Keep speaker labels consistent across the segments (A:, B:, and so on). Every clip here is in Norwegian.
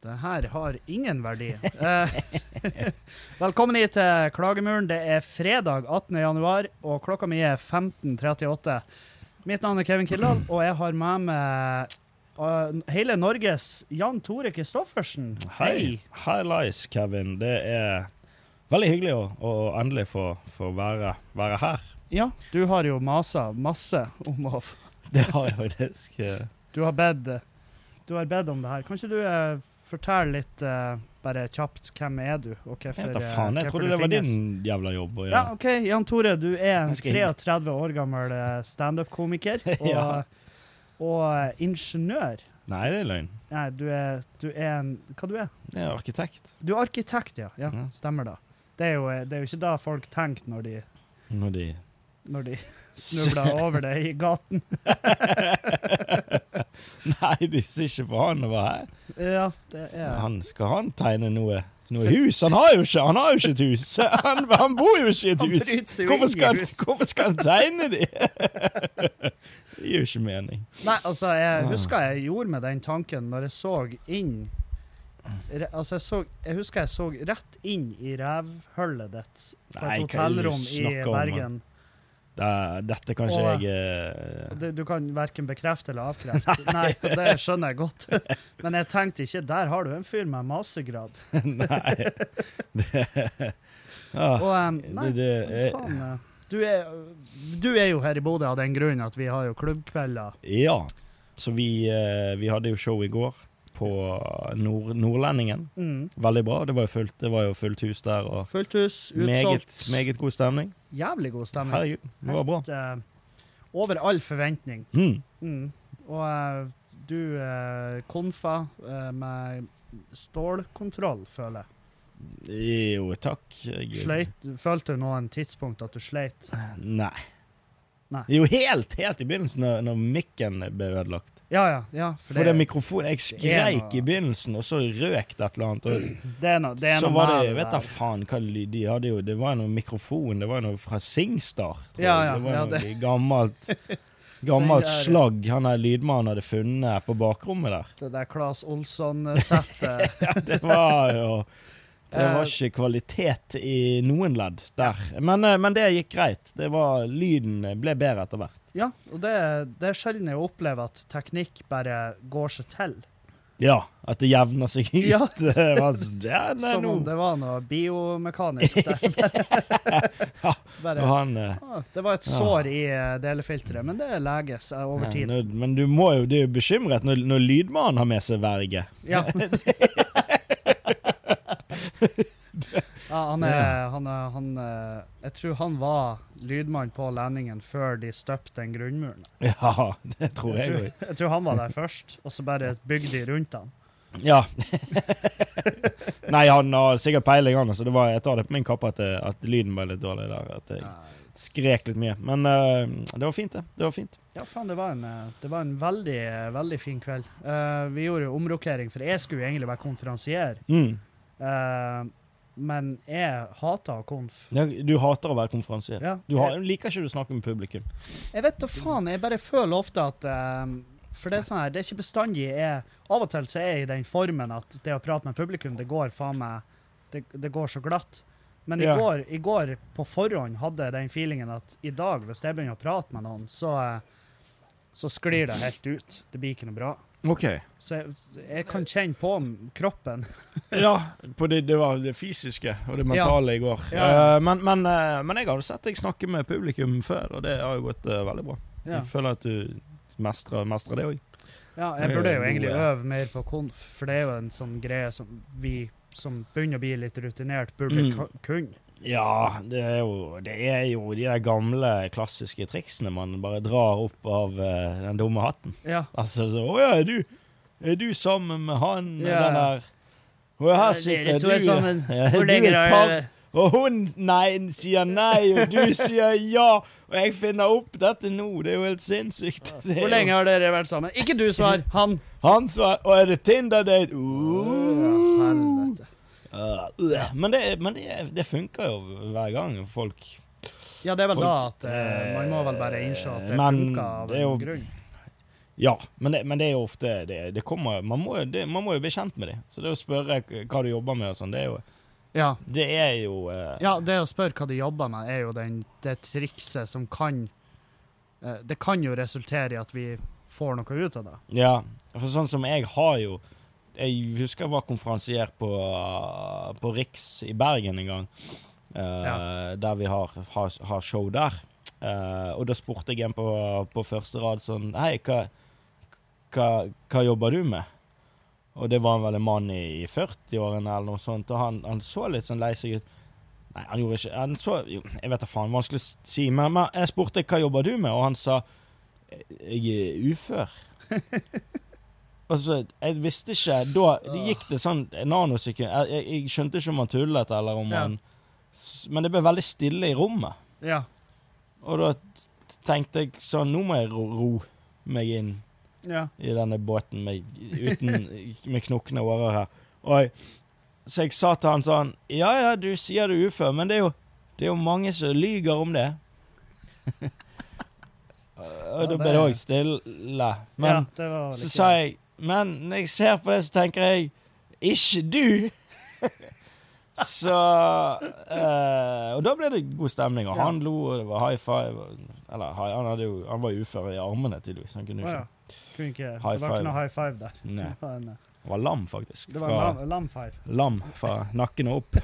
A: Det her har ingen verdi. Eh, Velkommen hit til Klagemuren. Det er fredag 18. januar, og klokka mi er 15.38. Mitt navn er Kevin Kildahl, og jeg har med meg eh, hele Norges Jan Tore Kristoffersen.
B: Hei. Hei, Lice, Kevin. Det er veldig hyggelig å, å endelig få, få være, være her.
A: Ja, du har jo masa masse om å f-
B: Det har jeg faktisk. eh,
A: Du har bedt Du har bedt om det her. Kan ikke du eh, fortelle litt, eh, bare kjapt, hvem er du, og
B: Jeg
A: hvorfor
B: vet da
A: eh,
B: faen. Jeg
A: hvorfor
B: trodde
A: du
B: det var
A: finnes?
B: din jævla jobb. å
A: Ja,
B: gjøre.
A: OK. Jan Tore, du er en
B: Jeg skal inn.
A: 33 år gammel eh, standup-komiker og,
B: Ja.
A: og eh, ingeniør.
B: Nei, det er løgn.
A: Nei, du er, du er en Hva du er
B: Jeg er arkitekt.
A: Du er arkitekt, ja. ja
B: Ja.
A: Stemmer da. Det er, jo, eh, det er jo ikke da folk tenker når de,
B: Når de
A: når de snubler over det i gaten.
B: Nei, de ser ikke på han og bare Hæ?
A: Ja, det er
B: Han skal han tegne noe, noe hus? Han har jo ikke Han har jo ikke et hus! Han, han bor jo ikke i et
A: Han
B: hus!
A: bryter seg jo
B: Hvorfor
A: inn i
B: skal, han,
A: hus.
B: hvorfor skal han tegne de? Det gir jo ikke mening.
A: Nei, altså,
B: Ah.
A: jeg husker jeg gjorde meg den tanken når jeg så inn re, Altså, jeg, så, jeg husker jeg så rett inn i revhullet ditt på et
B: Nei, hva er det du
A: hotellrom i
B: snakker om,
A: Bergen.
B: Da- dette kan ikke
A: Og-
B: jeg eh,
A: Det, du kan verken bekrefte eller avkrefte. Nei, og det skjønner jeg godt. Men jeg tenkte ikke Der har du en fyr med mastergrad.
B: Nei. Det, ah,
A: Og um, nei,
B: det, det er,
A: faen. eh, Du er, du er jo her i Bodø av den grunn at vi har jo klubbkvelder.
B: eh, Ja. Så vi, eh, vi hadde jo show i går på Nord Nordlendingen.
A: Mm.
B: Veldig bra. Det var jo fullt, det var jo fullt hus der. og
A: Fullt hus,
B: meget,
A: utsolgt.
B: meget god stemning.
A: Jævlig god stemning.
B: Herregud, det var bra.
A: Helt, eh, over all forventning.
B: Mm.
A: Mm. Og eh, du eh, konfa eh, med stålkontroll, føler jeg.
B: Jo, takk. Jeg-
A: Sleit, følte du noen tidspunkt at du sleit?
B: Nei.
A: Nei.
B: Jo, helt, helt i begynnelsen, når, når mikken ble ødelagt.
A: Ja, ja. ja for
B: For det mikrofonen Jeg
A: det er
B: skreik
A: noe-
B: i begynnelsen, og så røk det et eller annet. Og
A: Det er noe, det er
B: så
A: noe
B: var
A: med
B: det Jeg vet da
A: der.
B: faen hva lyd de hadde jo Det var jo noe mikrofon, det var jo noe fra Singstar. tror
A: Ja,
B: jeg.
A: ja,
B: det var
A: ja,
B: jo noe gammelt Gammelt
A: Den der-
B: slagg han der lydmannen hadde funnet på bakrommet der.
A: Det der Claes Olsson-settet.
B: Ja, det var jo Det
A: Eh.
B: var ikke kvalitet i noen ledd der. Men, eh, men det gikk greit. Det var Lyden ble bedre etter hvert.
A: ja, og det, det er sjelden jeg opplever at teknikk bare går seg til.
B: Ja, at det jevner seg ut.
A: Ja.
B: Det var, s- ja, nei,
A: Som
B: nå.
A: om det var noe biomekanisk der.
B: Og
A: bare,
B: han eh,
A: ah, det var et sår i eh, delefilteret, men det leges eh, over
B: Nei,
A: tid.
B: nå, men du må jo, du er jo bekymret når, når lydmannen har med seg verge.
A: Ja. Ja, han er, han er, han eh, Jeg tror han var lydmann på Lendingen før de støpte den grunnmuren.
B: Ja, det tror
A: Jeg
B: jeg
A: tror,
B: òg.
A: jeg tror han var der først, og så bare bygde de rundt han.
B: Ja. Nei, han har sikkert peiling, han. Så det var, jeg tar det på min kappe at, det- at lyden var litt dårlig der. At jeg
A: Ja.
B: skrek litt mye. Men eh, det var fint, det. Det var fint.
A: Ja, faen, det var en, eh, det var en veldig, eh, veldig fin kveld. Eh, vi gjorde jo omrokering, for jeg skulle jo egentlig være konferansier.
B: Mm.
A: Eh, men jeg hater konf.
B: Ja, Du hater å være konferansier.
A: Ja,
B: Du har, liker ikke du å snakke med publikum.
A: Jeg, jeg vet da faen, jeg bare føler ofte at eh, For det er sånn her, det er ikke bestandig jeg er Av og til så er jeg i den formen at det å prate med publikum, det går faen meg Det, det går så glatt. Men i,
B: Ja.
A: går, i går på forhånd hadde jeg den feelingen at i dag, hvis jeg begynner å prate med noen, så, eh, så sklir det helt ut. Det blir ikke noe bra.
B: Ok.
A: Så jeg, jeg kan kjenne på m- kroppen.
B: Ja, på det, det var det fysiske og det mentale i går.
A: Ja, ja.
B: Eh, men, men, eh, men jeg har jo sett deg snakke med publikum før, og det har jo gått eh, veldig bra.
A: Ja.
B: Jeg føler at du mestrer, mestrer det òg.
A: ja, jeg
B: Det er
A: burde jo
B: jo
A: egentlig
B: gode.
A: øve mer på konf, for det er jo en sånn greie som vi som begynner å bli litt rutinert, burde
B: Mm.
A: ku- kunne.
B: Ja, det er, jo, det er jo de der gamle, klassiske triksene man bare drar opp av eh, den dumme hatten.
A: Ja.
B: Altså så Å ja, er du, er du sammen med han
A: Ja.
B: den der Å ja,
A: Eh,
B: her sitter du. Ja, du er et par- Og hun nei, sier nei, og du sier ja. Og jeg finner opp dette nå. Det er jo helt sinnssykt. Det er jo-
A: Hvor lenge har dere vært sammen? Ikke du svar, han!
B: Han sa Å, er det Tinder-date? Uh.
A: helvete.
B: Uh, uh. Men, det, men det, det funker jo hver gang folk
A: Ja, det er vel
B: Folk-
A: da at eh, man må vel bare innse at det
B: Men
A: funker av
B: det er
A: en
B: jo-
A: grunn.
B: Ja, men det, men det er jo ofte det, det kommer, man, må, jo- det, man må jo bli kjent med dem. Så det å spørre k- hva du jobber med og sånn, det er jo
A: Ja.
B: Det er jo eh,
A: ja, det å spørre hva de jobber med, er jo den, det trikset som kan eh, Det kan jo resultere i at vi får noe ut av det.
B: ja. For sånn som jeg har jo Jeg husker jeg var konferansier på, eh, på Riks i Bergen en gang. eh, Der vi har, har, har show der. Eh, og da spurte jeg en på, på første rad sånn Hei, hva, hva, hva jobber du med? Og det var vel en mann i 40-årene eller noe sånt, og han, han så litt sånn lei seg ut. Nei, han gjorde ikke han så, jo, Jeg vet da faen, vanskelig å si, men, men jeg spurte hva jobber du med, og han sa jeg er ufør. og så, Jeg visste ikke Da det gikk det sånn en nanosekund. Jeg, jeg, jeg skjønte ikke om han tullet, eller om
A: Ja.
B: han s- Men det ble veldig stille i rommet.
A: Ja.
B: Og da t- tenkte jeg sånn, nå må jeg ro, ro meg inn
A: ja.
B: i denne båten med, uten, med knokne årer her. Og jeg, så jeg sa til han sånn, ja ja, du sier du er ufør, men det er jo, det er jo mange som lyger om det. og da
A: det
B: ble det
A: er-
B: òg stille.
A: ja,
B: Men
A: det var
B: så sa jeg, men når jeg ser på det, så tenker jeg, ikke du! så eh, Og da ble det god stemning, og
A: Ja.
B: han lo, og det var high five. Og, eller, hi- han, hadde jo, han var jo ufør i armene, tydeligvis. Han kunne jo
A: Å,
B: ikke
A: ja. Kunne ikke, det var
B: High
A: ikke
B: five.
A: noe high five der.
B: Nei.
A: Det var en, eh,
B: Han var lam, faktisk.
A: det var en
B: Fra-
A: lam, lam five.
B: Lam fra nakken og opp.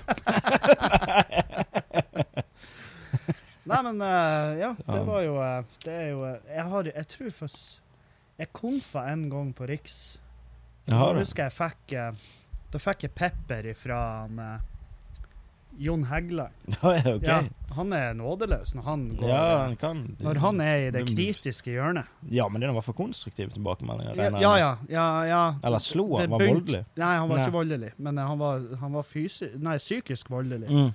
A: Nei, men eh, ja, det
B: Ja.
A: var jo eh, Det er jo eh, Jeg har Jeg tror for s- Jeg konfa en gang på Riks. Da husker jeg fikk eh, Da fikk jeg pepper ifra han, eh, Jon Heggeland.
B: Ja, ok.
A: Ja,
B: Ja,
A: han er nådeløs når han går
B: han kan.
A: Når han er i det
B: Dumt.
A: kritiske hjørnet.
B: Ja, men det var for konstruktive tilbakemeldinger.
A: Ja,
B: regner jeg
A: ja.
B: med.
A: ja, ja, ja.
B: Eller slo
A: Det
B: han, var
A: bunt-
B: voldelig.
A: Nei, han var
B: Nei.
A: ikke voldelig, men eh, han var, han var fysi nei, psykisk voldelig.
B: Mm.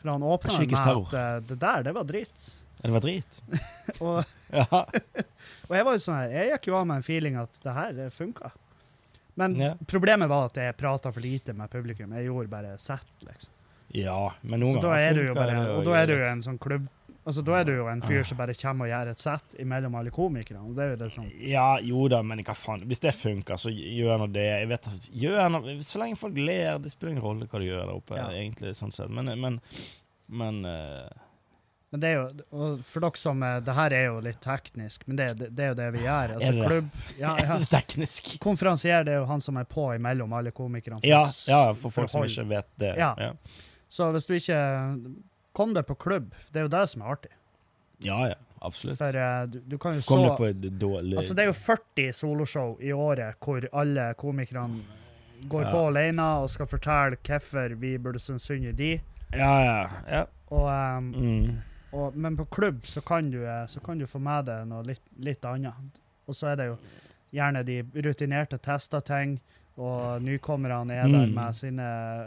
A: For han åpna med
B: Psykisk terror.
A: at eh, det der, det var dritt.
B: Det var drit.
A: Og,
B: Ja.
A: og jeg var jo sånn her, jeg gikk jo av med en feeling at det her det funka. Men
B: Ja.
A: problemet var at jeg prata for lite med publikum. Jeg gjorde bare sett, liksom.
B: ja, men noen
A: Så da er du jo
B: funker
A: bare,
B: det
A: og da er du jo
B: greit.
A: en sånn klubb Altså, Da er du jo en
B: Ah.
A: fyr som bare kommer og gjør et sett imellom alle komikerne. og det er jo det som...
B: Ja, jo da, men hva faen. Hvis det funker, så gjør nå det. Jeg vet, at- gjør nå- Så lenge folk ler, det spiller ingen rolle hva du gjør der oppe,
A: Ja.
B: egentlig, sånn sett. Men, men, men eh,
A: Men det er jo, og for dere som eh, Det her er jo litt teknisk, men det, det, det er jo det vi gjør. Altså,
B: Er det det?
A: klubb, ja, ja.
B: det er teknisk.
A: Konferansier det er jo han som er på imellom alle komikerne.
B: Ja, ja, for folk som
A: hold.
B: ikke vet det.
A: Ja.
B: ja.
A: Så hvis du ikke Kom deg på klubb. Det er jo det som er artig.
B: Ja, ja, absolutt.
A: For eh, du, du kan jo
B: Kom
A: så
B: det på et dårlig
A: Altså, det er jo 40 soloshow i året hvor alle komikerne går
B: Ja.
A: på alene og skal fortelle hvorfor vi burde synes synd i de.
B: Ja, ja. ja.
A: Og, eh,
B: Mm.
A: Og, men på klubb så kan du, eh, så kan du få med deg noe litt, litt annet. Og så er det jo gjerne de rutinerte tester ting, og nykommerne er der
B: Mm.
A: med sine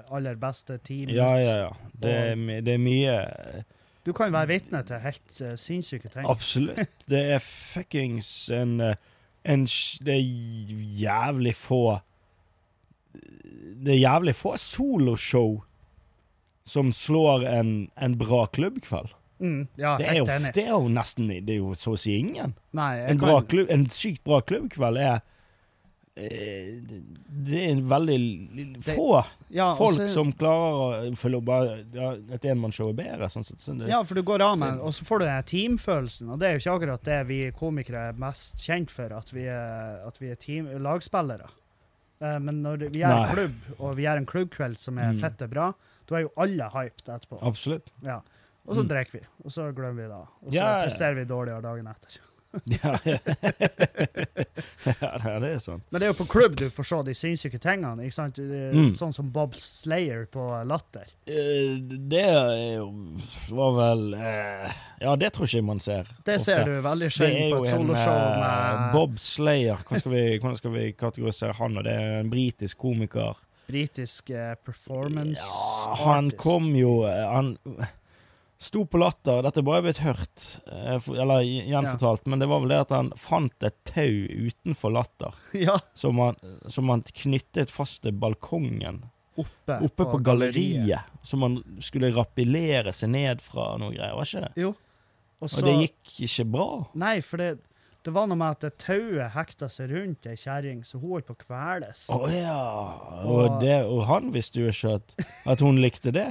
A: aller beste team.
B: ja, ja, ja. Det er, my- det er mye
A: Du kan være vitne til helt eh, sinnssyke ting.
B: Absolutt. Det er fuckings en, eh, en sj- Det er jævlig få Det er jævlig få soloshow som slår en, en bra klubbkveld.
A: Mm, ja,
B: Det er, jo,
A: helt enig.
B: det er jo nesten Det er jo så å si ingen.
A: Nei, jeg
B: En, bra
A: kan,
B: klubb, en sykt bra klubbkveld er eh, Det det er veldig l-
A: Det-
B: få
A: ja, og
B: folk
A: så-
B: som klarer å følge opp bare ja, et enmannsshow er bedre. Sånn sett. Så det,
A: Ja, for du går av med og så får du den her teamfølelsen, og det er jo ikke akkurat det vi komikere er mest kjent for, at vi er, at vi er team, lagspillere. Eh, Men når vi er en
B: Nei.
A: klubb, og vi er en klubbkveld som er
B: Mm.
A: fette bra, da er jo alle hyped etterpå.
B: Absolutt.
A: Ja. Og så
B: Mm.
A: drikker vi, og så glemmer vi det. Og så
B: Ja, ja.
A: presterer vi dårligere dagen etter.
B: Ja, ja. ja, det er sånn.
A: Men det er jo på klubb du får se de sinnssyke tingene, ikke sant? Det er
B: Mm.
A: Sånn som Bob Slayer på Latter.
B: Eh, Det er jo- var vel eh, Ja, det tror ikke jeg man ser.
A: Det
B: ofte.
A: ser du veldig
B: Det er
A: sjelden
B: jo
A: på et
B: en
A: soloshow
B: eh,
A: med
B: Bob Slayer. Hva skal vi, hvordan skal vi kategorisere han? Og det er en britisk komiker.
A: britisk eh, performance
B: Ja, han
A: artist.
B: kom jo eh, Han sto på latter. Dette er bare blitt hørt, eh, for- eller gjenfortalt, men det var vel det at han fant et tau utenfor latter.
A: Ja,
B: Som han, som han knyttet fast til balkongen
A: oppe,
B: oppe på galleriet. Som han skulle rappellere seg ned fra og noe greier. Var ikke det?
A: Jo. Og
B: Og
A: så
B: det gikk ikke bra.
A: Nei, for det Det var noe med at det tauet hekta seg rundt ei kjerring, så hun holdt på å kveles.
B: Å ja. Og, det, og han visste jo ikke at, at hun likte det.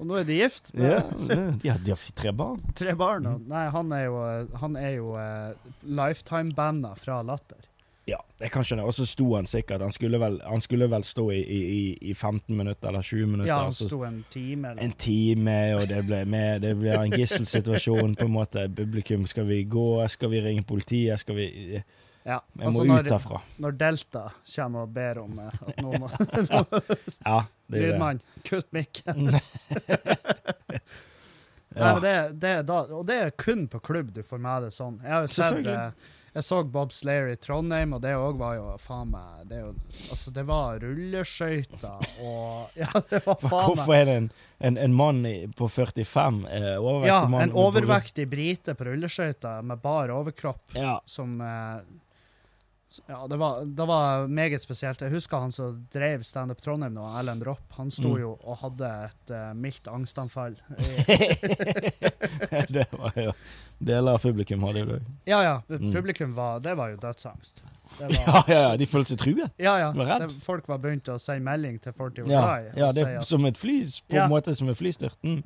A: Og nå er de gift med
B: Ja, Mm. det- ja, de har f- tre barn.
A: tre barn. Og, nei, han er jo, han er jo eh, lifetime-banda fra Latter.
B: Ja, jeg kan skjønne. Og så sto han sikkert. Han skulle vel, han skulle vel stå i, i, i- i 15 minutter eller 20 minutter.
A: Ja,
B: og
A: han
B: altså, så
A: sto en time eller
B: en time, og det ble, med, det ble en gisselsituasjon på en måte. Publikum, skal vi gå? Skal vi ringe politiet? Skal vi Jeg
A: ja.
B: må
A: Altså,
B: ut
A: når,
B: derfra.
A: når Delta kommer og ber om eh, at noen må
B: Ja, det er det.
A: Lydmann, kutt mikken. Nei,
B: Ja.
A: men det, det er da, og det er kun på klubb du får med det sånn. Jeg har jo sett
B: Selvfølgelig.
A: eh, Jeg så Bob Slayer i Trondheim, og det òg var jo faen meg det, er jo, altså, det var rulleskøyter og Ja, det var faen meg
B: Hvorfor er det en, en, en mann i- på 45, eh, overvektig
A: ja,
B: mann
A: En overvektig brite på rulleskøyter med bar overkropp
B: Ja.
A: som eh, s- ja, det var, det var meget spesielt. Jeg husker han som drev Standup Trondheim nå, Erlend Ropp. Han sto
B: Mm.
A: jo og hadde et eh, mildt angstanfall.
B: det var jo Deler av publikum hadde jo det.
A: Ja, ja. pu-
B: Mm.
A: Publikum var Det var jo dødsangst. Det var,
B: Ja, ja, ja, de følte seg truet.
A: ja, ja.
B: Var redd.
A: Det, folk var begynt å sende melding til 40
B: Ja,
A: Glad i
B: ja
A: og
B: det
A: si
B: er
A: at
B: som et fly, på
A: Ja.
B: en måte som et flystyrt. Mm.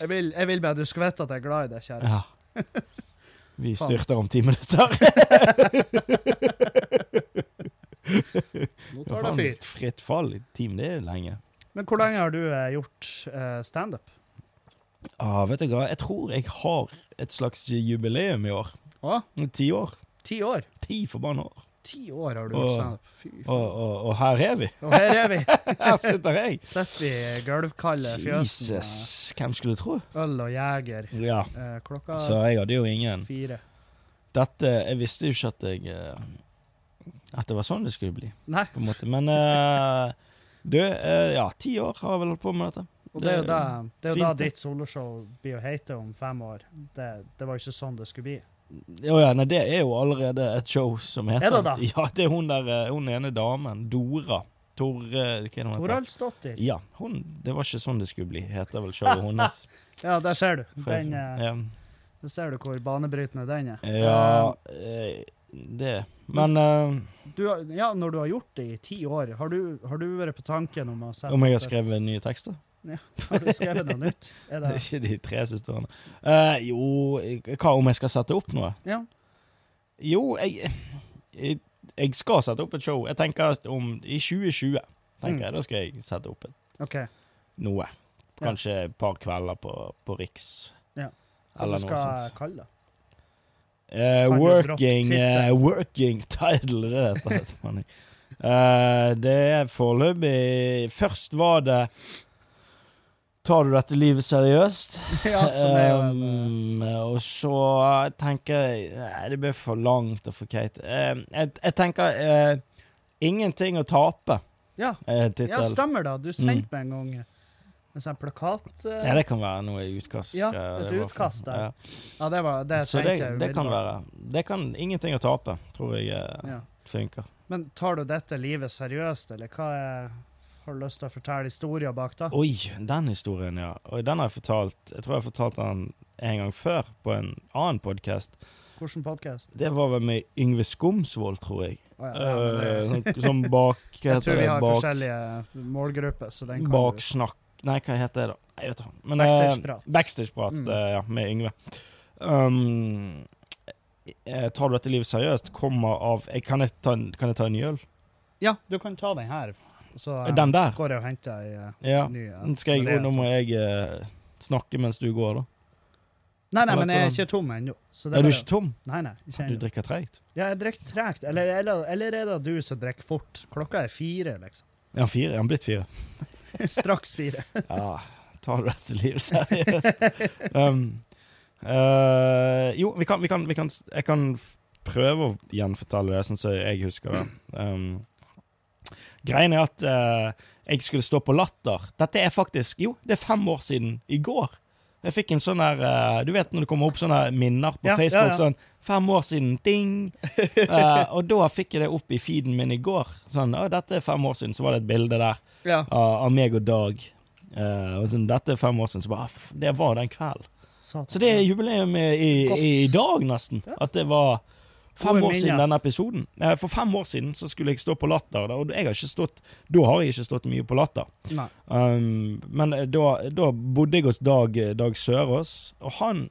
A: jeg vil, 'Jeg vil bare du skulle vite at jeg er glad i deg, kjære'.
B: Ja. Vi
A: Faen.
B: styrter om ti minutter.
A: Nå tar det
B: Faen,
A: fyr.
B: fritt fall i team, det er lenge.
A: Men hvor lenge har du eh, gjort eh, standup?
B: Ah, vet du hva, jeg tror jeg har et slags jubileum i år.
A: Å,
B: Ti år.
A: ti år?
B: Ti forbanna år.
A: Ti år har du gjort
B: Å.
A: standup. Fy
B: Og,
A: faen.
B: og, og her er vi.
A: Og her er vi.
B: Her sitter jeg.
A: Sitter vi i gulvkalde fjøsen.
B: Jesus, hvem skulle tro?
A: eh, Øl og jeger.
B: Ja,
A: eh, klokka
B: så jeg hadde jo ingen
A: fire.
B: Dette, jeg visste jo ikke at jeg eh, At det var sånn det skulle bli,
A: Nei,
B: på en måte. Men eh, du, eh, ja, ti år har jeg vel holdt på med dette.
A: og det er jo
B: Det
A: da,
B: er
A: det er jo da
B: fint, det.
A: ditt soloshow blir å hete om fem år. Det, det var jo ikke sånn det skulle bli.
B: Å ja, nei, det er jo allerede et show som heter
A: Er det da?
B: Ja, det er hun der, eh, hun ene damen, Dora. Tor... eh, Hva er det hun heter?
A: Toralsdottir.
B: Ja, hun, det var ikke sånn det skulle bli, heter vel showet hennes.
A: Ja, der ser du. Den, eh,
B: ja.
A: der ser du hvor banebrytende den er.
B: Ja, eh, det Men eh,
A: Eh, Du, har- ja, når du har gjort det i ti år, har du, har du vært på tanken om å sette
B: om jeg har
A: opp et-
B: skrevet nye tekster?
A: Har du skrevet noe nytt? Er
B: Det er
A: det,
B: ikke de tre siste årene. Eh, jo, eh, hva om jeg skal sette opp noe?
A: ja.
B: Jo, jeg, jeg, jeg skal sette opp et show. Jeg tenker at om I 2020 tenker
A: Mm.
B: jeg, da skal jeg sette opp et,
A: OK.
B: noe. Kanskje et par kvelder på, på Riks.
A: Ja. Hva
B: Eller
A: du
B: noe
A: skal
B: sånt.
A: kalle det?
B: Eh,
A: Kan du
B: working,
A: droppe
B: eh, working title, det er dette. heter, mann. Eh, det er foreløpig Først var det Tar du dette livet seriøst?
A: Ja, som er jo en, eh,
B: Um, og så tenker jeg Nei, det blir for langt og for keit. Eh, jeg, jeg tenker eh, 'Ingenting å tape'.
A: ja.
B: Uh, tittel.
A: ja,
B: Ja,
A: stemmer da. Du
B: Mm.
A: sendte meg en gang eh, en sånn plakat. eh,
B: det kan være noe utkast.
A: Ja,
B: eh,
A: et
B: det var for-
A: utkast der.
B: Ja.
A: Ja, det var det
B: Så
A: tenkte
B: det,
A: jeg
B: det kan
A: umiddelbart.
B: være. Det kan 'Ingenting å tape', tror jeg eh,
A: Ja.
B: funker.
A: Men tar du dette livet seriøst, eller hva er, har du lyst til å fortelle historier bak da?
B: Oi, den historien, ja. Oi, den har jeg fortalt Jeg tror jeg har fortalt den en gang før på en annen podkast.
A: Hvilken podkast?
B: Det var vel med Yngve Skomsvold, tror jeg.
A: Å ja, ja, men det-
B: Eh, som, som bak hva
A: Jeg
B: heter
A: tror vi
B: det?
A: har
B: Bak-
A: forskjellige målgrupper, så den kan du-
B: Baksnakk Nei, hva heter det, da? Jeg vet ikke. Men, eh,
A: Backstageprat.
B: Backstageprat,
A: Mm.
B: eh, ja, med Yngve. Um, eh, tar du dette livet seriøst? Kommer av jeg, kan, jeg ta, en- kan jeg ta en ny øl?
A: Ja, du kan ta den her. Så eh,
B: Den der?
A: går jeg og henter ei eh,
B: Ja.
A: ny. eh,
B: Nå Skal jeg,
A: det-
B: nå må jeg eh, snakke mens du går, da.
A: Nei, nei, men jeg er ikke tom ennå. så det
B: Er du
A: bare-
B: ikke tom?
A: Nei, nei, ikke
B: Du
A: ennå.
B: drikker treigt?
A: Ja, jeg drikker tregt. Eller, eller, eller er det du som drikker fort? Klokka er fire, liksom.
B: Er han fire? Er han blitt fire?
A: Straks fire.
B: Ja, tar du dette livet seriøst? Um, eh, jo, vi kan, vi, kan, vi kan Jeg kan f- prøve å gjenfortelle det, sånn som jeg husker det. Um, greien er at eh, jeg skulle stå på Latter. Dette er faktisk Jo, det er fem år siden i går. Jeg fikk en sånn her eh, Du vet når det kommer opp sånne minner på
A: Ja,
B: Facebook?
A: ja, ja.
B: Sånn Fem år siden, ding! Eh, og da fikk jeg det opp i feeden min i går. Sånn, å, dette er fem år siden, så var det et bilde der
A: Ja.
B: av, av meg og Dag. Eh, og sånn, dette er fem år siden, så bare "Ah, f- Det var den kvelden.
A: Satan.
B: Så det er jubileum i, i, i dag, nesten.
A: Ja.
B: At det var fem
A: Gode
B: år siden
A: minner.
B: denne episoden. Eh, For fem år siden så skulle jeg stå på Latter, da, og jeg har ikke stått, da har jeg ikke stått mye på Latter.
A: Nei.
B: Um, men da, da bodde jeg hos Dag, eh, Dag Sørås, og han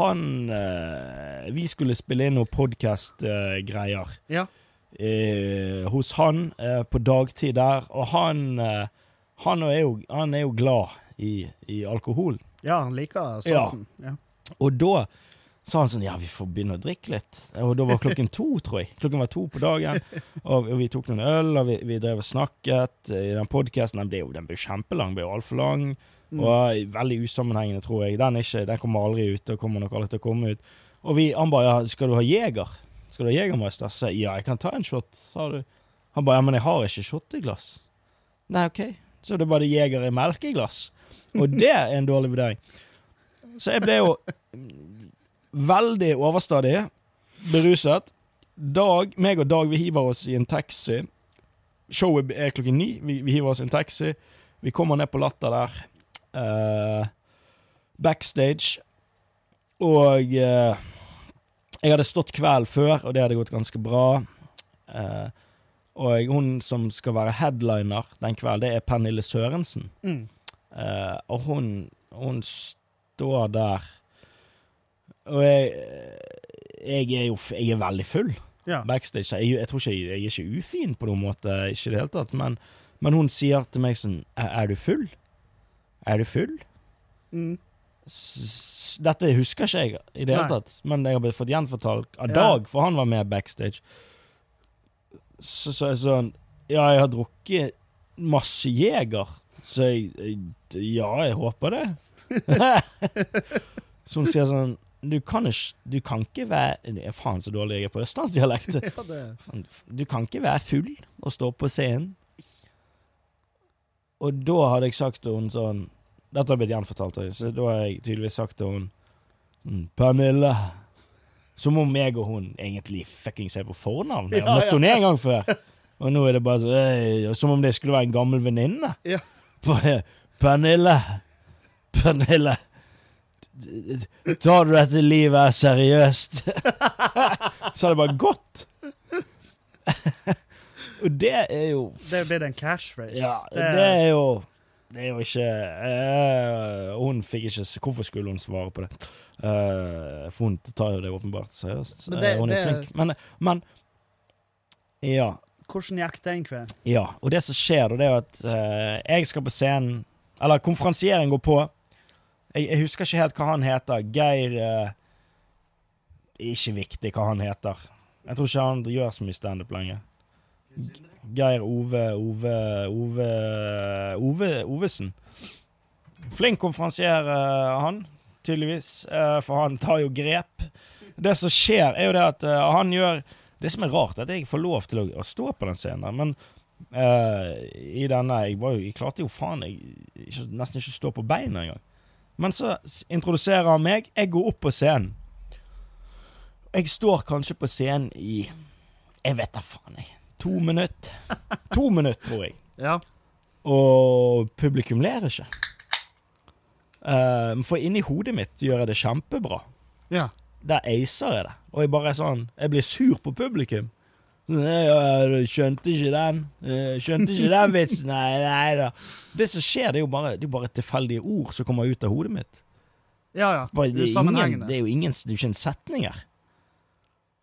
B: Han eh, Vi skulle spille inn noen podkast-greier
A: Ja.
B: eh, hos han eh, på dagtid der, og han eh, han, er jo, han er jo glad i, i alkohol.
A: ja, han liker
B: Ja.
A: sånn. Ja.
B: Og da sa han sånn Ja, vi får begynne å drikke litt. Og da var klokken to, tror jeg. Klokken var to på dagen, og, og vi tok noen øl, og vi, vi drev og snakket i den podkasten. Den ble jo den ble jo kjempelang, den ble jo altfor lang. Og veldig usammenhengende, tror jeg. Den, er ikke, den kommer aldri ut, og kommer nok aldri til å komme ut. Og vi, han bare ja, 'Skal du ha Jeger?' 'Skal du ha Jegermeister?' Så jeg 'Ja, jeg kan ta en shot', sa du. Han bare 'Ja, men jeg har ikke shotteglass'. Nei, OK. Så det er bare Jeger i melkeglass. Og det er en dårlig vurdering. Så jeg ble jo veldig overstadig, beruset. Dag, meg og Dag, vi hiver oss i en taxi. Showet er klokken ni. Vi, vi hiver oss i en taxi. Vi kommer ned på Latter der. eh, backstage. Og eh, jeg hadde stått kvelden før, og det hadde gått ganske bra. Eh, og hun som skal være headliner den kvelden, det er Pernille Sørensen.
A: Mm.
B: Eh, og hun, hun står der Og jeg, jeg er jo f- jeg er veldig full
A: Ja.
B: backstage. Jeg, jeg tror ikke jeg, jeg er ikke ufin på noen måte, ikke i det hele tatt. Men, men hun sier til meg sånn Er er du full? Er du full?
A: Mm.
B: S- s- Dette husker ikke jeg i det hele
A: Nei.
B: tatt, men jeg har blitt fått gjenfortalt av
A: Ja.
B: Dag, for han var med backstage. Så så er det sånn Ja, jeg har drukket masse Jeger, så jeg, jeg Ja, jeg håper det. så hun sier sånn Du kan ikke, du kan ikke være det er Faen, så dårlig jeg er på østlandsdialekt.
A: ja, det
B: Faen, f- Sånn, Du kan ikke være full og stå på scenen. Og da hadde jeg sagt til hun sånn Dette har blitt gjenfortalt, til meg, så da har jeg tydeligvis sagt til hun «Mm, Pernille. Som om jeg og hun egentlig fuckings er på fornavn. Jeg
A: Ja,
B: har
A: ja.
B: møtt henne en gang før. Og nå er det bare sånn «Øy», Som om det skulle være en gammel venninne.
A: Ja.
B: Bare, Pernille. Pernille. d- d- Tar du dette livet seriøst? så hadde det bare gått. og det er jo
A: Det blir en cash race.
B: ja, det er jo Det er jo ikke eh, Hun fikk ikke s- Hvorfor skulle hun svare på det? Eh, for hun tar jo det åpenbart seriøst.
A: Men det-
B: Eh, hun er
A: det-
B: flink. Men, men Ja.
A: Hvordan gikk den kvelden?
B: Ja, og det som skjer, da, det er jo at eh, jeg skal på scenen Eller konferansieren går på. Jeg, jeg husker ikke helt hva han heter. Geir eh, Ikke viktig hva han heter. Jeg tror ikke han gjør så mye standup lenger. G- Geir Ove Ove Ove Ove Ovesen. Flink konferansier, eh, han, tydeligvis. eh, for han tar jo grep. Det som skjer, er jo det at eh, han gjør Det som er rart, er at jeg får lov til å, å stå på den scenen, men Eh, I denne jeg, var jo, jeg klarte jo faen jeg, ikke, nesten ikke å stå på beina engang. Men så s- introduserer han meg. Jeg går opp på scenen. Jeg står kanskje på scenen i Jeg vet da faen, jeg. To minutter. To minutter, tror jeg.
A: Ja.
B: Og publikum ler ikke. Eh, for inni hodet mitt gjør jeg det kjempebra
A: ja.
B: der acer jeg det. Og jeg bare er sånn Jeg blir sur på publikum. Sånn, «Nei, jeg skjønte ikke den. Jeg Skjønte ikke den vitsen. Nei, nei da. Det som skjer, det er jo bare, det er bare tilfeldige ord som kommer ut av hodet mitt.
A: Ja, ja.
B: Bare, det, er ingen,
A: Usammenhengende.
B: det er jo ingen Det er jo ikke en setning her.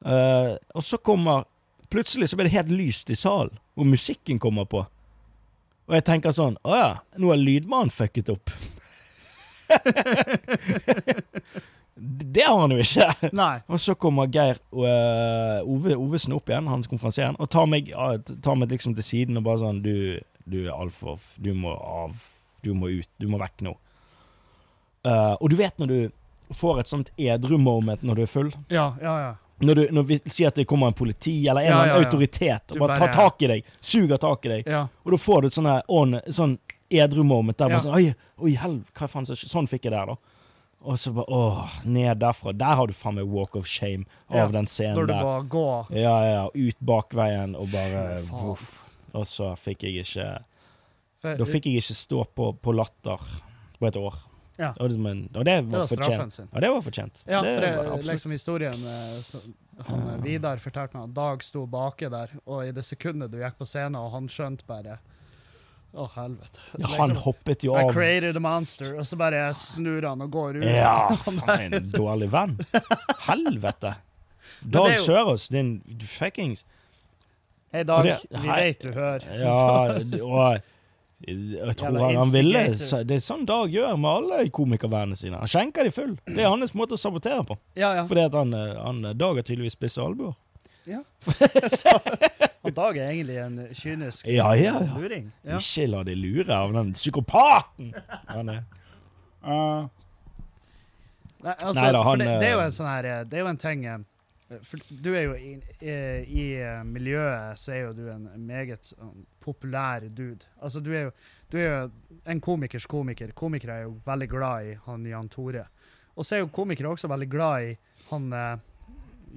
B: Eh, og så kommer Plutselig så blir det helt lyst i salen, og musikken kommer på. Og jeg tenker sånn Å ja, nå har lydmannen fucket opp. det har han jo ikke.
A: Nei.
B: Og så kommer Geir og, eh, Ove, Ovesen opp igjen, han konferansieren, og tar meg, eh, tar meg liksom til siden og bare sånn Du, du er altfor Du må av. Du må ut. Du må vekk nå. Eh, og du vet når du får et sånt edru moment når du er full?
A: Ja, ja, ja.
B: Når, du, når vi sier at det kommer en politi eller en
A: Ja,
B: eller annen
A: ja, ja.
B: autoritet
A: Du
B: og bare
A: bare-
B: tar tak i deg, suger tak i deg,
A: ja.
B: og da får du et sånn her on, sånn edru moment der.
A: Ja.
B: Bare sånn, oi, oi, helv, hva faen som skj-» Sånn fikk jeg der, da. Og så bare åh, ned derfra. Der har du faen meg walk of shame av
A: Ja,
B: den scenen
A: Når du
B: der.
A: bare går
B: Ja, ja, ja, ut bakveien og bare
A: Faen.
B: voff. Og så fikk jeg ikke
A: For-
B: Da fikk jeg ikke stå på, på latter på et år.
A: Ja.
B: Og, det, men, og det
A: Det
B: var
A: var straffen
B: fortjent.
A: sin.
B: Og det var fortjent.
A: Ja,
B: det
A: for det,
B: var absolutt.
A: liksom historien eh, så, han, eh, Vidar fortalte meg at Dag sto baki der, og i det sekundet du gikk på scenen, og han skjønte bare Å, helvete.
B: Ja, han hoppet jo
A: liksom- I
B: av.
A: created a monster, og så bare snur han og går ut.
B: Ja, faen, en dårlig venn. Helvete.
A: det er
B: Dag
A: jo-
B: Sørås, din fuckings
A: Hei, Dag,
B: Og det-
A: vi
B: hei.
A: vet du hører.
B: Ja, og jeg tror
A: Jævla
B: han, han ville
A: instigator.
B: så- Det er sånn Dag gjør med alle komikervennene sine. Han skjenker de full. Det er hans måte å sabotere på.
A: Ja, ja.
B: Fordi at han, eh, han eh, Dag har tydeligvis spisse albuer.
A: Og Dag er egentlig en kynisk
B: Ja, ja, ja.
A: luring. Ja.
B: Ikke la deg lure av den psykopaten! Han er
A: Nei, altså,
B: Neida,
A: for
B: han,
A: det, det er jo
B: eh,
A: en sånn her eh, Det er jo en ting eh, for Du er jo i, i, i eh, miljøet så er jo du en meget sånn, populær dude. Altså, du er jo, du er jo en komikers komiker. Komikere er jo veldig glad i han Jan Tore. Og så er jo komikere også veldig glad i han eh,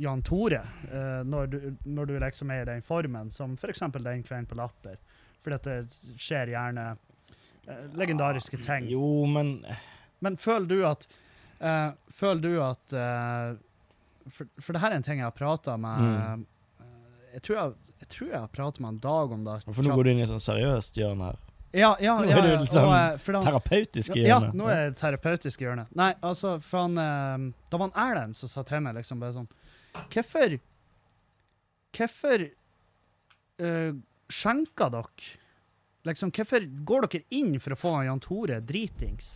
A: Jan Tore, eh, når, du, når du liksom er i den formen, som f.eks. eksempel den kvelden på Latter. For dette skjer gjerne eh, legendariske ting.
B: Jo, men
A: Men føler du at eh, Føler du at eh, for, for det her er en ting jeg har prata med
B: Mm.
A: eh, jeg, tror jeg, jeg tror jeg har prata med en Dag om det.
B: For nå går du inn i et sånn seriøst hjørne her.
A: Ja, ja,
B: Nå er
A: ja.
B: du
A: ja,
B: litt sånn
A: og, eh, for da-
B: Terapeutisk
A: ja,
B: hjørne.
A: nå er det terapeutisk i hjørnet. Nei, altså, for han eh, Da var han Erlend som sa til meg liksom bare sånn Hvorfor Hvorfor eh, skjenker dere? Liksom, hvorfor går dere inn for å få Jan Tore dritings?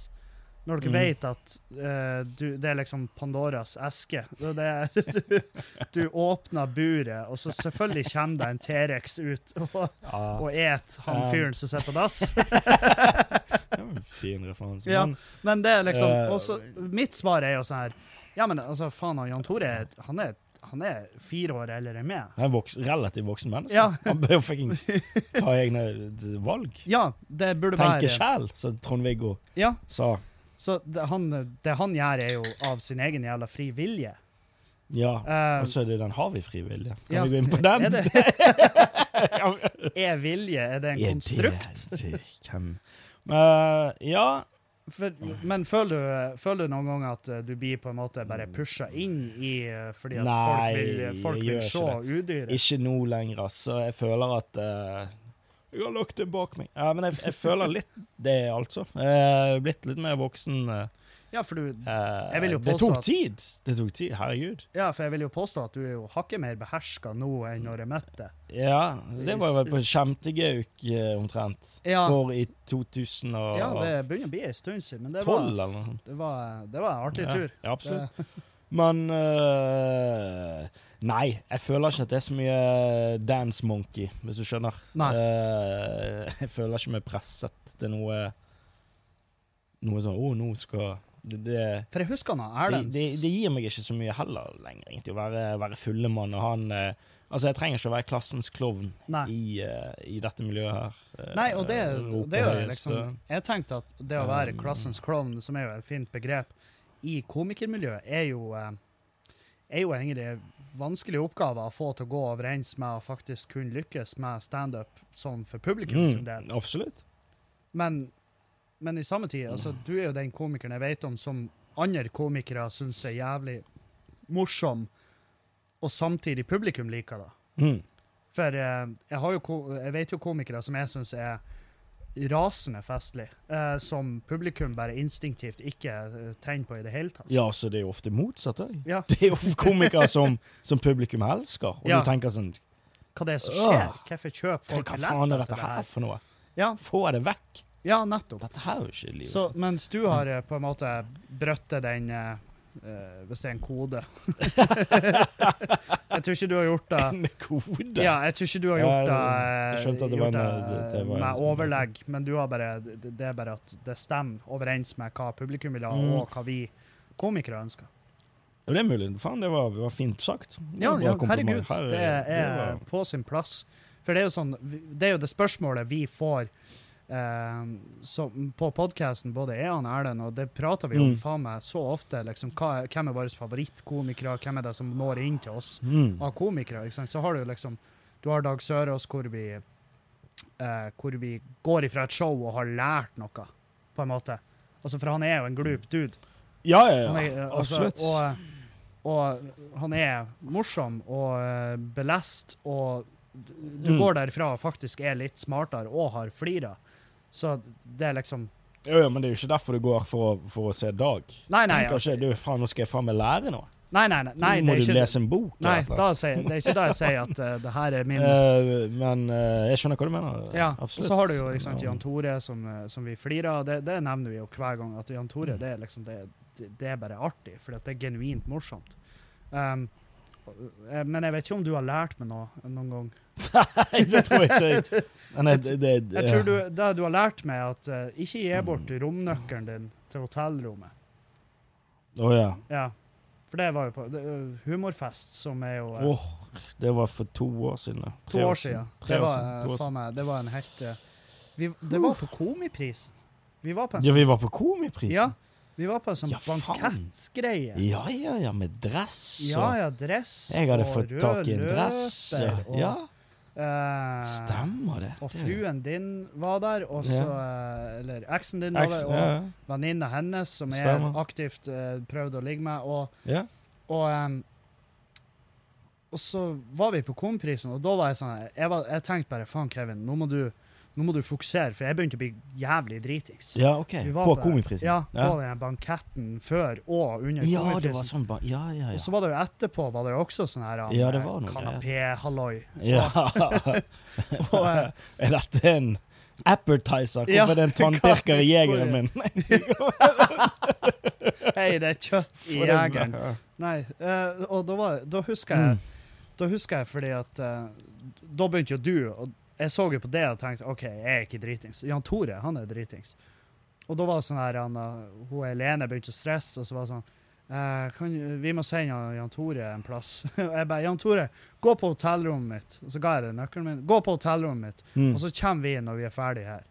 A: Når dere
B: Mhm.
A: vet at eh, du, det er liksom Pandoras eske. Det, det, du, du åpner buret, og så selvfølgelig kommer det en T-rex ut og,
B: Ja,
A: og et han
B: Um.
A: fyren som sitter på dass.
B: det var en fin referanse.
A: Ja.
B: Men
A: Men det er liksom
B: Eh,
A: også, Mitt svar er jo sånn her Ja, men altså, faen, han Jan Tore er- han er, han er fire år eldre enn meg.
B: han er en voks, relativt voksen menneske.
A: Ja.
B: Han bør jo fuckings ta egne eh, valg.
A: Ja, det burde
B: Tenke
A: være
B: sjæl, som Trond-Viggo
A: Ja,
B: sa.
A: Så det han, det han gjør, er jo av sin egen jævla fri vilje.
B: Ja.
A: Eh,
B: Og så er det den har vi frivillige. Kan
A: ja.
B: vi gå inn på
A: er,
B: den?
A: det, er vilje er det en
B: Er
A: konstrukt?
B: det- Hvem Eh, Ja.
A: For, men føler du, føler du noen gang at eh, du blir på en måte bare pusha inn i eh, fordi at
B: Nei,
A: folk vil,
B: jeg
A: folk
B: gjør
A: vil se udyret?
B: Ikke nå lenger, altså. Jeg føler at eh, Jeg har lagt det bak meg. Ja, men jeg, jeg føler litt det, altså. Jeg er blitt litt mer voksen. eh,
A: Ja, for du
B: eh,
A: Jeg vil jo
B: det
A: påstå
B: tok
A: at-
B: tid! Det tok tid. Herregud.
A: Ja, for jeg vil jo påstå at du er jo hakket mer beherska nå enn når jeg møtte deg.
B: Ja, det var vel på skjemtegauk eh, omtrent.
A: Ja,
B: For i 2012
A: ja, det begynner å bli en stund siden, men det var,
B: eller noe sånt.
A: det var, det var en artig tur.
B: Ja, ja absolutt.
A: Det,
B: Men øh, Nei, jeg føler ikke at det er så mye dance monkey, hvis du skjønner.
A: Nei.
B: Øh, jeg føler ikke meg presset til noe Noe sånn Å, nå skal det, det,
A: for jeg husker han
B: det,
A: Erlend
B: det, det gir meg ikke så mye heller lenger, egentlig, å være, være fullemann og han øh, Altså, jeg trenger ikke å være klassens klovn
A: Nei.
B: i, øh, i dette miljøet her. Øh,
A: Nei, og det,
B: rope
A: det er jo
B: høyest,
A: liksom
B: øh.
A: Jeg tenkte at det å være
B: Um.
A: klassens klovn, som er jo et fint begrep, i komikermiljøet, er jo eh, er jo egentlig en vanskelig oppgave å få til å gå overens med å faktisk kunne lykkes med standup sånn for publikum sin del.
B: mm, Absolutt.
A: Men, men i samme tid, altså,
B: Mm.
A: du er jo den komikeren jeg vet om som andre komikere syns er jævlig morsom, og samtidig publikum liker det.
B: Mm.
A: For eh, jeg, har jo, ko- jeg vet jo komikere som jeg syns er rasende festlig, eh, som publikum bare instinktivt ikke eh, tenner på i det hele tatt.
B: Ja, så det er jo ofte motsatt òg.
A: Ja.
B: Det er jo komikere som, som publikum elsker, og
A: Ja.
B: du tenker sånn
A: Hva det er som skjer?
B: Åh.
A: Hvorfor kjøper
B: Hva
A: folk
B: faen er
A: billetter
B: dette
A: til det
B: her
A: her?
B: for noe?
A: Ja,
B: Få det vekk!
A: ja, nettopp.
B: Dette her er jo ikke livet
A: Så
B: sitt.
A: mens du har eh, på en måte brøttet den eh, eh, Hvis det er en kode Jeg tror ikke du har gjort det.
B: Med kode!
A: Ja, jeg tror ikke du har gjort det, eh,
B: Jeg skjønte at det var
A: gjort
B: en- eh, det- det var en-
A: med overlegg, men du har bare, det det er bare at det stemmer overens med hva publikum vil ha,
B: Mm.
A: og hva vi komikere ønsker.
B: Jo, det er mulig. Faen, det var, det var fint sagt. Det
A: Ja,
B: var
A: ja
B: bra
A: herregud,
B: kompliment. Her-
A: det er
B: det var-
A: på sin plass. For det er jo sånn, vi- det er jo det spørsmålet vi får eh, som på podkasten, både jeg og han Erlend, og det prater vi om
B: Mm.
A: faen meg så ofte. liksom, hva, er- Hvem er våre favorittkomikere, hvem er det som når inn til oss
B: mm.
A: av komikere? ikke sant? Så har du liksom du har Dag Sørås, hvor vi eh, hvor vi går ifra et show og har lært noe, på en måte. Altså, for han er jo en glup dude.
B: Ja, ja,
A: Han
B: ja.
A: er, eh, altså,
B: Absolutt.
A: Og, og han er morsom og eh, belest, og du- du
B: Mm.
A: går derfra og faktisk er litt smartere og har flira. Så det er liksom
B: Jo, jo, men det er jo ikke derfor du går for å, for å se Dag.
A: Nei, nei.
B: Tenker ikke du, faen, nå skal jeg faen meg lære noe.
A: Nei, nei, nei, nei
B: nå
A: det
B: må
A: er
B: du
A: ikke,
B: lese en bok.
A: nei
B: eller noe.
A: da sier, det er ikke da jeg sier at eh, det her er min
B: Eh, men eh, jeg skjønner hva du mener.
A: Ja, og
B: Absolutt.
A: så har du jo ikke sant, Jan Tore som, eh, som vi flirer av. Det, det nevner vi jo hver gang. At Jan Tore
B: Mm.
A: det er, liksom, det, det er bare artig, for det er genuint morsomt. Um, eh, men jeg vet ikke om du har lært meg noe noen gang.
B: Nei, det tror jeg ikke. jeg- Men jeg, det, det,
A: Jeg tror du, det du har lært meg, er at eh, ikke gi bort romnøkkelen din til hotellrommet.
B: Å ja.
A: Ja, For det var jo på det, eh, humorfest, som er jo eh,
B: Åh, det var for to år siden. da. Tre
A: to år siden.
B: Tre
A: Det
B: år
A: var,
B: siden. To
A: eh,
B: år siden.
A: faen meg, det var en helt eh, vi, Det var på Komiprisen. Vi var på en
B: Ja, vi var på Komiprisen.
A: Ja, vi var på en sånn
B: Ja, faen.
A: bankettgreie.
B: ja, ja, ja, med dress og
A: Ja, ja, dress
B: Jeg hadde
A: og
B: fått
A: rød
B: tak i en dress. Ja,
A: løper,
B: ja
A: Og, eh,
B: stemmer det.
A: og
B: Det er jo-
A: fruen din var der, og så eh, Eller eksen din var
B: Eks-
A: der,
B: ja,
A: og venninna hennes, som jeg
B: Stemmer.
A: aktivt eh, prøvde å ligge med. Og,
B: ja.
A: og, em, og så var vi på Komprisen, og da var jeg sånn her- Jeg, var, jeg tenkte bare faen, Kevin, nå må, du, nå må du fokusere, for jeg begynte å bli jævlig dritings.
B: ja, OK.
A: Vi var
B: På
A: der.
B: Komiprisen.
A: Ja, på
B: ja.
A: den banketten før og under
B: Ja, det
A: Komiprisen.
B: var sånn ba Ja, ja,
A: Og
B: ja.
A: så var det jo etterpå var det jo også sånn her
B: Ja, det var noe
A: kanapé-halloi.
B: ja.
A: Og, eh,
B: Er dette en appetizer? Hvorfor
A: Ja,
B: er det en tanntørker i jegeren
A: hvor-
B: min?
A: Hei, det er kjøtt i jegeren. Nei, eh, og da, var, da husker jeg Da husker jeg fordi at eh, Da begynte jo du og Jeg så jo på det og tenkte OK, jeg er ikke dritings. Jan Tore, han er dritings. Og da var det sånn her han, eh, Hun Helene begynte å stresse, og så var det sånn eh, kan, Vi må sende han- Jan Tore en plass. Og jeg bare Jan Tore, gå på hotellrommet mitt. Og så ga jeg deg nøkkelen min. Gå på hotellrommet mitt.
B: Mm.
A: Og så kommer vi når vi er ferdig her.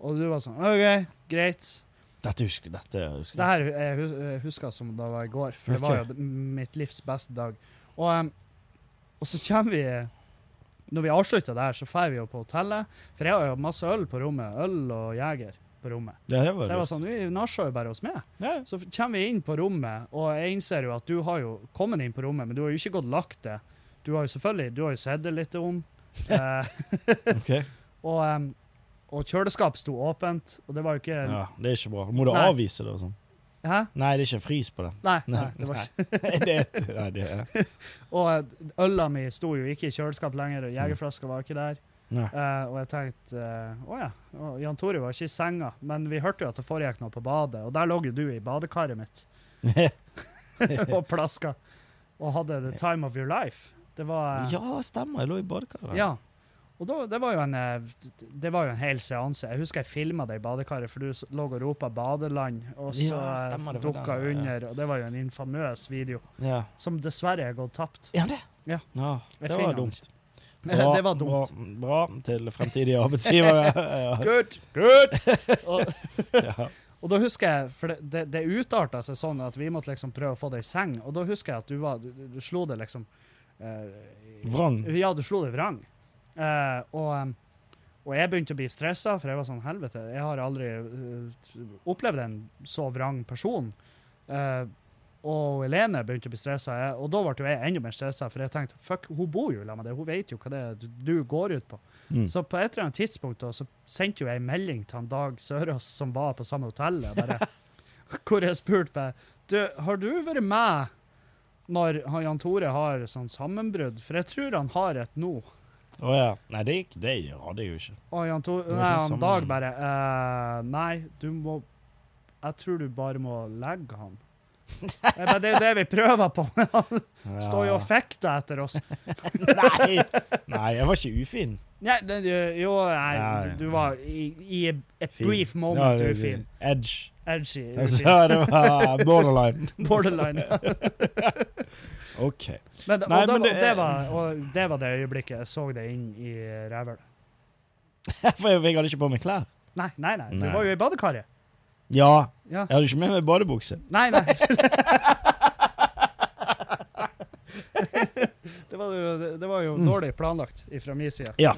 A: Og du var sånn OK, greit.
B: Dette husker dette husker
A: Det
B: jeg.
A: her jeg hus- jeg husker som det var i går, for det
B: Ok.
A: var jo d- mitt livs beste dag. Og, em, og så kommer vi Når vi avslutter det her, så drar vi jo på hotellet. For jeg har jo masse øl på rommet. Øl og jeger på rommet.
B: Ja, det var
A: Så jeg var
B: lurt.
A: sånn Vi nasjer jo bare hos meg.
B: Ja, ja.
A: Så f- kommer vi inn på rommet, og jeg innser jo at du har jo kommet inn på rommet, men du har jo ikke gått lagt det. Du har jo selvfølgelig du har jo sett det litt om. Eh,
B: OK.
A: og, em, og kjøleskapet sto åpent, og det var jo ikke
B: Ja, det er ikke bra. Må du
A: Nei.
B: avvise det og sånn?
A: Hæ?
B: Nei, det er ikke frys på den.
A: Nei, nei, det var ikke
B: Nei, det er- nei, det er
A: Og eh, øla mi sto jo ikke i kjøleskap lenger, og jegerflaska var ikke der.
B: Nei.
A: Eh, og jeg tenkte eh, å ja, og Jan Tore var ikke i senga, men vi hørte jo at det foregikk noe på badet, og der lå jo du i badekaret mitt og plaska og hadde the time of your life. Det var eh,
B: Ja, stemmer. Jeg lå i badekaret.
A: ja. Og da, det, var jo en, eh, det var jo en hel seanse. Jeg husker jeg filma det i badekaret, for du s- lå og ropa 'Badeland', og så
B: Ja, stemmer, det var
A: dukka
B: den, eh, ja.
A: under. Og det var jo en infamøs video,
B: Ja.
A: som dessverre er gått tapt.
B: Er han det?
A: Ja. Jeg
B: det
A: finner
B: var
A: han
B: dumt.
A: ikke. det var dumt.
B: Bra, bra til fremtidige arbeidsgivere. Ja.
A: Good, good! Og,
B: Ja.
A: og da husker jeg, for det, det, det utarta seg sånn at vi måtte liksom prøve å få det i seng, og da husker jeg at du var, du, du- du slo det liksom eh, i-
B: Vrang.
A: Ja, du slo det vrang. Eh, og, em, og jeg begynte å bli stressa, for jeg var sånn helvete, jeg har aldri eh, opplevd en så vrang person. Eh, og Helene begynte å bli stressa, jeg- og da ble jo jeg enda mer stressa, for jeg tenkte fuck, hun bor jo sammen med deg, hun vet jo hva det er du- du går ut på.
B: Mm.
A: Så på et eller annet tidspunkt da, så sendte jo jeg en melding til han Dag Sørås som var på samme hotell, og bare, hvor jeg spurte meg, du, har du vært med når han- Jan Tore har sånn sammenbrudd? For jeg tror han har et nå.
B: Å ja. Nei, det gikk det hadde jeg jo ikke.
A: Og Jan Tore,
B: Det var
A: nei,
B: sånn
A: han
B: sammen-
A: Dag bare, «Eh, nei, du må, jeg tror du bare må legge han. Jeg bare, det er jo det vi prøver på, men han
B: Ja.
A: står jo og fekter etter oss.
B: Nei. Nei, jeg var ikke ufin.
A: Nei, det, jo, nei,
B: Nei.
A: du, du var i, i et
B: Fin.
A: brief
B: Ja,
A: moment
B: det-
A: ufin.
B: Edge.
A: Edgy.
B: Altså,
A: ufin.
B: det var borderline.
A: Borderline.
B: OK.
A: Men, og
B: Nei,
A: da,
B: men
A: var-
B: det-
A: det var, og det var det øyeblikket jeg så det inn i rævhølet.
B: For jeg, jeg hadde ikke på meg klær.
A: Nei, nei, nei, du
B: Nei.
A: var jo i badekaret.
B: Ja.
A: Ja.
B: Jeg hadde ikke med meg badebukse.
A: Nei, nei. det, var jo,
B: Mm.
A: det var jo dårlig planlagt fra min side.
B: Ja.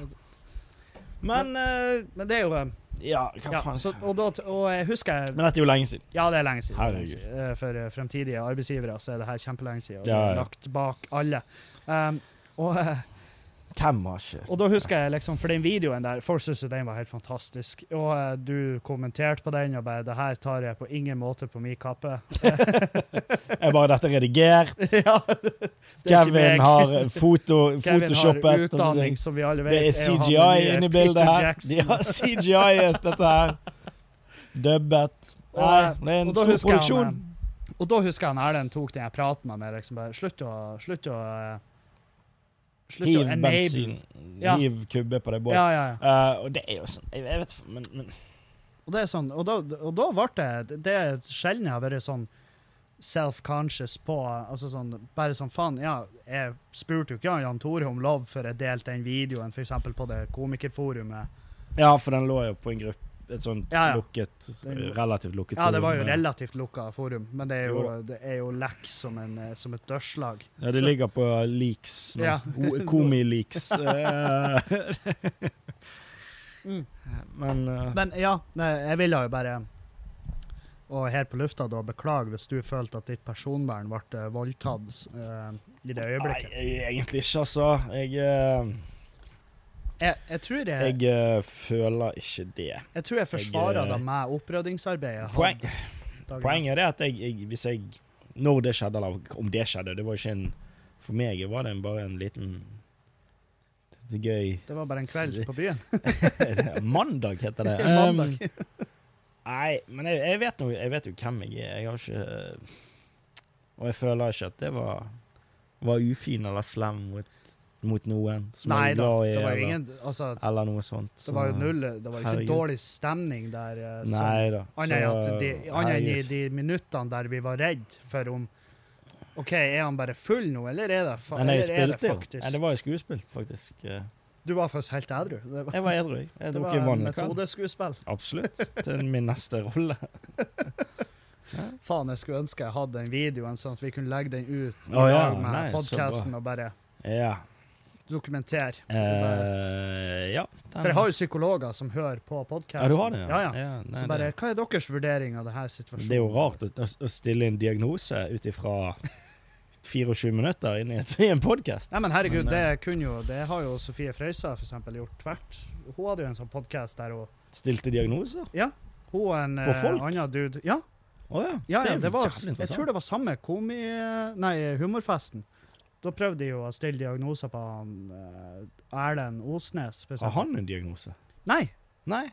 B: Men eh,
A: Men det er jo eh,
B: Ja, hva
A: Ja,
B: faen.
A: så, og, da, og jeg husker jeg
B: Men dette er jo lenge siden.
A: Ja, det er lenge siden.
B: Herregud.
A: lenge siden. Eh, For eh, fremtidige arbeidsgivere så er det her kjempelenge siden. Og det
B: Ja,
A: er
B: ja.
A: lagt bak alle. Um, og, eh,
B: Hvem har ikke
A: og da husker jeg liksom, for den videoen der, folk syntes jo den var helt fantastisk. Og eh, du kommenterte på den og bare 'Det her tar jeg på ingen måte på min kappe'.
B: Er bare dette redigert?
A: ja, det er ikke
B: Kevin
A: meg.
B: har eh, foto,
A: Kevin har
B: photoshoppet
A: utdanning, som vi alle vet.
B: sånn Det er
A: jo han nye
B: CGI inni bildet
A: Peter
B: her.
A: Jackson.
B: De har CGI-et dette her. Dubbet.
A: Og, eh,
B: Nei, det
A: og
B: er en
A: da
B: stor
A: husker jeg han, eh,
B: produksjon.
A: Og da husker jeg han Erlend tok den jeg pratet med meg liksom bare Slutt å Slutt å eh, Slutt å
B: Hiv
A: enable.
B: bensin.
A: Ja.
B: Hiv kubbe på det båten.
A: Ja, ja, ja.
B: Eh, og det er jo sånn Jeg, jeg vet men, men
A: Og det er sånn Og da, og da ble det Det er sjelden jeg har vært sånn self-conscious på Altså sånn Bare sånn faen, ja, jeg spurte jo ikke han Jan Tore om lov før jeg delte den videoen, f.eks. på det komikerforumet.
B: Ja, for den lå jo på en gruppe. Et sånt
A: Ja, ja.
B: lukket Relativt lukket
A: Ja, det var jo
B: forum. eh.
A: relativt lukka forum, men det er jo,
B: Jo.
A: det er jo lekk som, en, eh, som et dørslag.
B: Ja, det ligger på leaks nå.
A: Ja.
B: O- Komi-leaks. Eh,
A: Mm.
B: Men eh,
A: Men ja, nei, jeg ville jo bare Og her på lufta, da, beklage hvis du følte at ditt personvern ble voldtatt eh, i det øyeblikket.
B: Nei, jeg- egentlig ikke, altså. Jeg, eh,
A: Jeg, jeg, tror jeg,
B: jeg eh, føler ikke det.
A: jeg tror jeg forsvarer det med oppryddingsarbeidet. jeg hadde
B: Poeng,
A: dagen.
B: poenget er at jeg, jeg, hvis jeg Når det skjedde, eller om det skjedde, det var jo ikke en For meg var det en, bare en liten det er gøy
A: Det var bare en kveld på byen.
B: Mandag heter det.
A: Mandag.
B: Um, Nei, men jeg, jeg, vet noe, jeg vet jo hvem jeg er. Jeg har ikke Og jeg føler ikke at det var, var ufin eller slem mot, mot noen som
A: Nei
B: jeg er
A: da,
B: glad i,
A: det var
B: eller,
A: jo ingen Altså,
B: eller noe sånt.
A: det var jo
B: Så-
A: null Det var ikke
B: herregud.
A: dårlig stemning der. eh, som-
B: Nei da.
A: Annet enn
B: så, eh,
A: at de- annet enn i
B: herregud.
A: de minuttene der vi var redd for om OK, er han bare full nå, eller er det, fa
B: Men jeg
A: eller er det
B: spilte jo.
A: faktisk
B: Nei, det var jo skuespill, faktisk. Eh,
A: Du var faktisk helt edru. Det var,
B: Jeg var edru. jeg. Jeg
A: det
B: drukket
A: var en
B: vann. i kveld.
A: metodeskuespill.
B: Absolutt. Til min neste rolle.
A: Faen, jeg skulle ønske jeg hadde den videoen, sånn at vi kunne legge den ut i
B: Å ja,
A: dag med
B: nei, så
A: podcasten og bare
B: Ja.
A: dokumentere. For
B: Eh, ja. den-
A: jeg har jo psykologer som hører på podkasten.
B: Ja, du har det?
A: Ja, ja.
B: nei,
A: Så bare,
B: det-
A: hva er deres vurdering av denne situasjonen?
B: Det er jo rart å, å- å stille en diagnose ut ifra 24 minutter inn i, et- i en podkast.
A: Nei, men herregud,
B: Men, eh,
A: det kunne jo Det har jo Sofie Frøysa for eksempel gjort tvert. Hun hadde jo en sånn podkast der hun
B: Stilte diagnoser?
A: Hun og en
B: På
A: eh,
B: folk?
A: annen dude Ja,
B: Å ja.
A: ja, ja
B: jo
A: det var,
B: jævlig
A: jeg
B: interessant.
A: tror det var samme komi... Nei, humorfesten. Da prøvde de jo å stille diagnoser på han eh, Erlend Osnes. for
B: Har
A: eksempel.
B: han en diagnose?
A: Nei,
B: Nei.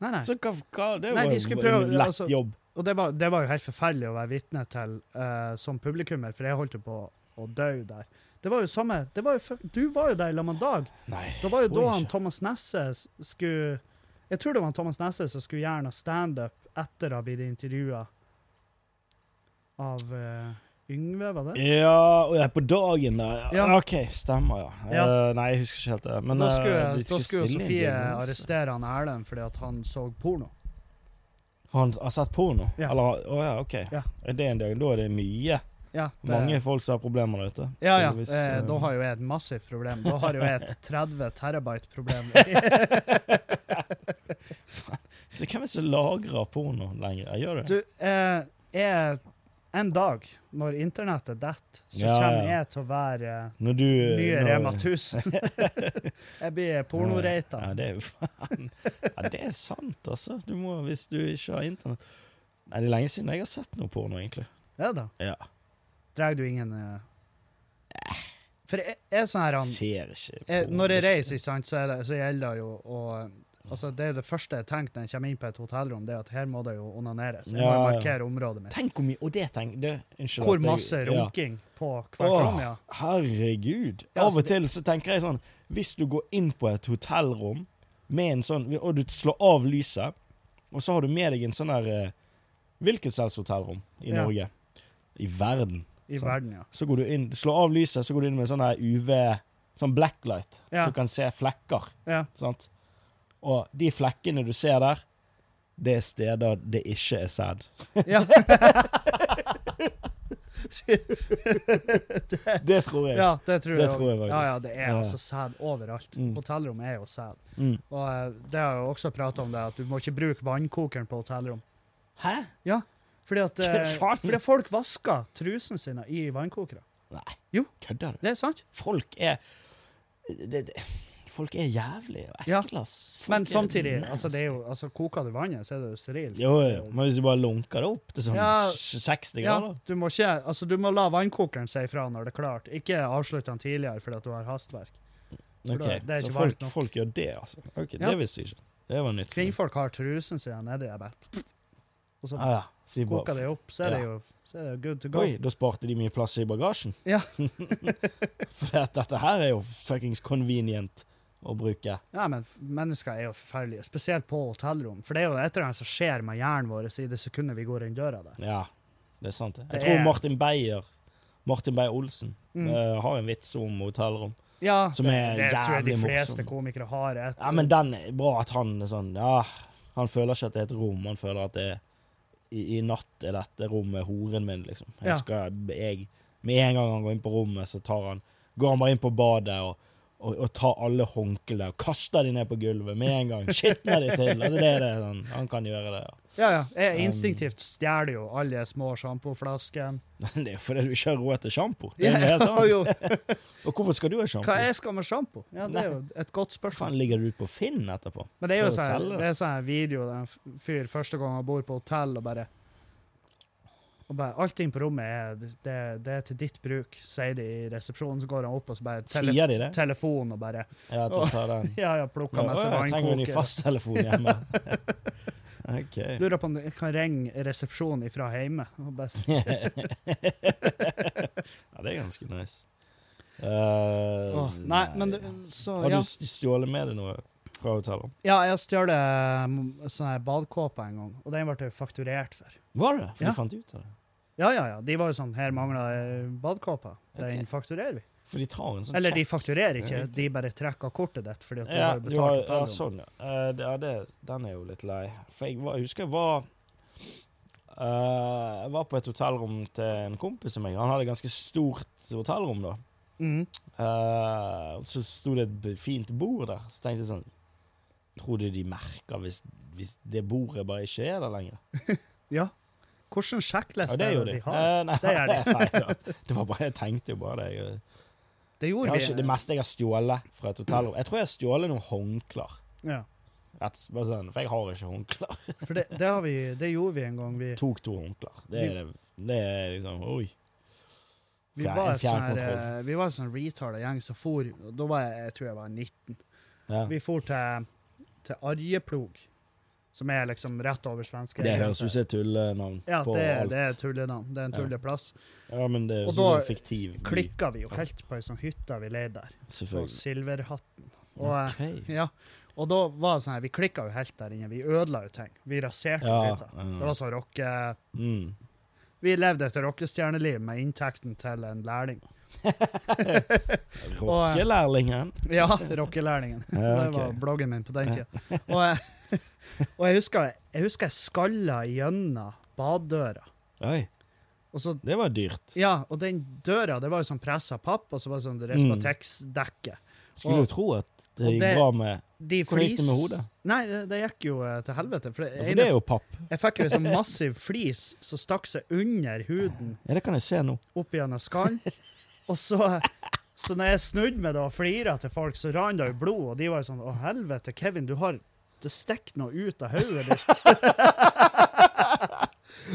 A: nei, nei.
B: Så hva, hva Det
A: Nei,
B: var
A: de
B: jo
A: skulle
B: en
A: prøve-
B: lett
A: altså-
B: jobb.
A: Og det var, det var jo helt forferdelig å være vitne til eh, som publikummer, for jeg holdt jo på å dø der. Det var jo samme det var jo, fu- Du var jo der i lag med Dag.
B: Nei.
A: Det var jo
B: tror
A: da
B: jeg
A: han
B: ikke.
A: Thomas Nesse s- skulle Jeg tror det var han Thomas Nesse som skulle gjøre noe standup etter å ha blitt intervjua av eh, Yngve, var det?
B: Ja, og jeg er på dagen der. Ja.
A: Ja.
B: OK, stemmer, ja.
A: Ja.
B: Eh, nei, jeg husker ikke helt det. Men
A: da
B: eh,
A: skulle, da
B: de
A: skulle jo
B: stille en
A: Sofie
B: diagnose.
A: arrestere han Erlend fordi at han så porno.
B: Han har sett porno?
A: Ja.
B: Eller, å ja, OK.
A: Ja.
B: Er det en diagnose? Da er det mye.
A: Ja, det,
B: Mange folk som har problemer der ute.
A: Ja, ja.
B: Tydeligvis,
A: eh,
B: eh,
A: da har jo jeg et massivt problem. Da har jo jeg et 30 terabyte-problem.
B: Så hvem er det som lagrer porno lenger? Jeg gjør det.
A: Du, eh, jeg En dag, når internettet detter, så
B: Ja, ja.
A: kommer jeg til å være eh,
B: Når du
A: Nye
B: når,
A: Rema 1000. jeg blir pornoreita.
B: Ja, det er jo faen. Ja, det er sant, altså. Du må, hvis du ikke har internett Nei, det er lenge siden jeg har sett noe porno, egentlig.
A: Ja da.
B: Ja.
A: Drar du ingen eh, For jeg jeg er sånn her han,
B: Ser ikke
A: jeg,
B: porno.
A: Eh, Når jeg reiser, ikke sant, så, er det, så gjelder det jo å Altså, Det er det første jeg tenker når jeg kommer inn på et hotellrom, det er at her må det jo onaneres. Jeg må jo
B: Ja, ja.
A: markere området mitt.
B: Tenk hvor mye Og det tenk det, Unnskyld.
A: Hvor
B: at jeg-
A: masse
B: ja.
A: runking på hvert
B: Åh,
A: rom, ja.
B: Herregud.
A: Ja,
B: Av
A: altså,
B: og
A: det-
B: til så tenker jeg sånn Hvis du går inn på et hotellrom med en sånn Og du slår av lyset, og så har du med deg en sånn der eh, Hvilket som helst hotellrom i
A: Ja.
B: Norge. I verden.
A: I verden, ja.
B: Så går du inn, slår av lyset, så går du inn med sånn her UV Sånn blacklight,
A: Ja.
B: så du kan se flekker.
A: ja.
B: Sant? Og de flekkene du ser der, det er steder det ikke er sæd.
A: Ja.
B: Det tror jeg.
A: Ja, det tror
B: Det
A: jeg, også.
B: tror jeg faktisk.
A: Ja, ja, det er
B: Ja.
A: altså sæd overalt.
B: Mm.
A: Hotellrom er jo sæd.
B: Mm.
A: Og eh, det har jeg jo også prata om, det, at du må ikke bruke vannkokeren på hotellrom.
B: Hæ?
A: Ja, fordi at eh,
B: Hva faen?
A: fordi folk vasker trusene sine i vannkokere.
B: Nei.
A: Jo.
B: Kødder du?
A: Det er sant.
B: Folk er det, det, Folk er jævlige og
A: Ja.
B: ekle, ass. Folk
A: Men
B: er
A: samtidig,
B: nasty.
A: altså, det er jo, altså, koker du vannet, så er det jo sterilt.
B: Jo, jo, men hvis du bare lunker det opp til sånn
A: Ja.
B: 60
A: Ja,
B: grader
A: du må, ikke, altså, du må la vannkokeren si ifra når det er klart. Ikke avslutte den tidligere fordi at du har hastverk.
B: Ok,
A: det er ikke
B: Så
A: varmt
B: folk,
A: nok.
B: folk gjør det, altså? Ok,
A: Ja.
B: Det visste jeg ikke. Det var nytt. for meg.
A: Kvinnfolk har trusen sin nedi der, bare Og så
B: Ah, ja. Så de
A: koker
B: bare,
A: det opp, så er det
B: Ja.
A: jo så er det jo good to go.
B: Oi, da sparte de mye plass i bagasjen.
A: Ja.
B: For at dette her er jo fuckings convenient å bruke.
A: Ja, men f- mennesker er jo forferdelige, spesielt på hotellrom. For det er jo et eller annet som skjer med hjernen vår i det sekundet vi går inn døra der.
B: Ja, det er sant. det. Jeg
A: Det
B: tror
A: er-
B: Martin Beyer Martin Beyer-Olsen
A: Mm.
B: eh, har en vits om hotellrom.
A: Ja,
B: Som
A: det,
B: er
A: det tror jeg de
B: jævlig
A: fleste
B: morsom.
A: komikere har. Et,
B: Ja, men den er bra at han er sånn Ja, han føler ikke at det er et rom. Han føler at det er i, I natt er dette rommet horen min, liksom. Jeg
A: Ja.
B: skal, jeg, med en gang han går inn på rommet, så tar han Går han bare inn på badet og, og, og tar alle håndklærne og kaster de ned på gulvet med en gang. Skitner de til. Altså, det er det han, han kan gjøre. det, ja.
A: Ja, ja. Jeg
B: Um,
A: instinktivt stjeler jo alle små sjampoflaskene.
B: Men det er jo fordi du ikke har råd til sjampo. Det er noe helt
A: Ja,
B: annet.
A: jo.
B: Og hvorfor skal du ha
A: Hva
B: sjampo?
A: jeg skal med sjampo? Ja, det er jo et godt
B: Hva faen
A: spørsmål.
B: ligger du ute på Finn etterpå?
A: Men det er jo
B: Prøv å
A: sånn,
B: selge det.
A: det er sånn video der en f- fyr første gang han bor på hotell og bare og bare, Allting på rommet er, det, det er til ditt bruk, sier de i resepsjonen. Så går han opp og så bare tele
B: Sier de det?
A: telefon og bare
B: Ja, at du tar den.
A: Ja, ja, plukker med seg
B: Å, jeg trenger en ny
A: vannkoker.
B: fasttelefon hjemme. OK.
A: Lurer på om du kan ringe resepsjonen ifra hjemme. Og bare, si-
B: ja, det er ganske nice. Eh,
A: Åh, nei, men du, så,
B: Har
A: ja.
B: du s- stjålet med deg noe fra hotellet?
A: Ja, jeg stjal eh, sånne badekåper en gang, og den ble jeg fakturert for.
B: Var det? For
A: Ja.
B: de fant ut av det?
A: Ja, ja, ja. De var jo sånn Her mangler det badekåper. Den
B: Ok.
A: fakturerer vi.
B: For de tar en sånn
A: Eller de
B: check.
A: fakturerer ikke,
B: Ja, riktig.
A: de bare trekker kortet ditt fordi at du
B: ja,
A: har jo
B: du har,
A: betalt
B: ja,
A: hotellrom.
B: sånn, ja. Eh, det, ja det, den er jo litt lei. For jeg, var, jeg husker jeg var eh, Jeg var på et hotellrom til en kompis av meg. Han hadde et ganske stort hotellrom, da.
A: Mm.
B: Eh, så sto det et b- fint bord der. Så tenkte jeg sånn Tror du de merker hvis, hvis det bordet bare ikke er der lenger?
A: Ja. Hvordan
B: Ja,
A: sjekkliste
B: det
A: er
B: gjorde
A: det
B: de.
A: de har?
B: Eh, nei,
A: Det gjør de.
B: nei, ja. Det var bare, jeg tenkte jo bare det. Jeg,
A: Det
B: jeg
A: gjorde
B: har ikke, det
A: vi.
B: meste jeg har stjålet fra et hotellrom Jeg tror jeg har stjålet noen håndklær.
A: Ja.
B: Rett, bare sånn, for jeg har ikke håndklær.
A: For det, det, har vi, det gjorde vi en gang. Vi,
B: Tok to håndklær. Det er, det, det er liksom Oi.
A: vi
B: Fjern-
A: var
B: en
A: et sånn her,
B: fjernkontroll.
A: eh, vi var en sånn retarda gjeng som for og Da var jeg, jeg tror jeg var 19.
B: Ja.
A: Vi for til, til Arjeplog, som er liksom rett over svenske.
B: Det høres ut som et tullenavn
A: Ja,
B: på
A: det,
B: alt.
A: det er tullenavn. Det er en
B: Ja.
A: tulleplass.
B: ja, men det er
A: Og
B: jo
A: da
B: en fiktiv by,
A: Klikka vi jo helt på ei sånn hytte vi leide der, på
B: Selvfølgelig.
A: Silverhatten. Og, eh,
B: Ok.
A: ja. og da var det sånn her, vi klikka jo helt der inne. Vi ødela jo ting. Vi raserte
B: Ja,
A: hytta.
B: ja.
A: Det var sånn rocke...
B: Mm.
A: Vi levde et rockestjerneliv med inntekten til en lærling.
B: Rockelærlingen.
A: Ja, rockelærlingen.
B: Ja,
A: Det var
B: ok.
A: bloggen min på den tida. Og, eh, og jeg husker jeg, husker jeg skalla gjennom badedøra.
B: Oi,
A: Og så
B: det var dyrt.
A: Ja, og den døra, det var jo sånn pressa papp, og så var det sånn
B: Mm.
A: Respatex-dekke.
B: Skulle
A: Og-
B: jo tro at det
A: og
B: gikk
A: det-
B: bra med
A: De
B: Hvor gikk det med hodet?
A: Nei, det, det gikk jo eh, til helvete. For det,
B: ja, For Altså, det er jo papp.
A: Jeg fikk jo en sånn massiv flis som stakk seg under huden,
B: Ja, det kan jeg se nå.
A: opp gjennom skallen. Og så Så når jeg snudde meg da og flira til folk, så rant det jo blod, og de var jo sånn Å, helvete, Kevin, du har Det stikker noe ut av hodet ditt.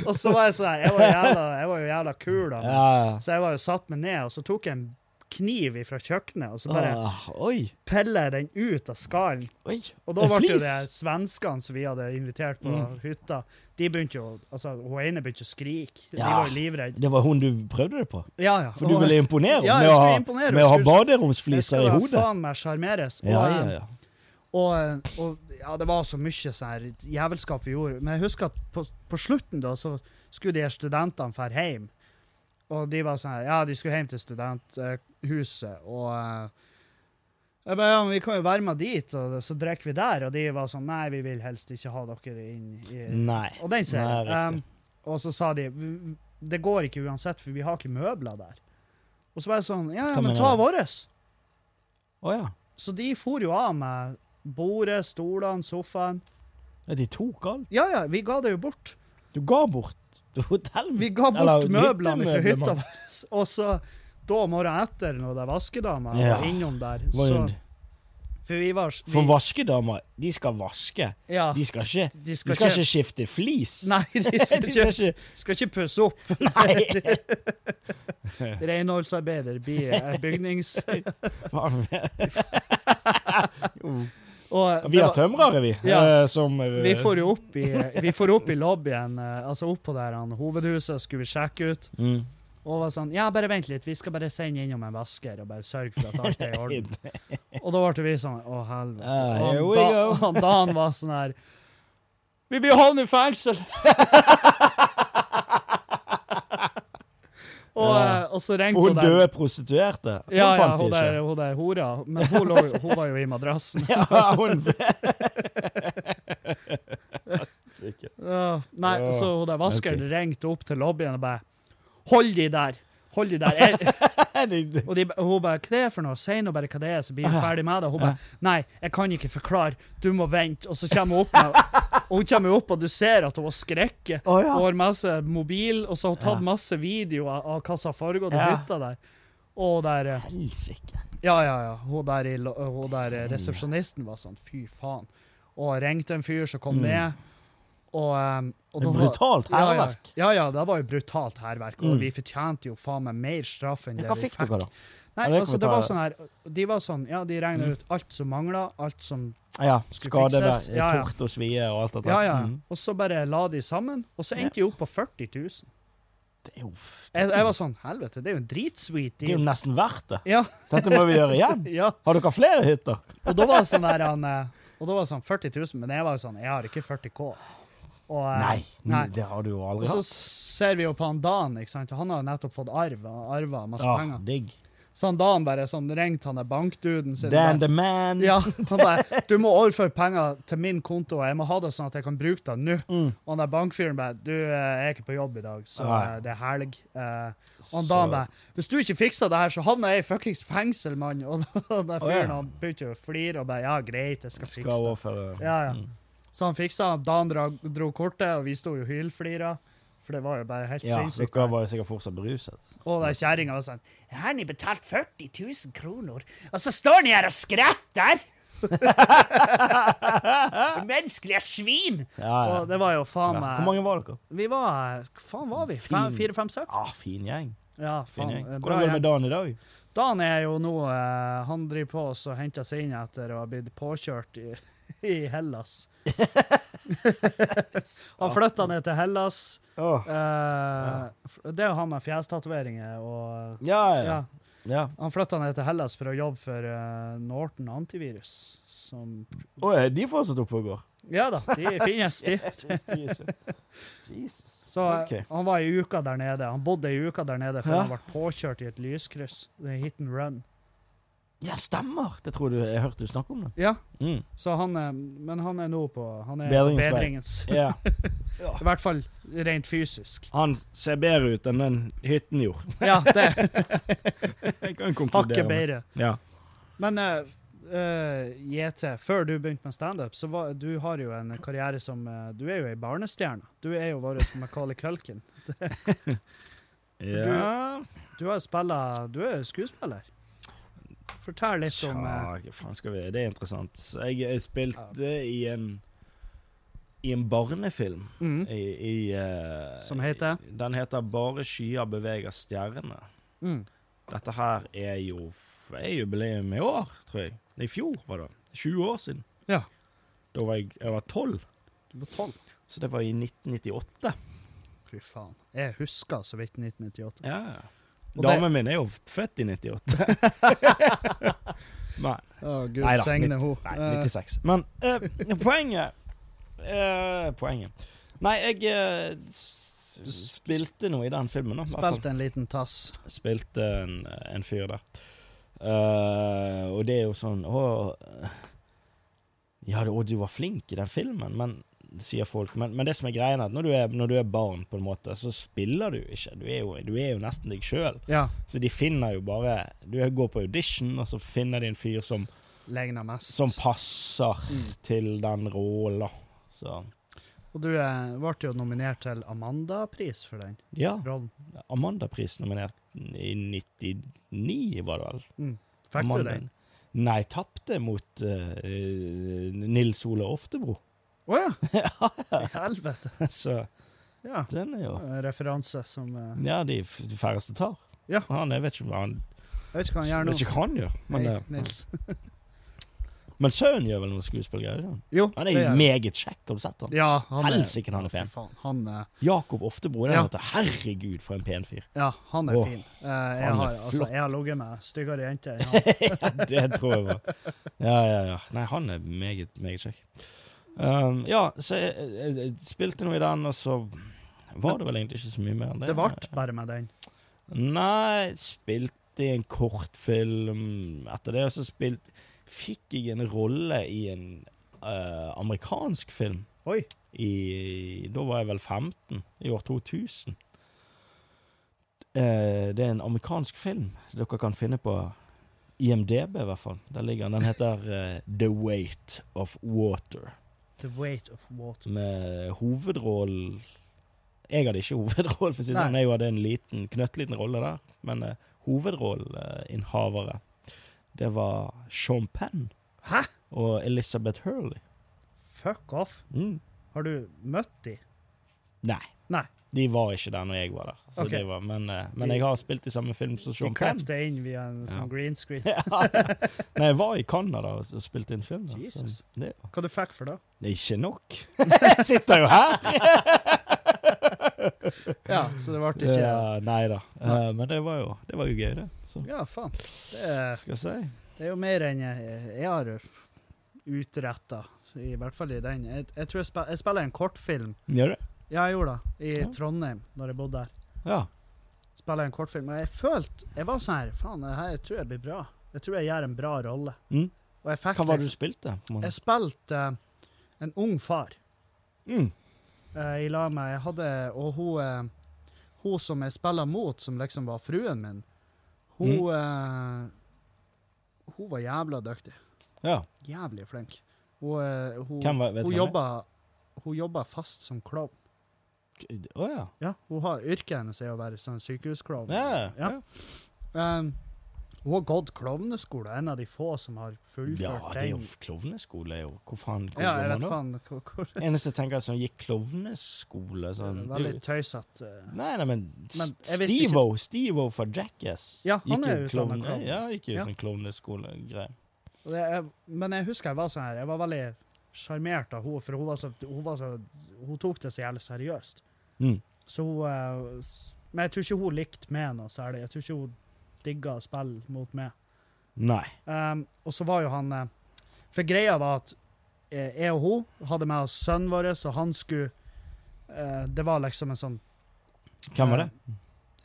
A: og så var jeg sånn her, Jeg var jævla, jeg var jo jævla kul, da. men-
B: Ja.
A: Så jeg var jo satt meg ned, og så tok jeg en kniv fra kjøkkenet, og så bare
B: Ah, oi,
A: piller jeg den ut av skallen.
B: oi.
A: Og da
B: En
A: ble jo
B: flis? Mm.
A: det svenskene som vi hadde invitert på hytta, de begynte jo Altså, hun ene begynte å skrike. De
B: Ja.
A: var jo livredde.
B: Det var hun du prøvde det på?
A: Ja, ja.
B: For du ville imponere
A: Ja, jeg
B: med å ha,
A: skulle imponere,
B: med å ha
A: jeg skulle- det
B: baderomsfliser
A: skal
B: i
A: da
B: hodet?
A: faen meg sjarmeres. Og,
B: Ja, ja, ja.
A: og, og ja, det var så mye sånn her jævelskap vi gjorde. Men jeg husker at på, på slutten da, så skulle de her studentene dra hjem. Og de var sånn her, ja, de skulle hjem til studenthuset, og eh, jeg bare, ja, men vi kan jo være med dit, og så drikker vi der. Og de var sånn, nei, vi vil helst ikke ha dere inn i
B: Nei.
A: Og den ser
B: Mm. Nei,
A: jeg.
B: riktig.
A: Um, og så sa de, "Vi- det går ikke uansett, for vi har ikke møbler der. Og så var jeg sånn, ja, ja
B: Hva
A: men
B: mener
A: ta
B: du?
A: våres.
B: Å ja.
A: Så de for jo av med bordet, stolene, sofaen.
B: ja. De tok alt.
A: Ja, ja, vi ga det jo bort.
B: Du ga bort hotell.
A: Vi ga bort
B: Eller
A: møblene fra hytta
B: hyttemøbler, man.
A: vår. Og så da morgenen etter, når det er vaskedama
B: Ja.
A: var innom der,
B: Var
A: så
B: hun-
A: For vi var vi,
B: For vaskedamer, de skal vaske.
A: ja,
B: De skal ikke,
A: de
B: de skal ikke skifte flis.
A: Nei, de skal
B: de
A: ikke,
B: skal ikke
A: skal ikke pusse opp.
B: Nei!
A: Renholdsarbeider blir eh, bygnings...
B: Faen.
A: Og
B: Vi
A: det
B: har
A: var-
B: tømrere, vi.
A: Ja.
B: eh, Som eh,
A: Vi får jo opp i, vi får opp i lobbyen, eh, altså opp på der han, hovedhuset, skulle vi sjekke ut.
B: Mm.
A: Og var sånn Ja, bare vent litt, vi skal bare sende innom en vasker og bare sørge for at alt er i orden. Og da ble vi sånn Å, helvete.
B: Ah,
A: Og
B: here we
A: han
B: go.
A: da, han Dan var sånn her Vi blir havnet i fengsel! og,
B: Ja.
A: eh, og så ringte
B: For hun
A: der-
B: døde prostituerte? Hun
A: Ja, ja,
B: fant de
A: hun der,
B: ikke.
A: hun der hora. Men hun, lå, jo- hun var jo i madrassen.
B: Ja, hun Sikkert.
A: Ja, nei,
B: Ja,
A: så hun der vaskeren ringte opp til lobbyen og bare Hold de der! Hold de der! Jeg,
B: De-
A: og de, ba- hun bare Hva det er for noe? Si nå bare hva det er, så blir vi ferdig med det. Hun
B: Ah, Ja.
A: bare Nei, jeg kan ikke forklare. Du må vente. Og så kommer hun opp, med, og hun kommer opp, og du ser at hun har skrekket.
B: Å, ja.
A: Hun har masse mobil, og så har hun
B: Ja.
A: tatt masse videoer av hva som har foregått i
B: Ja.
A: hytta der. Og der eh,
B: Helsike.
A: Ja, ja, ja. Hun der, i, lo- hun der eh, resepsjonisten var sånn Fy faen. Og ringte en fyr som kom
B: Mm.
A: ned. Og, eh, og
B: Det er
A: da-
B: Brutalt hærverk.
A: ja, ja, ja, det var jo brutalt hærverk, og
B: Mm.
A: vi fortjente jo faen meg mer straff enn det
B: Hva
A: vi
B: fikk dere,
A: Nei,
B: da? Ja, det kan
A: altså,
B: vi
A: det
B: ta- Mm.
A: var sånn her, de var sånn, ja, de regner ut alt som manglet, alt som,
B: Ja,
A: Skulle
B: skade,
A: fikses.
B: ved-
A: Ja, ja.
B: tort og svie og alt dette.
A: ja, ja,
B: Mm.
A: og så bare la de sammen, og så endte de opp på 40 000.
B: Det, er jo,
A: Jeg, jeg var sånn, helvete, det er jo en dritsweet
B: det er jo
A: deal.
B: nesten verdt det.
A: Ja,
B: Dette må vi gjøre igjen.
A: ja,
B: Har dere flere hytter?
A: og da var det sånn der, han, eh, og da var det sånn 40 000, men jeg var jo sånn, jeg har ikke 40k. Og, eh,
B: Nei,
A: nei.
B: det har du jo
A: Og
B: aldri
A: så
B: hatt.
A: ser vi jo på han Dan, ikke sant? Han har jo nettopp fått arv, og arvet masse
B: Ja,
A: penger.
B: Ah, digg.
A: Så han Dan bare sånn ringte han der bankduden sin.
B: Dan
A: bare-
B: the man.
A: Ja, han bare, du må overføre penger til min konto, og jeg må ha det sånn at jeg kan bruke det nå.
B: Mm.
A: Og han der bankfyren bare, du eh, jeg er ikke på jobb i dag, så
B: Nei.
A: eh, det er helg. Eh, og han
B: Så-
A: Dan bare, hvis du ikke fikser det her, så havner jeg i fuckings fengsel, mann. Og den der
B: Å,
A: fyren,
B: ja.
A: han begynte jo å flire og bare, ja greit, jeg skal fikse
B: Skal
A: det.
B: overføre
A: Ja, ja.
B: Mm.
A: Så han fiksa, Dan dra, dro kortet, og vi sto jo hylflira. For det var jo bare helt
B: Ja,
A: sinnssykt.
B: dere var jo sikkert fortsatt beruset.
A: Og den kjerringa var sånn Jeg har ni betalt 40 000 kroner, og så står ni her og skretter! Menneskelige svin!
B: Ja, ja.
A: Og det var jo faen
B: Ja. Hvor
A: meg
B: mange var dere?
A: Vi var Hva faen var vi?
B: Fin.
A: Fire-fem stykker?
B: Ah, fin gjeng.
A: Ja,
B: Fin
A: faen.
B: gjeng.
A: eh,
B: Hvordan
A: Bra
B: går det med
A: gjeng.
B: Dan i dag?
A: Dan er jo nå eh, Han driver på oss og henter seg inn etter å ha blitt påkjørt i, i Hellas. han flytta ned til Hellas.
B: Åh.
A: eh, f- det er jo han med fjestatoveringer og
B: Ja, ja.
A: ja.
B: ja.
A: Han flytta ned til Hellas for å jobbe for eh, Norton antivirus. Som
B: Å, er de fortsatt oppe og går?
A: Ja da, de finnes, de.
B: Jesus.
A: Så eh,
B: Ok.
A: han var ei uke der nede. Han bodde ei uke der nede før
B: Ja.
A: han ble påkjørt i et lyskryss. Det er hit and run.
B: Ja, stemmer! Det tror du jeg hørte du snakke om det.
A: Ja,
B: Mm.
A: så han er, Men han er nå på Han er
B: Bedringens
A: bedringens.
B: vei.
A: bedringens.
B: Ja.
A: I hvert fall rent fysisk.
B: Han ser bedre ut enn den hytten gjorde.
A: Ja, det er
B: Jeg kan konkludere
A: hakket
B: med.
A: bedre.
B: Ja.
A: Men eh, eh, JT, før du begynte med standup, så var, du har jo en karriere som eh, Du er jo ei barnestjerne. Du er jo vår Macauley Culkin.
B: ja.
A: Du har spilla Du er jo skuespiller. Fortell litt om eh,
B: Tja, hva faen skal vi Det er interessant. Jeg, jeg spilte i en I en barnefilm.
A: mm,
B: I, i, eh,
A: Som heter?
B: Den heter 'Bare skyer beveger stjernene'.
A: mm,
B: Dette her er jo f- er jubileum i år, tror jeg. I fjor var det. 20 år siden.
A: Ja.
B: Da var jeg, jeg var 12,
A: Du var tolv.
B: så det var i 1998.
A: Fy faen. Jeg husker så vidt 1998.
B: Ja.
A: Og
B: Damen min er jo født i 98. Nei.
A: Å, gud
B: Neida,
A: segne ho.
B: Nei,
A: Eh,
B: 96. Men eh, poenget eh, Poenget Nei, jeg eh, s-
A: Du s-
B: spilte noe i den filmen. Da, i hvert fall.
A: Spilte en liten tass.
B: Spilte en, en fyr der. Eh, og det er jo sånn Å Ja, du, å, du var flink i den filmen, men sier folk. Men, men det som er greia er at når du er, når du er barn, på en måte, så spiller du ikke. Du er jo, du er jo nesten deg sjøl.
A: Ja.
B: Så de finner jo bare Du går på audition, og så finner de en fyr som,
A: Legner mest.
B: som passer til den rollen. Så
A: Og du eh, ble jo nominert til Amanda-pris for den
B: ja.
A: rollen.
B: Amandapris nominert i 99, var det vel?
A: Mm. Fikk
B: Amanda.
A: du den?
B: Nei, tapte mot eh, Nils Ole Oftebro.
A: Å ja! I helvete.
B: Så
A: Ja.
B: den er jo
A: En Referanse som eh,
B: Ja, de f- de færreste tar.
A: Ja.
B: Han, jeg vet ikke hva han,
A: Jeg vet ikke hva han gjør
B: jeg
A: nå.
B: vet ikke hva han gjør. Men,
A: Hei,
B: det-
A: Nils.
B: men sønnen gjør vel noe skuespillgreier? ikke sant?
A: Jo,
B: Han er
A: det
B: jo
A: gjør
B: meget kjekk, har du sett han?
A: Ja, han er,
B: Helsike, han er
A: Å, fy
B: pen.
A: faen, Han, eh, er-
B: Jakob Oftebro. Det
A: Ja.
B: er ja. Herregud, for en pen fyr.
A: ja, han er
B: Åh,
A: fin. Eh, jeg,
B: han er
A: har, altså,
B: flott.
A: jeg har ligget med styggere jenter enn han.
B: Ja, det tror jeg var. Ja, ja, ja. Nei, han er meget, meget kjekk. Um, ja, så jeg, jeg, jeg spilte noe i den, og så var det vel egentlig ikke så mye mer enn det.
A: Det ble bare med den.
B: Nei, spilte i en kortfilm. Etter det så spilt, fikk jeg en rolle i en eh, amerikansk film.
A: Oi.
B: I, da var jeg vel 15, i år 2000. Eh, det er en amerikansk film dere kan finne på IMDb, i hvert fall. Der ligger den. Den heter eh, The Weight of Water.
A: The Weight of Water.
B: Med hovedrollen Jeg hadde ikke hovedrollen, for å si det
A: Nei.
B: sånn. Jeg hadde en liten, knøttliten rolle der. Men eh, hovedrolleinnehavere, det var Sean Penn
A: Hæ?
B: og Elizabeth Hurley.
A: Fuck off.
B: Mm.
A: Har du møtt de?
B: Nei.
A: Nei.
B: De var ikke der når jeg var der. Så
A: Ok.
B: det var, men, eh, men jeg har spilt i samme film som
A: De
B: Sean Penn.
A: klippet det inn via en
B: Ja.
A: sånn green screen.
B: Ja. Nei, jeg var i Canada og og spilte inn film. Da. så
A: Jesus.
B: Det, var-
A: Hva du fikk for det?
B: det er ikke nok. jeg sitter jo her!
A: Ja, så det ble ikke
B: Ja, nei da. Eh, men det var jo, det var jo gøy, det. Så
A: Ja, faen. Det er,
B: skal jeg si.
A: det er jo mer enn jeg, jeg har utretta, i hvert fall i den. Jeg, jeg tror jeg, spil, jeg spiller en kortfilm.
B: Gjør det?
A: Ja, jeg gjorde det. I
B: Ja.
A: Trondheim, når jeg bodde der.
B: Ja.
A: Spiller jeg en kortfilm. Og jeg følte Jeg var sånn her Faen, det her tror jeg blir bra. Jeg tror jeg gjør en bra rolle.
B: Mm.
A: Og jeg fikk
B: Hva var det du spilte? på en måte?
A: Jeg spilte eh, en ung far.
B: Mm.
A: eh, i lag med jeg hadde, og hun, eh, hun som jeg spiller mot, som liksom var fruen min, hun,
B: Mm.
A: eh, hun var jævla dyktig.
B: Ja.
A: Jævlig flink. Hun, eh, hun,
B: Hvem var vet
A: hun,
B: du hvem det
A: jobba, hun jobba fast som klovn.
B: er? Å ja.
A: Ja, hun har yrket hennes er å være sånn sykehusklovn.
B: Ja,
A: Ja.
B: ja.
A: Um, hun har gått klovneskole, en av de få som har fullført
B: ja, det er jo
A: den.
B: klovneskole, jo. Hvor faen hvor
A: Ja, jeg
B: går man
A: vet
B: da?
A: faen hvor, hvor
B: Eneste jeg tenker er sånn, gikk klovneskole sånn det er jo-
A: Veldig tøysete. eh.
B: Nei, nei, men,
A: Men jeg visste ikke-
B: Steve-O Steve-O fra Jackass
A: Ja, han
B: gikk
A: er
B: jo
A: utdannet
B: klovne-
A: klovn.
B: Ja, gikk jo
A: Ja.
B: sånn klovneskolegreie.
A: Og det, jeg, men jeg husker jeg var sånn her, jeg var veldig sjarmert av henne, for hun, var så, hun, var så, hun tok det så jævlig seriøst.
B: Mm.
A: Så hun, eh, s- men jeg tror ikke hun likte meg noe særlig. Jeg tror ikke hun digga å spille mot meg.
B: Nei.
A: Ehm, og så var jo han eh, For greia var at eh, jeg og hun hadde med oss sønnen vår, og han skulle eh, Det var liksom en sånn
B: Hvem var det?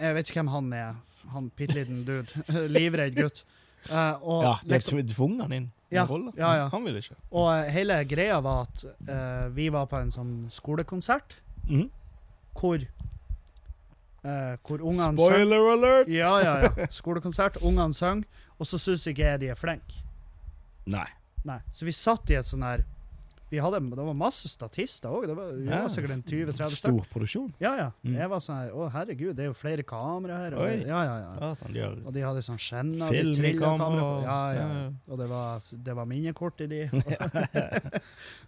A: Jeg vet ikke hvem han er, han bitte liten dude. Livredd gutt. Eh, og
B: Ja, de
A: liksom,
B: tvang han inn i
A: Ja,
B: en rolle.
A: ja, ja.
B: Han ville ikke.
A: Og eh, hele greia var at eh, vi var på en sånn skolekonsert
B: Mhm.
A: hvor eh, Hvor ungene søng.
B: Spoiler alert!
A: Ja, ja, ja. Skolekonsert, ungene sang, og så syns ikke jeg de er flinke.
B: Nei.
A: Nei. Så vi satt i et sånn her vi hadde, Det var masse statister òg. Det var vi
B: Ja.
A: var sikkert en 20-30 stykker.
B: Stor produksjon.
A: Ja, ja.
B: Mm.
A: Jeg var sånn her Å, herregud, det er jo flere kamera her. Og
B: Oi.
A: det, ja, ja, ja.
B: Ja, at han gjør
A: Og de hadde sånn skjenner.
B: Film i
A: og de trillet
B: kamera,
A: kamera på-
B: og-
A: Ja, ja.
B: ja, ja.
A: Og det var, det var minnekort i de.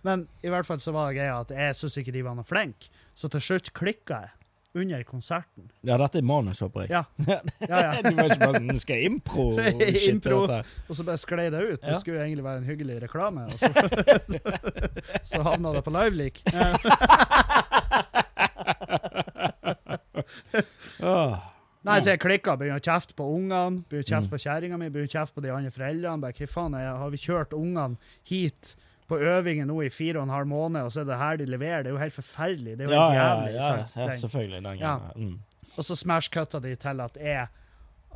A: Men i hvert fall så var greia at jeg syntes ikke de var noe flinke, så til slutt klikka jeg. Under konserten.
B: Ja, dette er manus, håper jeg.
A: Ja. Ja, ja.
B: du var ikke bare Nå skal jeg impro og shit
A: Impro.
B: og dette her.
A: Og så bare sklei det ut. Det
B: Ja.
A: skulle jo egentlig være en hyggelig reklame, og så, så havna det på Liveleak. Eh,
B: Åh.
A: Nei, så jeg klikka, begynner å kjefte på ungene, begynner å
B: Mm.
A: kjefte på kjerringa mi, begynner å kjefte på de andre foreldrene. Bare, hva faen, jeg, har vi kjørt ungene hit på øvinger nå i fire og en halv måned, og så er det her de leverer? Det er jo helt forferdelig. Det er
B: Ja,
A: jo helt
B: ja,
A: jævlig.
B: ja,
A: sant?
B: ja,
A: Den-
B: selvfølgelig. Den
A: Ja.
B: gangen. Mm.
A: Og så smash-cutta de til at jeg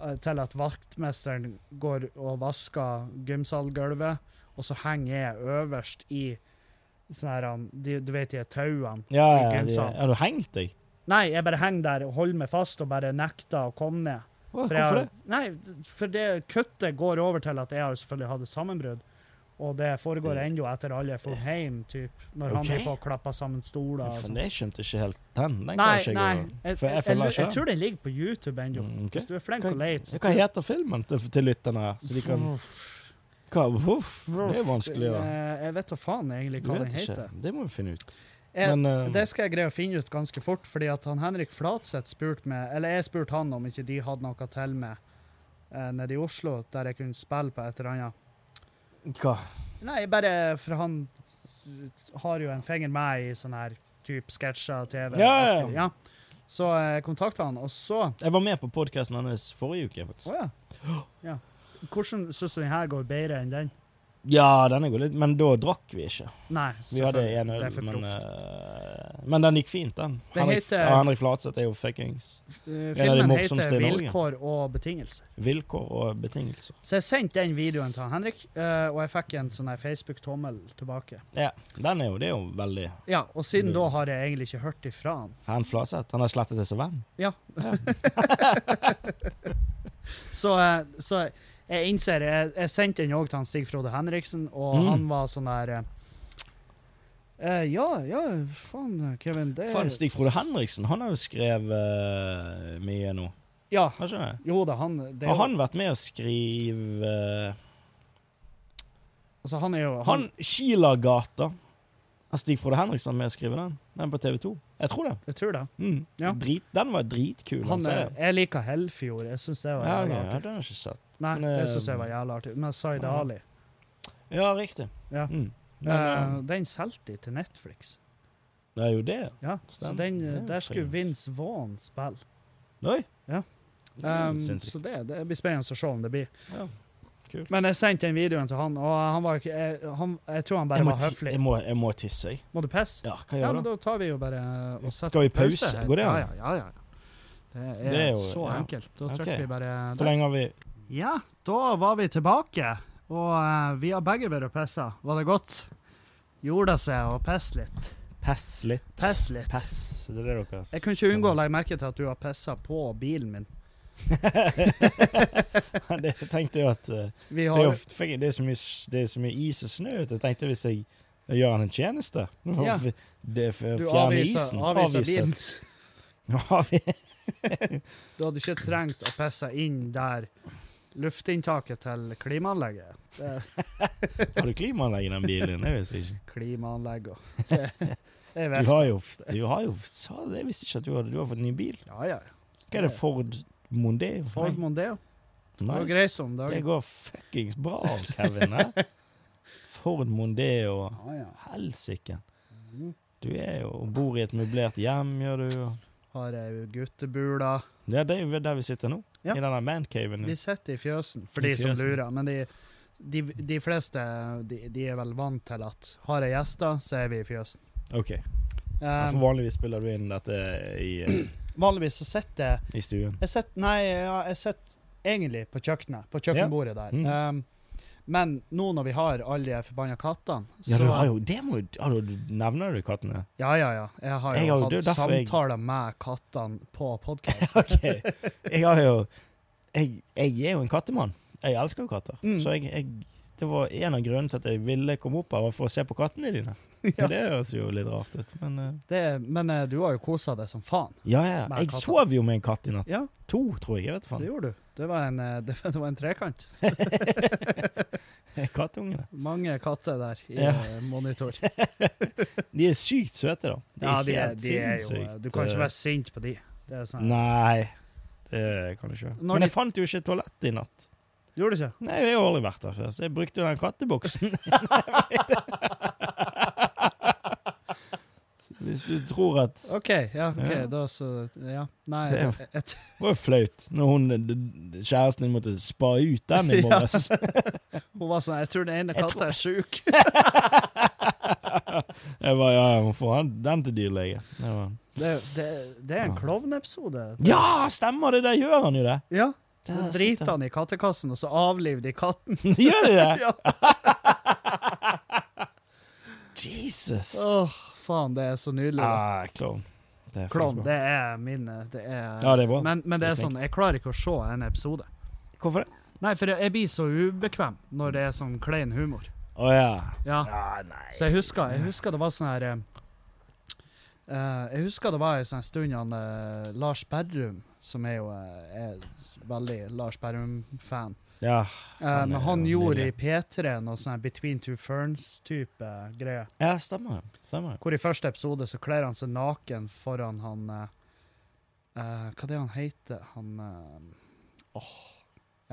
A: eh, til at vaktmesteren går og vasker gymsalgulvet, og så henger jeg øverst i sånn her, han- de, du vet de tauene?
B: Ja,
A: i
B: ja, de,
A: gymsalen.
B: har du hengt deg?
A: Nei, jeg bare henger der og holder meg fast og bare nekter å komme ned.
B: Hva,
A: For jeg har,
B: hvorfor det?
A: nei, for det kuttet går over til at jeg har jo selvfølgelig hatt et sammenbrudd. Og det foregår ennå etter alle er fått hjem, typ, når han
B: Mm. Ok.
A: driver på og klapper sammen stoler. og
B: For
A: sånn.
B: det skjønte jeg ikke helt den.
A: Nei,
B: Den kan ikke
A: nei.
B: jeg,
A: Jeg,
B: for
A: jeg, jeg,
B: jeg følger ikke.
A: tror den ligger på YouTube ennå.
B: Mm, ok.
A: Hvis du er flink
B: Kan-
A: og leit. så-
B: Hva heter filmen til, til lytterne her? Så de kan hva, uff, Det er vanskelig å
A: Eh, Jeg vet da faen egentlig
B: Du
A: hva
B: vet
A: den
B: ikke.
A: heter.
B: Det må vi finne ut.
A: Jeg,
B: Men eh,
A: det skal jeg greie å finne ut ganske fort, fordi at han Henrik Flatseth spurte meg, eller jeg spurte han om ikke de hadde noe til med eh, nede i Oslo, der jeg kunne spille på et eller annet.
B: hva?
A: Nei, bare for han har jo en finger med i sånne her type sketsjer, TV.
B: Ja, ja, ja.
A: Så jeg kontakta han, og så Å
B: Jeg var med på podkasten hennes forrige uke. faktisk.
A: ja. ja. Hvordan syns du den her går bedre enn den?
B: Ja, denne går litt, men da drakk vi ikke.
A: Nei,
B: Vi hadde
A: selvfølgelig.
B: en øl,
A: Det er for
B: men,
A: proft.
B: eh, men den gikk fint, den.
A: Det
B: Henrik,
A: heter-
B: Henrik Flatseth er jo fuckings
A: Eh,
B: en av de
A: Filmen
B: morsomste
A: heter
B: i Norge.
A: 'Vilkår og betingelser'.
B: vilkår og betingelser.
A: Så jeg sendte den videoen til han Henrik, eh, og jeg fikk en sånn her Facebook-tommel tilbake.
B: Ja, den er jo, Det er jo veldig
A: Ja, Og
B: Mm.
A: siden da har jeg egentlig ikke hørt ifra han.
B: fan Flatseth. Han har slettet det som venn.
A: Ja.
B: Ja.
A: Så, eh, så jeg innser Jeg, jeg sendte den òg til han Stig Frode Henriksen, og
B: Mm.
A: han var sånn der eh, eh, Ja, ja, faen, Kevin, det
B: Faen, Stig Frode Henriksen han har jo skrevet eh, mye nå.
A: Ja.
B: Har ikke det?
A: Jo da, han det er
B: Har
A: jo,
B: han vært med å skrive eh,
A: Altså, han er jo han,
B: Han Kilagata Har Stig Frode Henriksen vært med å skrive den? Den på TV 2? Jeg tror det.
A: Jeg tror det.
B: Mm.
A: Ja.
B: Drit, den var dritkul.
A: Han,
B: den
A: er-
B: serien.
A: jeg liker Hellfjord. Jeg syns det var
B: ja,
A: jævla
B: ja, ja,
A: artig.
B: den har jeg ikke sett.
A: Nei,
B: men,
A: det
B: eh,
A: syns jeg var jævla artig. Men Zaid
B: ja.
A: Ali
B: Ja, riktig.
A: Ja.
B: Mm. Men,
A: eh,
B: eh,
A: Den solgte de til Netflix.
B: det er jo det.
A: Ja, så
B: Stemmer.
A: den,
B: Det er jo
A: der skulle
B: fint.
A: Vince Vaughn spille.
B: Oi!
A: Ja.
B: Det er jo
A: Um,
B: sinnssykt.
A: så det, det blir spennende å se om det blir.
B: Ja. Kult.
A: Men jeg sendte den videoen til han, og han var ikke jeg, han, jeg tror han bare
B: Jeg må,
A: var
B: ti-
A: høflig.
B: jeg, må, jeg må tisse, jeg.
A: Må du pisse?
B: Ja, hva
A: Ja,
B: gjør
A: men
B: du?
A: da tar vi jo bare og setter
B: Skal vi pause?
A: her.
B: Går det
A: Ja,
B: an?
A: ja, ja. ja. Det er,
B: Det er jo-
A: så
B: ja.
A: enkelt. Da trykker
B: Ok.
A: vi bare
B: Hvor
A: der.
B: lenge har vi
A: Ja, da var vi tilbake, og eh, vi har begge vært og pissa. Var det godt? Gjorde det seg å pisse litt?
B: Pass litt.
A: Pisse litt.
B: Pass. Det er det dere
A: Jeg kunne ikke unngå å legge merke til at du har pissa på bilen min.
B: det tenkte jeg at eh,
A: Vi
B: det, er
A: har,
B: jo, fikk jeg- det, er så mye, s- det er så mye is og snø ute. Jeg tenkte hvis jeg gjør han en tjeneste
A: Ja.
B: for- det er for å
A: du
B: fjerne
A: avviser,
B: isen.
A: avviser
B: Avviser.
A: bilen.
B: Avvi-
A: Du hadde ikke trengt å pisse inn der luftinntaket til klimaanlegget er.
B: Har du klimaanlegg i den bilen? Det visste jeg ikke.
A: klimaanlegg og det, det er
B: Du
A: verst.
B: har jo, du har jo sa det, jeg visste ikke at du, hadde, du har fått en ny bil.
A: Ja, ja.
B: Hva er det, Ford Mondeo?
A: Ford Mondeo.
B: Nei,
A: Det
B: nice.
A: var greit om
B: Det
A: dagen.
B: går fuckings bra, Kevin. hæ? Ford Mondeo.
A: Ja, ja.
B: Helsike.
A: Mm.
B: Du er jo og bor i et møblert hjem, gjør du. og-
A: Har ei guttebula.
B: Ja, det er jo der vi sitter nå.
A: Ja.
B: I denne mancaven.
A: Vi sitter i fjøsen for de
B: Mm. I
A: som
B: fjøsen.
A: lurer, men de, de, de fleste de, de er vel vant til at har jeg gjester, så er vi i fjøsen.
B: OK. Ja,
A: Eh,
B: for vanligvis spiller du inn dette i, eh,
A: vanligvis så sitter jeg
B: i stuen.
A: Jeg sitter, nei, ja, jeg sitter egentlig på kjøkkenet, på kjøkkenbordet der.
B: Mm.
A: Um, men nå når vi har alle de forbanna kattene,
B: Ja,
A: så
B: du har jo det må, jo- ja, du- du nevner du kattene.
A: Ja, ja, ja. Jeg har jo
B: Jeg har jo-
A: hatt
B: det er derfor jeg-
A: samtaler med kattene på podkast.
B: OK. Jeg har jo Jeg, jeg er jo en kattemann. Jeg elsker jo katter.
A: Mm.
B: Så jeg, jeg det var en av grunnene til at jeg ville komme opp her, var for å se på kattene dine.
A: Ja.
B: Det høres jo litt rart ut, men eh,
A: Det- Men eh, du har jo kosa deg som faen.
B: Ja, ja.
A: Med
B: Jeg
A: katter.
B: sov jo med en katt i natt.
A: Ja,
B: To, tror jeg. jeg vet
A: det
B: faen.
A: gjorde du. Det var en, eh, det, det var en trekant.
B: Kattungene.
A: Mange katter der i
B: Ja.
A: eh, monitor.
B: De er sykt søte, da.
A: Ja, de, er-
B: helt
A: de er jo eh,
B: sinnssykt,
A: Du kan ikke
B: eh,
A: være sint på de. Det er sånn.
B: Nei, det kan du ikke.
A: Når
B: Men
A: de-
B: jeg fant jo ikke toalett i natt.
A: Gjorde du ikke?
B: Nei, jeg har jo aldri vært der før, så jeg brukte jo den katteboksen. Så Hvis du tror at
A: OK, ja. ok,
B: Ja.
A: Da så Ja. Nei,
B: Det er-
A: jeg, jeg,
B: Det var jo flaut når hun, d- d- kjæresten din måtte spa ut den i morges.
A: hun var sånn Jeg tror den ene
B: Jeg
A: katta er sjuk.
B: Jeg bare Ja, hun får ha den til dyrlege. Det var-
A: Det, det, det er en
B: Ja.
A: klovneepisode.
B: Ja, «Ah, stemmer det! Der gjør han jo det.
A: Ja. Så
B: Der
A: driter
B: sitter-
A: han i kattekassen, og så avliver de katten.
B: Gjør de det?
A: Ja.
B: Jesus.
A: Åh, faen, det er så nydelig. da.
B: Ah, klovn. Det er
A: Klovn,
B: faktisk bra.
A: det er min eh, det er,
B: Ja, det er bra.
A: Men, men det er
B: Jeg
A: sånn, jeg klarer ikke å se en episode.
B: Hvorfor det?
A: Nei, for jeg, jeg blir så ubekvem når det er sånn klein humor.
B: Å ja.
A: Ja.
B: Ja, nei.
A: Så jeg husker, jeg husker det var sånn her eh, eh, Jeg husker det var en sånn stund han eh, Lars Berrum, som er jo eh, er veldig Lars Berrum-fan
B: Ja.
A: Eh,
B: Han er
A: Men han
B: jo
A: gjorde i
B: nydelig.
A: P3 noe sånn her Between Two Ferns-type greie.
B: ja, stemmer. Stemmer.
A: Hvor i første episode så kler han seg naken foran han eh, eh, Hva det er han heter? Han eh, Åh.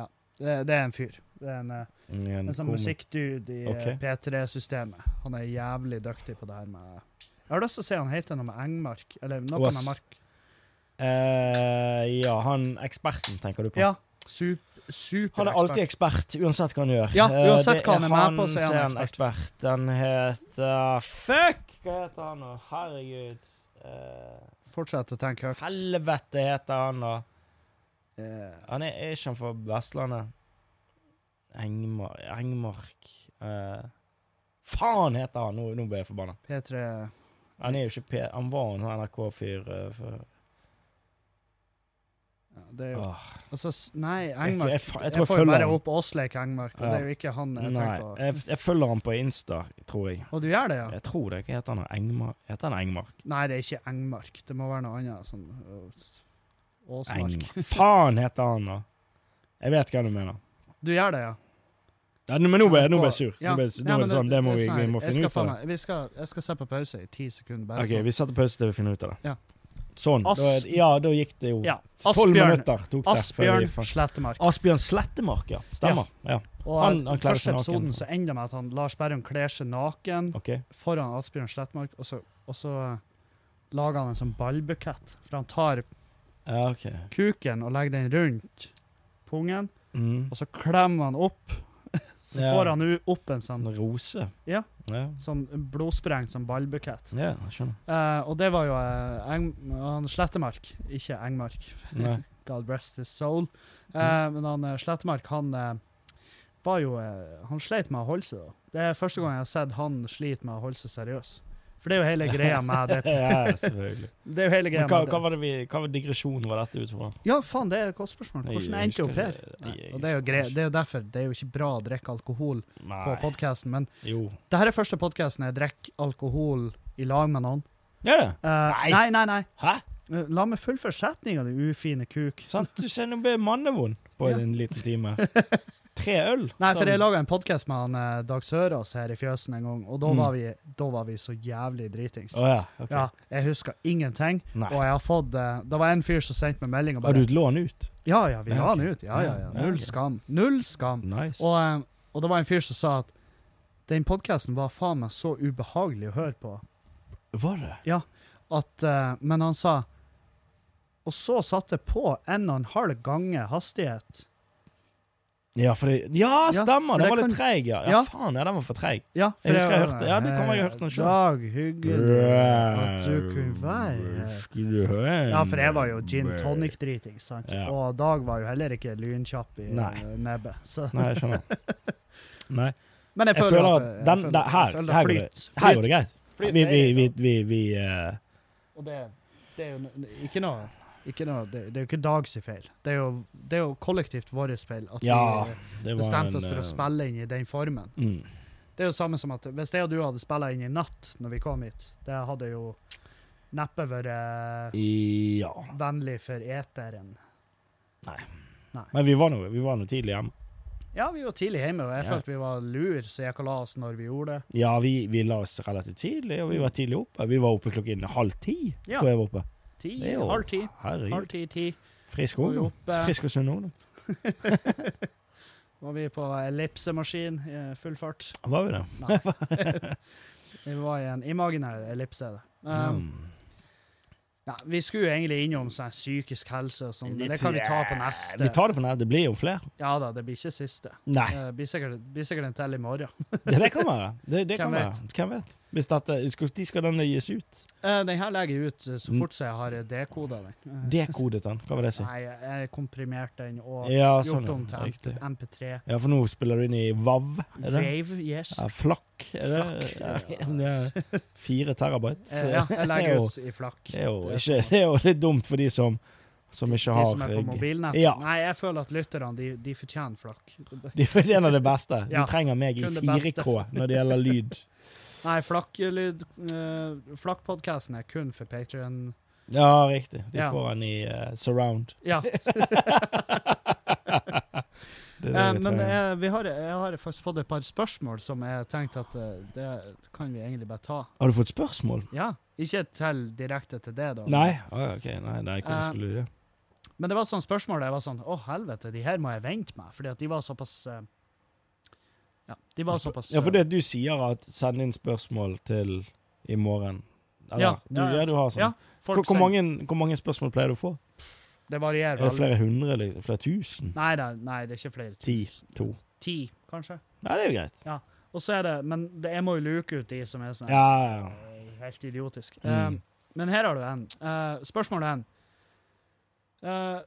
A: Ja, det, det er en fyr. Det er en, eh, en sånn
B: kom-
A: musikkdude i eh,
B: Ok.
A: P3-systemet. Han er jævlig dyktig på det her med Jeg har lyst til å si han heter noe med Engmark, eller noe
B: Oas.
A: med Mark.
B: Eh, ja, han eksperten tenker du på.
A: Ja, sup, super
B: Han er alltid ekspert, uansett hva han gjør.
A: Ja,
B: Eh,
A: uansett
B: det
A: hva han er med på, så er han
B: ekspert. Han heter Fuck! Hva heter han nå? Herregud. Eh,
A: Fortsett å tenke høyt.
B: helvete heter han da.
A: Eh,
B: Han er, er ikke han fra Vestlandet? Engmar, Engmark eh, Faen heter han! Nå, nå ble jeg forbanna.
A: P3
B: Han er jo ikke P... Han var en NRK-fyr eh, før.
A: ja, det er jo,
B: Åh,
A: altså, s- Nei,
B: jeg,
A: Engmark
B: jeg, fa- jeg
A: Jeg
B: tror jeg
A: får jo
B: følger
A: bare
B: han.
A: opp Åsleik Engmark, og
B: Ja.
A: det er jo ikke han jeg
B: Nei,
A: tenker på.
B: jeg, jeg følger han på Insta, tror jeg.
A: Og du gjør det, ja?
B: Jeg tror det. Hva heter han? Engmark? Heter han Engmark?
A: Nei, det er ikke Engmark. Det må være noe annet. Sånn øh, Åsmark.
B: Engmark. Faen heter han, da! Jeg vet hva du mener.
A: Du gjør det, ja?
B: Ja, nå- men nå ble, nå ble jeg sur.
A: Ja,
B: Nå ble, jeg sur.
A: ja,
B: nå er
A: men
B: det sånn, det må
A: er
B: vi,
A: sånn
B: vi
A: her,
B: må
A: jeg skal
B: finne ut av
A: faen
B: det.
A: meg- vi skal- Jeg skal se på pause i ti sekunder, bare
B: OK, vi setter pause til vi finner ut av det.
A: Ja.
B: Sånn. Da,
A: As-
B: ja, da gikk det jo
A: sånn. Ja.
B: tolv
A: Asbjørn,
B: minutter. Tok det, før vi
A: Asbjørn
B: fant-
A: Slettemark.
B: Asbjørn Slettemark, ja. Stemmer. Ja.
A: Og
B: han- han
A: i
B: kler
A: første
B: seg naken.
A: episoden så ender det med at han Lars Berrum kler seg naken
B: OK.
A: foran Asbjørn Slettemark, og så, og så øh, lager han en sånn ballbukett. For han tar
B: Ja, ok.
A: kuken og legger den rundt pungen.
B: Mm.
A: og så klemmer han opp. Så
B: Ja.
A: får han u- opp en sånn,
B: En rose.
A: Ja.
B: ja.
A: sånn blodsprengt sånn ballbukett.
B: Ja, jeg skjønner.
A: Eh, og det var jo eh, Eng, han Slettemark, ikke Engmark.
B: Nei.
A: God rest his soul. Eh,
B: Mm.
A: Men han eh, Slettemark, han eh, var jo eh, Han sleit med å holde seg, da. Det er første gang jeg har sett han slite med å holde seg seriøs. For det er jo hele greia med det.
B: ja, selvfølgelig.
A: det, er jo hele
B: Men
A: greia
B: hva,
A: med
B: hva
A: det.
B: var det vi, hva var digresjonen var dette ut fra?
A: Ja, faen, det er et godt spørsmål.
B: Nei,
A: Hvordan
B: jeg
A: endte jeg opp
B: husker
A: her?
B: det.
A: Nei,
B: Nei, jeg
A: og det er, jo
B: husker
A: gre
B: det
A: det er jo derfor det er jo ikke bra å drikke alkohol på
B: Nei.
A: podkasten, men
B: Jo.
A: Det her er første podkasten jeg drikker alkohol i lag med noen.
B: Ja, det.
A: Eh,
B: Nei.
A: nei, nei, nei.
B: Hæ?
A: Eh, La meg fullføre setninga, du ufine kuk.
B: Sant? Du ser nå ble jeg mannevond på
A: Ja.
B: en liten time. Tre øl.
A: Nei, for
B: Sånn.
A: jeg laga en podkast med han eh, Dag Sørås her i fjøsen en gang, og da
B: Mm.
A: var vi, da var vi så jævlig dritings.
B: Å ja. ok.
A: Ja, jeg husker ingenting,
B: Nei.
A: og jeg har fått eh, Det var en fyr som sendte meg melding og
B: Har
A: bare
B: du et lån ut?
A: Ja, ja, vi
B: Ja,
A: la han
B: ok.
A: ut. Ja, ja, ja.
B: Ja,
A: Null
B: ok.
A: skam. Null skam.
B: Nice.
A: Og, eh, og det var en fyr som sa at den podkasten var faen meg så ubehagelig å høre på.
B: var det?
A: at, eh, men han sa Og så satte jeg på en og en halv gange hastighet.
B: Ja, for det, ja
A: Ja,
B: stemmer!
A: for
B: den
A: det
B: var litt
A: kan-
B: treig, ja. ja.
A: Ja.
B: Faen, ja, den var for treig.
A: Ja,
B: Jeg husker jeg hørte- ja, du kan ha hørt den selv.
A: Dag, hyggelig at du kunne være her.
B: Skulle du høre
A: Ja, for jeg var jo gin tonic-driting, sant?
B: Ja.
A: Og Dag var jo heller ikke lynkjapp i
B: Nei.
A: eh, nebbet. Så.
B: Nei, jeg skjønner. Nei.
A: Men jeg
B: Jeg
A: føler,
B: føler
A: at
B: at den- den- her- her går det- Her går det greit. Vi, vi, vi, vi, vi eh,
A: Og det, det er jo n- ikke noe ikke noe, det, det er jo ikke Dags feil. Det er jo, det er jo kollektivt vår feil at
B: Ja,
A: vi eh,
B: det var en,
A: bestemte oss for
B: eh,
A: å spille inn i den formen.
B: Mm.
A: Det er jo samme som at hvis jeg og du hadde spilla inn i natt når vi kom hit, det hadde jo neppe vært eh,
B: Ja.
A: vennlig for eteren.
B: Men vi var nå, vi var nå tidlig hjemme.
A: Ja, vi var tidlig hjemme, og jeg
B: Ja.
A: følte vi var lur, så jeg gikk og la oss når vi gjorde det.
B: Ja, vi, vi la oss relativt tidlig, og vi var tidlig oppe. Vi var oppe klokken halv ti.
A: Ja.
B: tror jeg var oppe.
A: Ti,
B: Det er jo-
A: halv ti. Halv
B: Herregud.
A: ti, ti.
B: Frisk
A: Var vi
B: ungdom.
A: oppe.
B: Frisk og sunn ungdom.
A: Var vi på ellipsemaskin i full fart?
B: Var vi det?
A: Nei. vi var i en imaginær ellipse. Um,
B: Mm.
A: Nei, vi skulle jo egentlig innom sånn psykisk helse og sånn, men det kan vi ta på neste.
B: Vi tar det på neste. Det blir jo flere.
A: Ja da, det blir ikke siste.
B: Nei,
A: Det blir sikkert, blir sikkert en til i morgen.
B: det, det kan være. Det, det kan
A: Hvem
B: være. Hvem vet? Hvis dette, skal, de skal denne gis ut?
A: Eh, den her legger jeg ut eh, så
B: Mm.
A: fort som jeg har eh, dekodet den. Eh,
B: Dekodet den, hva var det jeg sa?
A: Nei, jeg har komprimert den og
B: Ja, sånn.
A: gjort om
B: ja.
A: til
B: Riktig.
A: MP3.
B: Ja, for nå spiller du inn i VAV, er det?
A: Rave, yes.
B: Ja, flakk, er det?
A: Flakk,
B: Ja, det er fire terabyte.
A: Eh, ja, jeg
B: det er
A: legger
B: jo-
A: ut i flakk.
B: Det er jo,
A: Det er
B: ikke,
A: sånn.
B: det er jo litt dumt for de som, som ikke
A: De
B: har
A: som er på mobilnettet.
B: Ja.
A: Nei, jeg føler at lytterne, de, de fortjener flakk.
B: De fortjener det beste. De
A: Ja,
B: trenger meg i
A: kun det
B: 4K når det gjelder lyd.
A: Nei, flakklyd eh, Flakkpodkasten er kun for Patrion.
B: Ja, riktig. De
A: Ja.
B: får den i eh, surround.
A: Ja,
B: Det er det
A: eh, men
B: vi trenger.
A: eh, vi har, jeg har faktisk fått et par spørsmål som jeg tenkte at eh, det kan vi egentlig bare ta.
B: Har du fått spørsmål?
A: Ja, ikke tell direkte til det, da.
B: Nei. Ah, ok, nei, nei, hvorfor
A: Eh,
B: skulle du det?
A: Men det var sånn spørsmål der jeg var sånn Å, helvete, de her må jeg vente med, fordi at de var såpass eh, Ja, de var såpass
B: Ja, for
A: eh,
B: det at du sier at send inn spørsmål til i morgen. Eller,
A: Ja,
B: du,
A: ja, ja.
B: ja, du har sånn.
A: Ja,
B: hvor,
A: folk
B: hvor,
A: sier-
B: mange, hvor mange spørsmål pleier du å få?
A: Det varierer
B: Er det
A: veldig.
B: flere hundre? Liksom? Flere tusen?
A: Nei, nei, nei, det er ikke flere.
B: Ti? To?
A: Ti, kanskje.
B: Nei, det er jo greit.
A: Og så er det Men det, jeg må jo luke ut de som er sånn
B: Ja, ja, ja.
A: eh, Helt idiotisk.
B: Mm.
A: Eh, men her har du en. Eh, spørsmålet er en. Eh,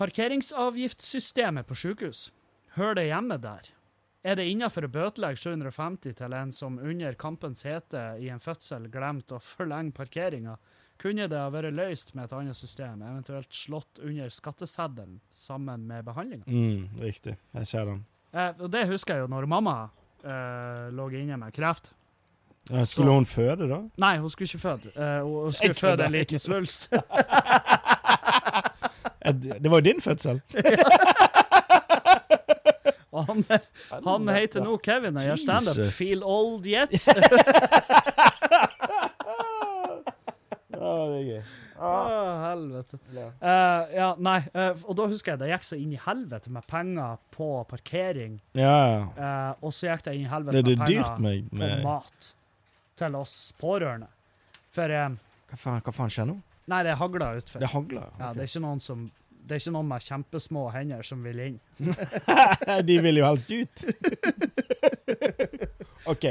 A: parkeringsavgiftssystemet på sykehus, hører det hjemme der? Er det innafor å bøtelegge 750 til en som under kampens hete i en fødsel glemte å forlenge parkeringa? Kunne det ha vært løst med et annet system, eventuelt slått under skatteseddelen sammen med behandlinga?
B: Mm, riktig. Jeg ser den.
A: Eh, og det husker jeg jo når mamma eh, lå inne med kreft.
B: Ja, skulle
A: Så-
B: hun føde, da?
A: Nei, hun skulle ikke føde. Eh, hun, hun
B: Jeg
A: skulle
B: kødder,
A: føde en
B: jeg
A: liten svulst.
B: Eh, Det det var jo din fødsel.
A: Og han, han heter nå Kevin og gjør standup.
B: Jesus.
A: Feel old yet?
B: Ja, det er gøy.
A: Å, helvete. Eh, ja, nei. eh, og da husker jeg det gikk så inn i helvete med penger på parkering.
B: Ja, ja.
A: eh, og så gikk det inn i
B: Det
A: helvete
B: er det
A: med
B: dyrt
A: penger
B: med,
A: på
B: med
A: mat til oss pårørende. For eh,
B: Hva faen, hva faen skjer nå?
A: Nei, det hagler utfor.
B: Det hagler.
A: Ja, det er ikke noen som det er ikke noen med kjempesmå hender som vil inn.
B: De vil jo helst ut. OK.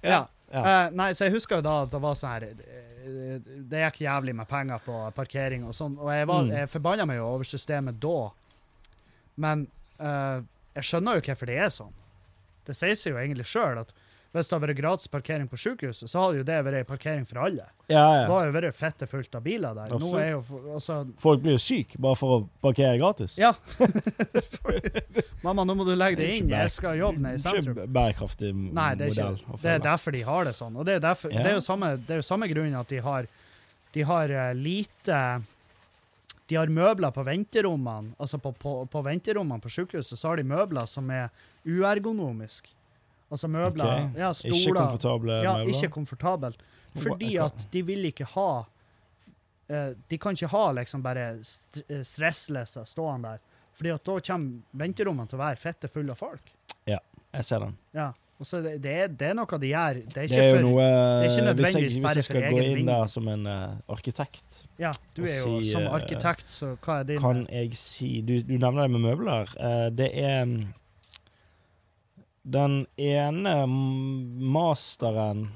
A: Ja.
B: Ja.
A: Eh, nei, så jeg husker jo da at det var sånn her eh, Det gikk jævlig med penger på parkering og sånn, og jeg, var,
B: Mm.
A: jeg forbanna meg jo over systemet da. Men eh, jeg skjønner jo hvorfor det er sånn. Det sier seg jo egentlig sjøl at hvis det hadde vært gratis parkering på sykehuset, så hadde jo det vært en parkering for alle. Da
B: Ja, ja.
A: hadde jo vært fette fullt av biler der. Nå er jo for- altså,
B: Folk blir jo syke bare for å parkere gratis.
A: Ja. Mamma, nå må du legge deg inn. Jeg skal jobbe nede i sentrum.
B: Ikke bærekraftig m-
A: Nei, det er
B: modell.
A: ikke
B: å
A: Det er
B: følge.
A: derfor de har det sånn. Og det er, derfor,
B: Ja.
A: det er jo samme, det er jo samme grunn at de har, de har eh, lite De har møbler på venterommene. Altså på, på, på venterommene på sykehuset så har de møbler som er uergonomiske. Altså møbler
B: Ok.
A: Ja,
B: Ikke
A: stoler.
B: komfortable
A: Ja,
B: møbler.
A: ikke komfortabelt. Fordi at de vil ikke ha eh, De kan ikke ha liksom bare st eh, stressleser stående der. Fordi at da kommer venterommene til å være fette fulle av folk.
B: Jeg ser den.
A: Ja. Og så det, det, er, det er noe de gjør. Det er
B: Det
A: ikke,
B: er jo
A: for,
B: noe
A: det er ikke
B: Hvis jeg,
A: nødvendigvis
B: hvis
A: bare for
B: jeg skal
A: egen
B: gå inn
A: vinning.
B: der som en eh, arkitekt
A: Ja, du
B: å
A: er jo
B: si,
A: som
B: eh,
A: arkitekt, så hva er din
B: kan jeg si Du, du nevner det med møbler. Eh, det er mm, Den ene mm, masteren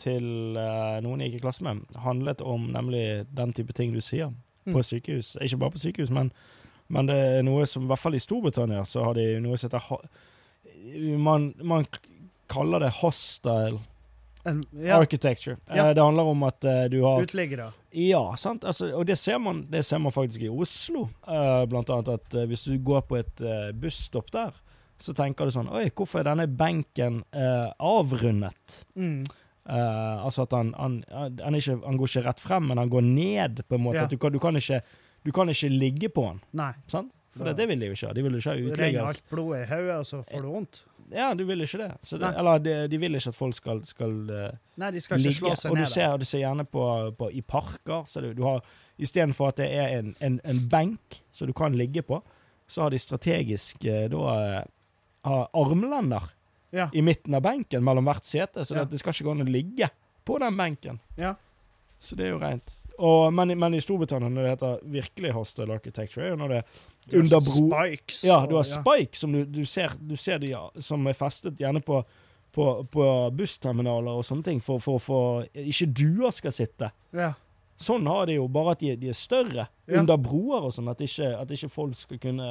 B: til eh, noen jeg gikk i klasse med, handlet om nemlig den type ting du sier på
A: Mm.
B: sykehus. Ikke bare på sykehus, men, men det er noe som I hvert fall i Storbritannia så har de noe som heter ha- man, man k- kaller det hostile
A: en, ja,
B: architecture. Eh,
A: Ja.
B: Det handler om at eh, du har
A: Uteliggere.
B: ja, sant. Altså, og det ser, man, det ser man faktisk i Oslo. Eh, blant annet at eh, hvis du går på et eh, busstopp der, så tenker du sånn Oi, hvorfor er denne benken eh, avrundet?
A: Mm.
B: Eh, altså at han, han, han, er ikke, han går ikke rett frem, men han går ned, på en måte.
A: Ja.
B: At du, kan, du, kan ikke, du kan ikke ligge på han,
A: Nei.
B: sant? For
A: Ja.
B: det, det vil de jo ikke ha. De vil jo ikke ha
A: Renner
B: uteliggers.
A: alt blodet i hodet, og så får du vondt?
B: Ja, du vil ikke det. Så det
A: Nei.
B: eller de, de vil ikke at folk skal, skal eh,
A: Nei, de skal ikke
B: ligge.
A: slå seg
B: og du
A: ned.
B: ser,
A: der.
B: og du ser gjerne på, på i parker. så du, du har, Istedenfor at det er en, en, en benk som du kan ligge på, så har de strategisk eh, da eh, har armlender
A: Ja.
B: i midten av benken mellom hvert sete, så
A: Ja.
B: det, det skal ikke gå an å ligge på den benken.
A: Ja.
B: Så det er jo rent. Og, men, i- men i Storbritannia, når det heter virkelig hostile architecture, er jo når det er under bro...
A: Spikes.
B: Ja, du har
A: og-
B: spike som du, du ser, du ser de, ja, som er festet gjerne på, på, på bussterminaler og sånne ting, for, for, for ikke duer skal sitte.
A: Ja.
B: Sånn har de jo, bare at de, de er større,
A: Ja.
B: under broer og sånn, at ikke, at ikke folk skal kunne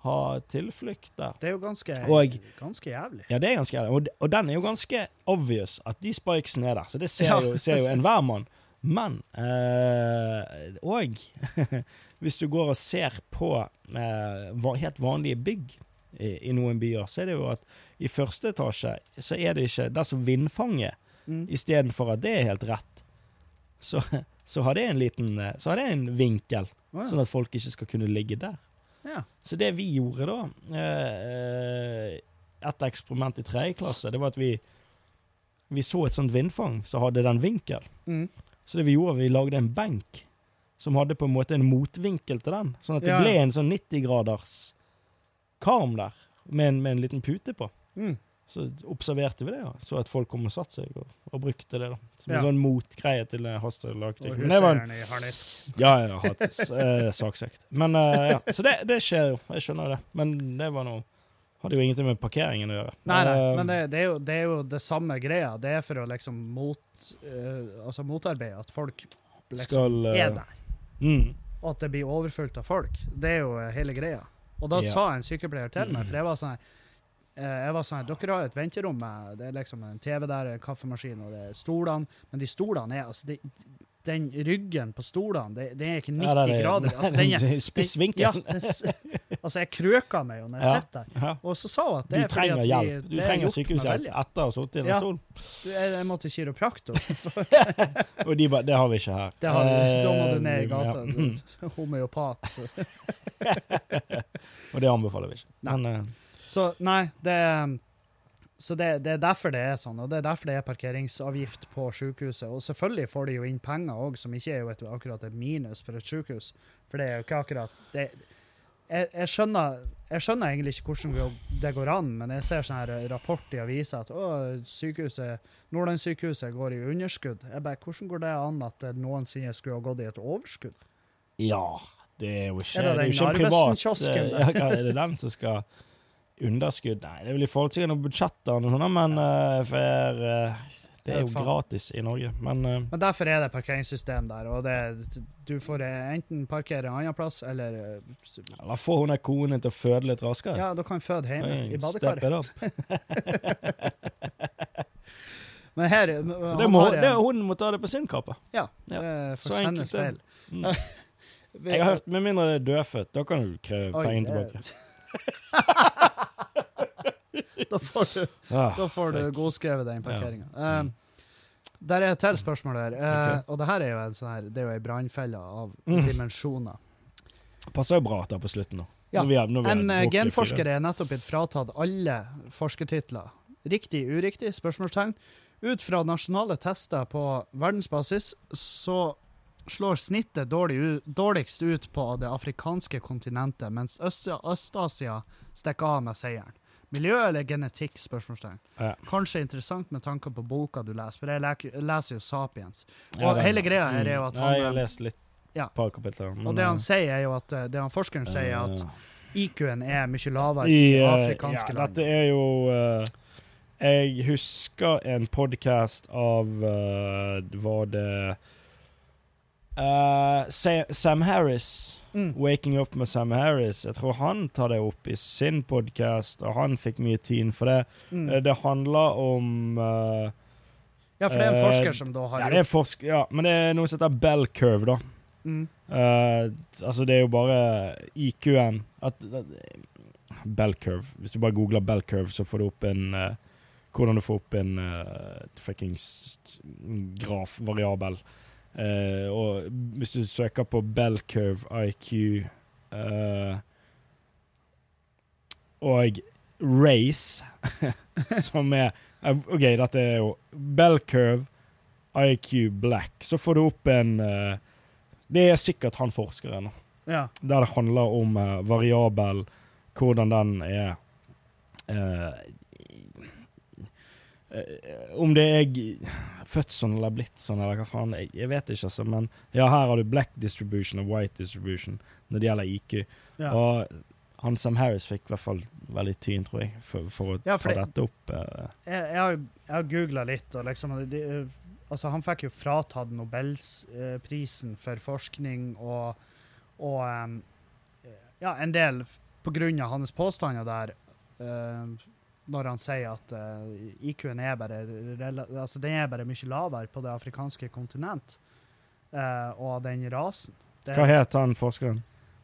B: ha tilflukt der.
A: Det er jo ganske,
B: Og-
A: ganske jævlig.
B: Ja, det er ganske ærlig. Og, de- og den er jo ganske obvious at de spikesene er der, så det ser,
A: Ja.
B: jo, ser jo enhver mann. Men eh, Og hvis du går og ser på eh, va- helt vanlige bygg i, i noen byer, så er det jo at i første etasje så er det ikke Der som vindfanget,
A: Mm.
B: istedenfor at det er helt rett, så, så har det en liten eh, Så har det en vinkel,
A: Å, ja.
B: sånn at folk ikke skal kunne ligge der.
A: Ja.
B: Så det vi gjorde da, eh, et eksperiment i tredje klasse, det var at vi, vi så et sånt vindfang som hadde den vinkel.
A: Mm.
B: Så det vi gjorde, vi lagde en benk som hadde på en måte en motvinkel til den. Sånn at det
A: Ja, ja.
B: ble en sånn 90-graders karm der, med en, med en liten pute på.
A: Mm.
B: Så observerte vi det, ja. så at folk kom og satte seg og, og brukte det. da. Som
A: Ja.
B: en sånn motgreie til eh, hastelaget.
A: Og
B: Men det var en
A: huseieren i harnisk.
B: ja, jeg har hatt eh, saksøkt. Men, eh, ja. Så det, det skjer jo. Jeg skjønner det. Men det var noe Hadde jo ingenting med parkeringen å gjøre.
A: Nei, nei,
B: Eh,
A: men det, det, er jo, det er jo det samme greia. Det er for å liksom mot, eh, altså motarbeide at folk liksom
B: skal, eh,
A: er der.
B: Mm,
A: Og at det blir overfullt av folk. Det er jo eh, hele greia. Og da
B: Ja.
A: sa en sykepleier til meg, for jeg var sånn her eh, jeg var sånn, her, Dere har et venterom med det er liksom en TV der, en kaffemaskin og det er stolene. Men de stolene er altså de, Den ryggen på stolene, det, det er ikke 90
B: ja, der er-
A: grader. Altså, den er,
B: det er Spiss vinkel.
A: ja, den, s- altså, jeg krøker meg jo når jeg
B: Ja.
A: sitter der.
B: Ja.
A: Og så sa hun at
B: Du
A: det er fordi
B: trenger
A: at vi,
B: hjelp. Du
A: det er
B: trenger
A: gjort med
B: sykehushjelp
A: vilje.
B: etter å ha sittet i den
A: Ja.
B: stolen.
A: Du, Jeg, jeg må til kiropraktor.
B: Og de bare Det har vi ikke her.
A: Det har,
B: Eh,
A: da må du ned i gata.
B: ja. Mm.
A: Du, homeopat.
B: Og det anbefaler vi ikke.
A: Nei.
B: Men eh,
A: Så nei, det så det, det er derfor det er sånn, og det er derfor det er parkeringsavgift på sykehuset. Og selvfølgelig får de jo inn penger òg, som ikke er jo et, akkurat et minus for et sykehus. For det er jo ikke akkurat det, jeg, jeg, skjønner, jeg skjønner egentlig ikke hvordan det- det går an, men jeg ser sånn her rapport i avisa at å, sykehuset, Nordlandssykehuset går i underskudd. Jeg bare, Hvordan går det an at det noensinne skulle ha gått i et overskudd?
B: ja Det er jo ikke,
A: Er det
B: det er
A: den
B: jo ikke en privat
A: Narvesen-kiosken
B: eh, ja, hva Er det den som skal Underskudd? Nei, det er vel i forhold til noen budsjetter og noe sånt, men eh, for, eh, det
A: Jeg
B: er
A: vet
B: jo
A: faen.
B: gratis i Norge. Men eh,
A: Men derfor er det parkeringssystem der, og det, du får eh, enten parkere en annen plass, eller eh,
B: Eller få hun der konen til å føde litt raskere.
A: ja, da kan du føde hjemme
B: Oi,
A: i
B: step
A: badekaret.
B: it up.
A: Men her
B: Så
A: han
B: det må,
A: har en-
B: det, hun må ta det på sin kappe.
A: Ja, det
B: Ja,
A: er
B: så
A: for hennes
B: enkelt er
A: feil.
B: det. Mm. Jeg har hørt med mindre det er dødfødt, da kan du kreve
A: Oi, eh.
B: pengene
A: det-
B: tilbake.
A: da får du,
B: Ah,
A: da får du
B: fuck.
A: godskrevet den parkeringa.
B: Ja. Mm.
A: der er et til spørsmål her, eh,
B: Ok.
A: og det her er jo en sånn her, det er jo ei brannfelle av
B: Mm.
A: dimensjoner.
B: Passer jo bra at det er på slutten nå.
A: Ja,
B: Når vi har- når vi har
A: En eh,
B: drukket
A: genforsker
B: fire.
A: er nettopp blitt fratatt alle forskertitler. Riktig, uriktig? Spørsmålstegn. Ut fra nasjonale tester på verdensbasis så slår snittet dårlig, u- dårligst ut på det afrikanske kontinentet, mens Øst- Øst-Asia stikker av med seieren. Miljø eller genetikk? spørsmålstegn.
B: Ja.
A: Kanskje interessant med tanke på boka du leser, for jeg leker- leser jo Sapiens. Og
B: Ja, den-
A: hele greia her er jo at
B: Mm. Nei,
A: han, eh,
B: Jeg har lest litt
A: Ja.
B: par kapitler. men,
A: Og det han
B: eh,
A: sier er jo at, eh, det han forskeren sier, er at
B: eh,
A: IQ-en er mye lavere i,
B: i, eh,
A: afrikanske
B: ja,
A: land.
B: Dette er jo eh, Jeg husker en podkast av eh, Var det eh, Sa- Sam Harris.
A: Mm.
B: 'Waking Up med Sam Harris'. Jeg tror han tar det opp i sin podkast, og han fikk mye tyn for det.
A: Mm.
B: Eh, Det handler om eh,
A: Ja, for det er en
B: eh,
A: forsker som da har
B: ja, det er forsk ja, Men det er noe som heter bell curve, da.
A: gjort- mm.
B: Eh, t- altså, det er jo bare IQ-en at, at Bell curve. Hvis du bare googler bell curve, så får du opp en eh, Hvordan du får opp en uh, fuckings graf, variabel. Eh, og hvis du søker på bell curve IQ eh, og race, som er eh, OK, dette er jo bell curve IQ black. Så får du opp en eh, det er sikkert han forskeren,
A: ja.
B: der det handler om eh, variabel, hvordan den er eh, eh, Om det er g- født sånn eller blitt sånn eller hva faen, jeg, jeg vet ikke, altså. Men ja, her har du black distribution og white distribution når det gjelder IQ.
A: Ja.
B: Og han Sam Harris fikk i hvert fall veldig tyn, tror jeg, for, for å
A: Ja, for
B: ta
A: det-
B: dette opp. eh.
A: Jeg, jeg har, jeg har googla litt, og liksom de, altså, Han fikk jo fratatt Nobelsprisen for forskning og, og em, ja, en del på grunn av hans påstander der, em, når han sier at eh, IQ-en er bare rela- altså den er bare mye lavere på det afrikanske kontinent eh, og av den rasen. Det,
B: hva het han forskeren?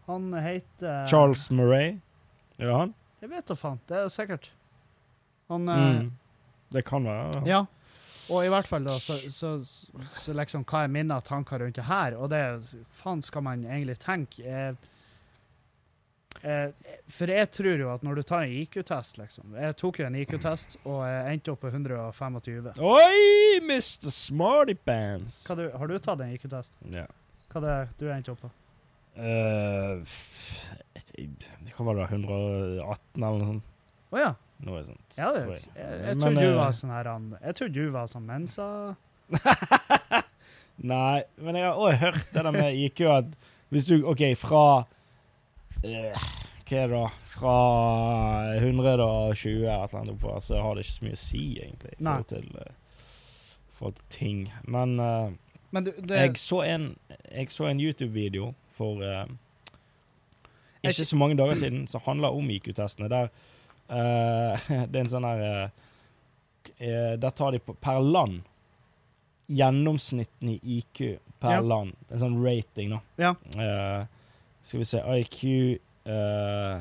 A: han heter
B: Charles Murray? Er det han?
A: Jeg vet da faen. Det er sikkert. Han eh,
B: Mm. Det kan være.
A: Ja. Og i hvert fall da, så, så, så liksom hva er mine tanker rundt det her, og det faen skal man egentlig tenke. Eh, eh, for jeg tror jo at når du tar en IQ-test, liksom Jeg tok jo en IQ-test og jeg endte opp på 125.
B: Oi, Mr. Smarty Pants!
A: Hva du, har du tatt en IQ-test?
B: Ja.
A: Hva det du endte opp på?
B: Eh, f- et- Hva var det, 118 eller noe sånt?
A: Å ja.
B: Noe sånt.
A: ja det,
B: tror
A: jeg,
B: jeg.
A: jeg
B: Men,
A: tror du
B: eh,
A: var sånn her han- Jeg tror du var sånn Mensa...
B: Nei, men jeg har også hørt det der med IQ at hvis du OK, fra eh, Hva er det da? Fra 120 eller et eller annet oppover, så har det ikke så mye å si, egentlig, i
A: Nei.
B: forhold til, eh, i forhold til ting. Men eh,
A: Men du, det
B: jeg så en, jeg så en YouTube-video for eh,
A: Jeg
B: ikke så mange dager siden som handler om IQ-testene. Der eh, det er en sånn her eh, eh, Der tar de på, per land gjennomsnitten i IQ per
A: Ja.
B: land. En sånn rating,
A: Ja.
B: da. Eh, skal vi se IQ eh,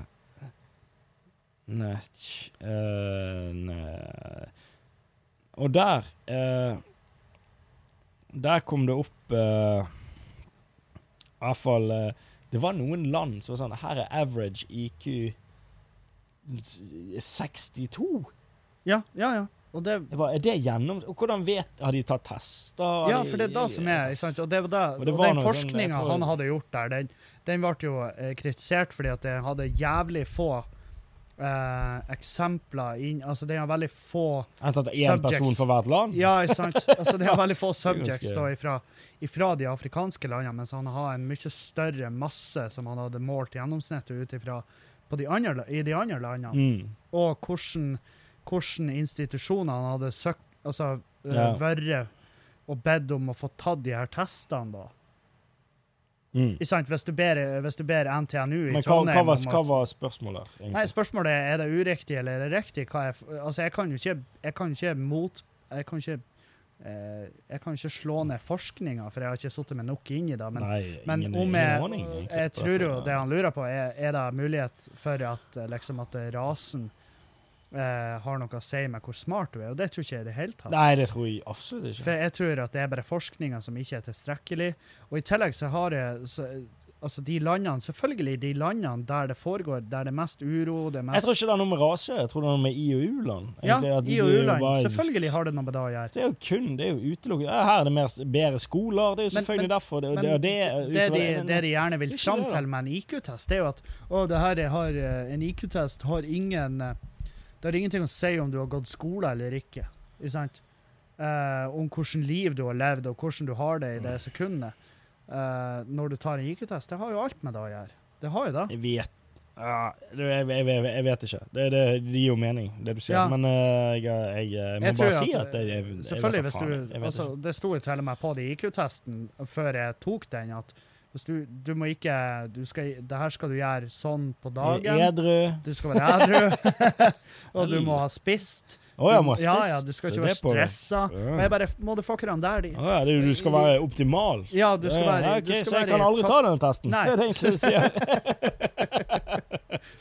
B: Nei, tj- eh, nei. Og der eh, Der kom det opp eh, I hvert fall eh, Det var noen land som var sånn Her er average IQ 62.
A: Ja, ja, ja. Og det
B: Det var, er det gjennom... Og hvordan vet Har de tatt tester? Har
A: Ja,
B: de-
A: for det er det som er ikke sant? Og, det var da,
B: Og
A: og,
B: det var
A: den
B: noe sånn, jeg
A: forskninga
B: tror-
A: han hadde gjort der, den, den ble jo eh, kritisert fordi at den hadde jævlig få eh, eksempler inn Altså, den har veldig få
B: Han har tatt én
A: Subjects.
B: person for hvert land?
A: Ja, ikke sant? Altså, den har veldig få
B: er ganske-
A: subjects da ifra, ifra de afrikanske landene, mens han har en mye større masse som han hadde målt gjennomsnittet ut ifra på de andre, la- i de andre landene.
B: Mm.
A: Og hvordan, hvordan institusjoner han hadde søkt Altså eh,
B: Ja.
A: vært og bedt om å få tatt de her testene, da.
B: Mm.
A: Ikke sant? Hvis du ber, hvis du ber NTNU i
B: Men hva, hva,
A: Trondheim
B: var, hva
A: om å
B: var spørsmålet? egentlig?
A: Nei, spørsmålet er er det uriktig eller er det riktig. Hva er, f- altså, jeg kan jo ikke Jeg kan ikke mot... Jeg kan ikke eh, jeg kan ikke slå ned forskninga, for jeg har ikke satt meg nok inn i det. Men,
B: Nei,
A: men
B: ingen-
A: om
B: ingen
A: jeg,
B: aning, egentlig,
A: jeg
B: på
A: tror
B: dette.
A: jo det han lurer på, er, er det mulighet for at eh, liksom at eh, rasen eh, har noe å si med hvor smart du er, og det tror ikke jeg i det hele tatt.
B: Nei, det tror jeg absolutt ikke.
A: For jeg tror at det er bare forskninga som ikke er tilstrekkelig. Og i tillegg så har jeg så, Altså, de landene Selvfølgelig de landene der det foregår, der det er mest uro, det er mest
B: Jeg tror ikke det er noe med rase, jeg tror det er noe med I- og U-land.
A: Ja,
B: Egentlig, at
A: i
B: det
A: og
B: er jo
A: u-land.
B: bare-
A: Selvfølgelig har det noe med det å gjøre.
B: Det er jo kun, det er jo utelukket. Ja, Her er det mer, bedre skoler, det er jo
A: Men-
B: selvfølgelig derfor. Det,
A: Men
B: det,
A: det,
B: er det,
A: de,
B: utover-
A: det de gjerne vil
B: Ikke
A: fram
B: det, da.
A: til med en IQ-test, det er jo at å, det her er- har, eh, en IQ-test har ingen eh, Det har ingenting å si om du har gått skole eller ikke. ikke sant? Eh, om hvordan liv du har levd, og hvordan du har det i det sekundet. eh, når du tar en IQ-test. Det har jo alt med det å gjøre. Det har jo det.
B: Jeg vet ja, du, jeg, jeg, jeg, jeg vet ikke. Det, det, det gir jo mening, det du sier.
A: Ja.
B: Men eh, jeg, jeg, jeg må
A: Jeg tror
B: bare si
A: at,
B: at jeg, jeg, jeg
A: Selvfølgelig,
B: vet
A: hvis
B: da
A: du,
B: faen, jeg- jeg vet
A: altså,
B: ikke.
A: Det sto jo til og med på de IQ-testen før jeg tok den, at hvis du, du må ikke du skal, Det her skal du gjøre sånn på dagen.
B: Edru
A: Du skal være ædru. og du må ha spist.
B: Å ja, må ha
A: Ja,
B: spist.
A: ja, du skal
B: Så
A: ikke være
B: det er på-
A: stressa.
B: Ja.
A: Og jeg bare Motherfuckerne der, de
B: Å ja, det, er jo- du skal være optimal.
A: Ja, du skal
B: Ja,
A: være,
B: ok,
A: du skal
B: så jeg
A: være
B: kan
A: i
B: aldri
A: top-
B: ta denne testen.
A: Nei.
B: Det er det egentlig du sier.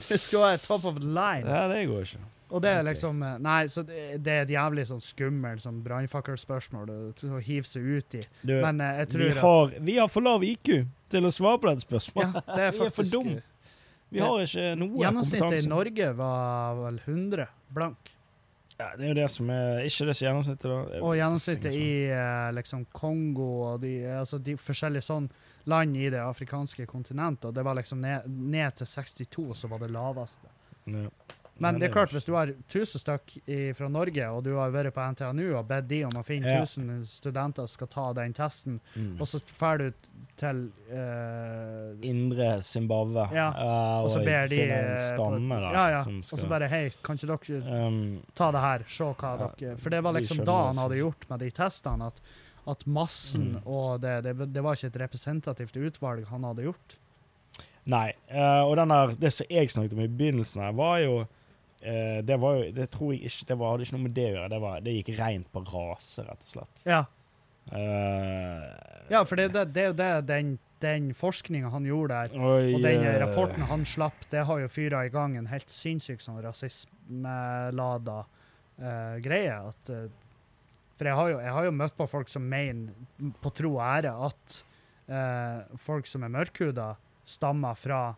A: du skal være top of the line.
B: ja, det går ikke.
A: Og det er
B: Ok.
A: liksom eh, Nei, så det, det er et jævlig sånn skummelt sånn brannfakkelspørsmål å å hive seg ut i.
B: Du,
A: Men eh, jeg
B: vi,
A: tror at
B: har, vi har for lav IQ til å svare på dette
A: ja,
B: spørsmålet.
A: det er
B: vi er for
A: faktisk
B: dum. Vi har ikke noe
A: Gjennomsnittet i
B: kompetanse.
A: Norge var vel 100 blank.
B: Ja, det er jo det som er Ikke det som er gjennomsnittet, da. Jeg
A: Og
B: vet
A: gjennomsnittet
B: ikke,
A: i eh, liksom Kongo og de, altså de forskjellige sånn land i det afrikanske kontinentet, og det var liksom ned, ned til 62, så var det laveste.
B: altså. Ja.
A: Men det er klart, hvis du har 1000 stykk i- fra Norge, og du har vært på NTNU og bedt de om å finne
B: Ja.
A: 1000 studenter som skal ta den testen,
B: Mm.
A: og så drar du til eh,
B: Indre Zimbabwe.
A: Ja,
B: eh,
A: Og så ber de
B: finne en
A: eh,
B: stamme, da.
A: Ja, ja.
B: som
A: Og så
B: skal-
A: bare Hei, kan ikke dere
B: Um,
A: ta det her, se hva
B: Ja,
A: dere For det var
B: vi
A: liksom
B: skjønner
A: da
B: det,
A: han hadde
B: så-
A: gjort med de testene, at, at massen
B: Mm.
A: og det, det Det var ikke et representativt utvalg han hadde gjort.
B: Nei. eh, og den der, det som jeg snakket om i begynnelsen her, var jo eh, Det var jo, det tror jeg ikke, det var, hadde ikke noe med det å gjøre. Det, var, det gikk rent på rase, rett og slett.
A: Ja,
B: Eh,
A: ja for det det- det er jo det, den, den forskninga han gjorde der,
B: og
A: og den
B: eh,
A: rapporten han slapp, det har jo fyra i gang en helt sinnssyk sånn rasismelada eh, greie. At, eh, for jeg har, jo, jeg har jo møtt på folk som mener, på tro og ære, at eh, folk som er mørkhuda, stammer fra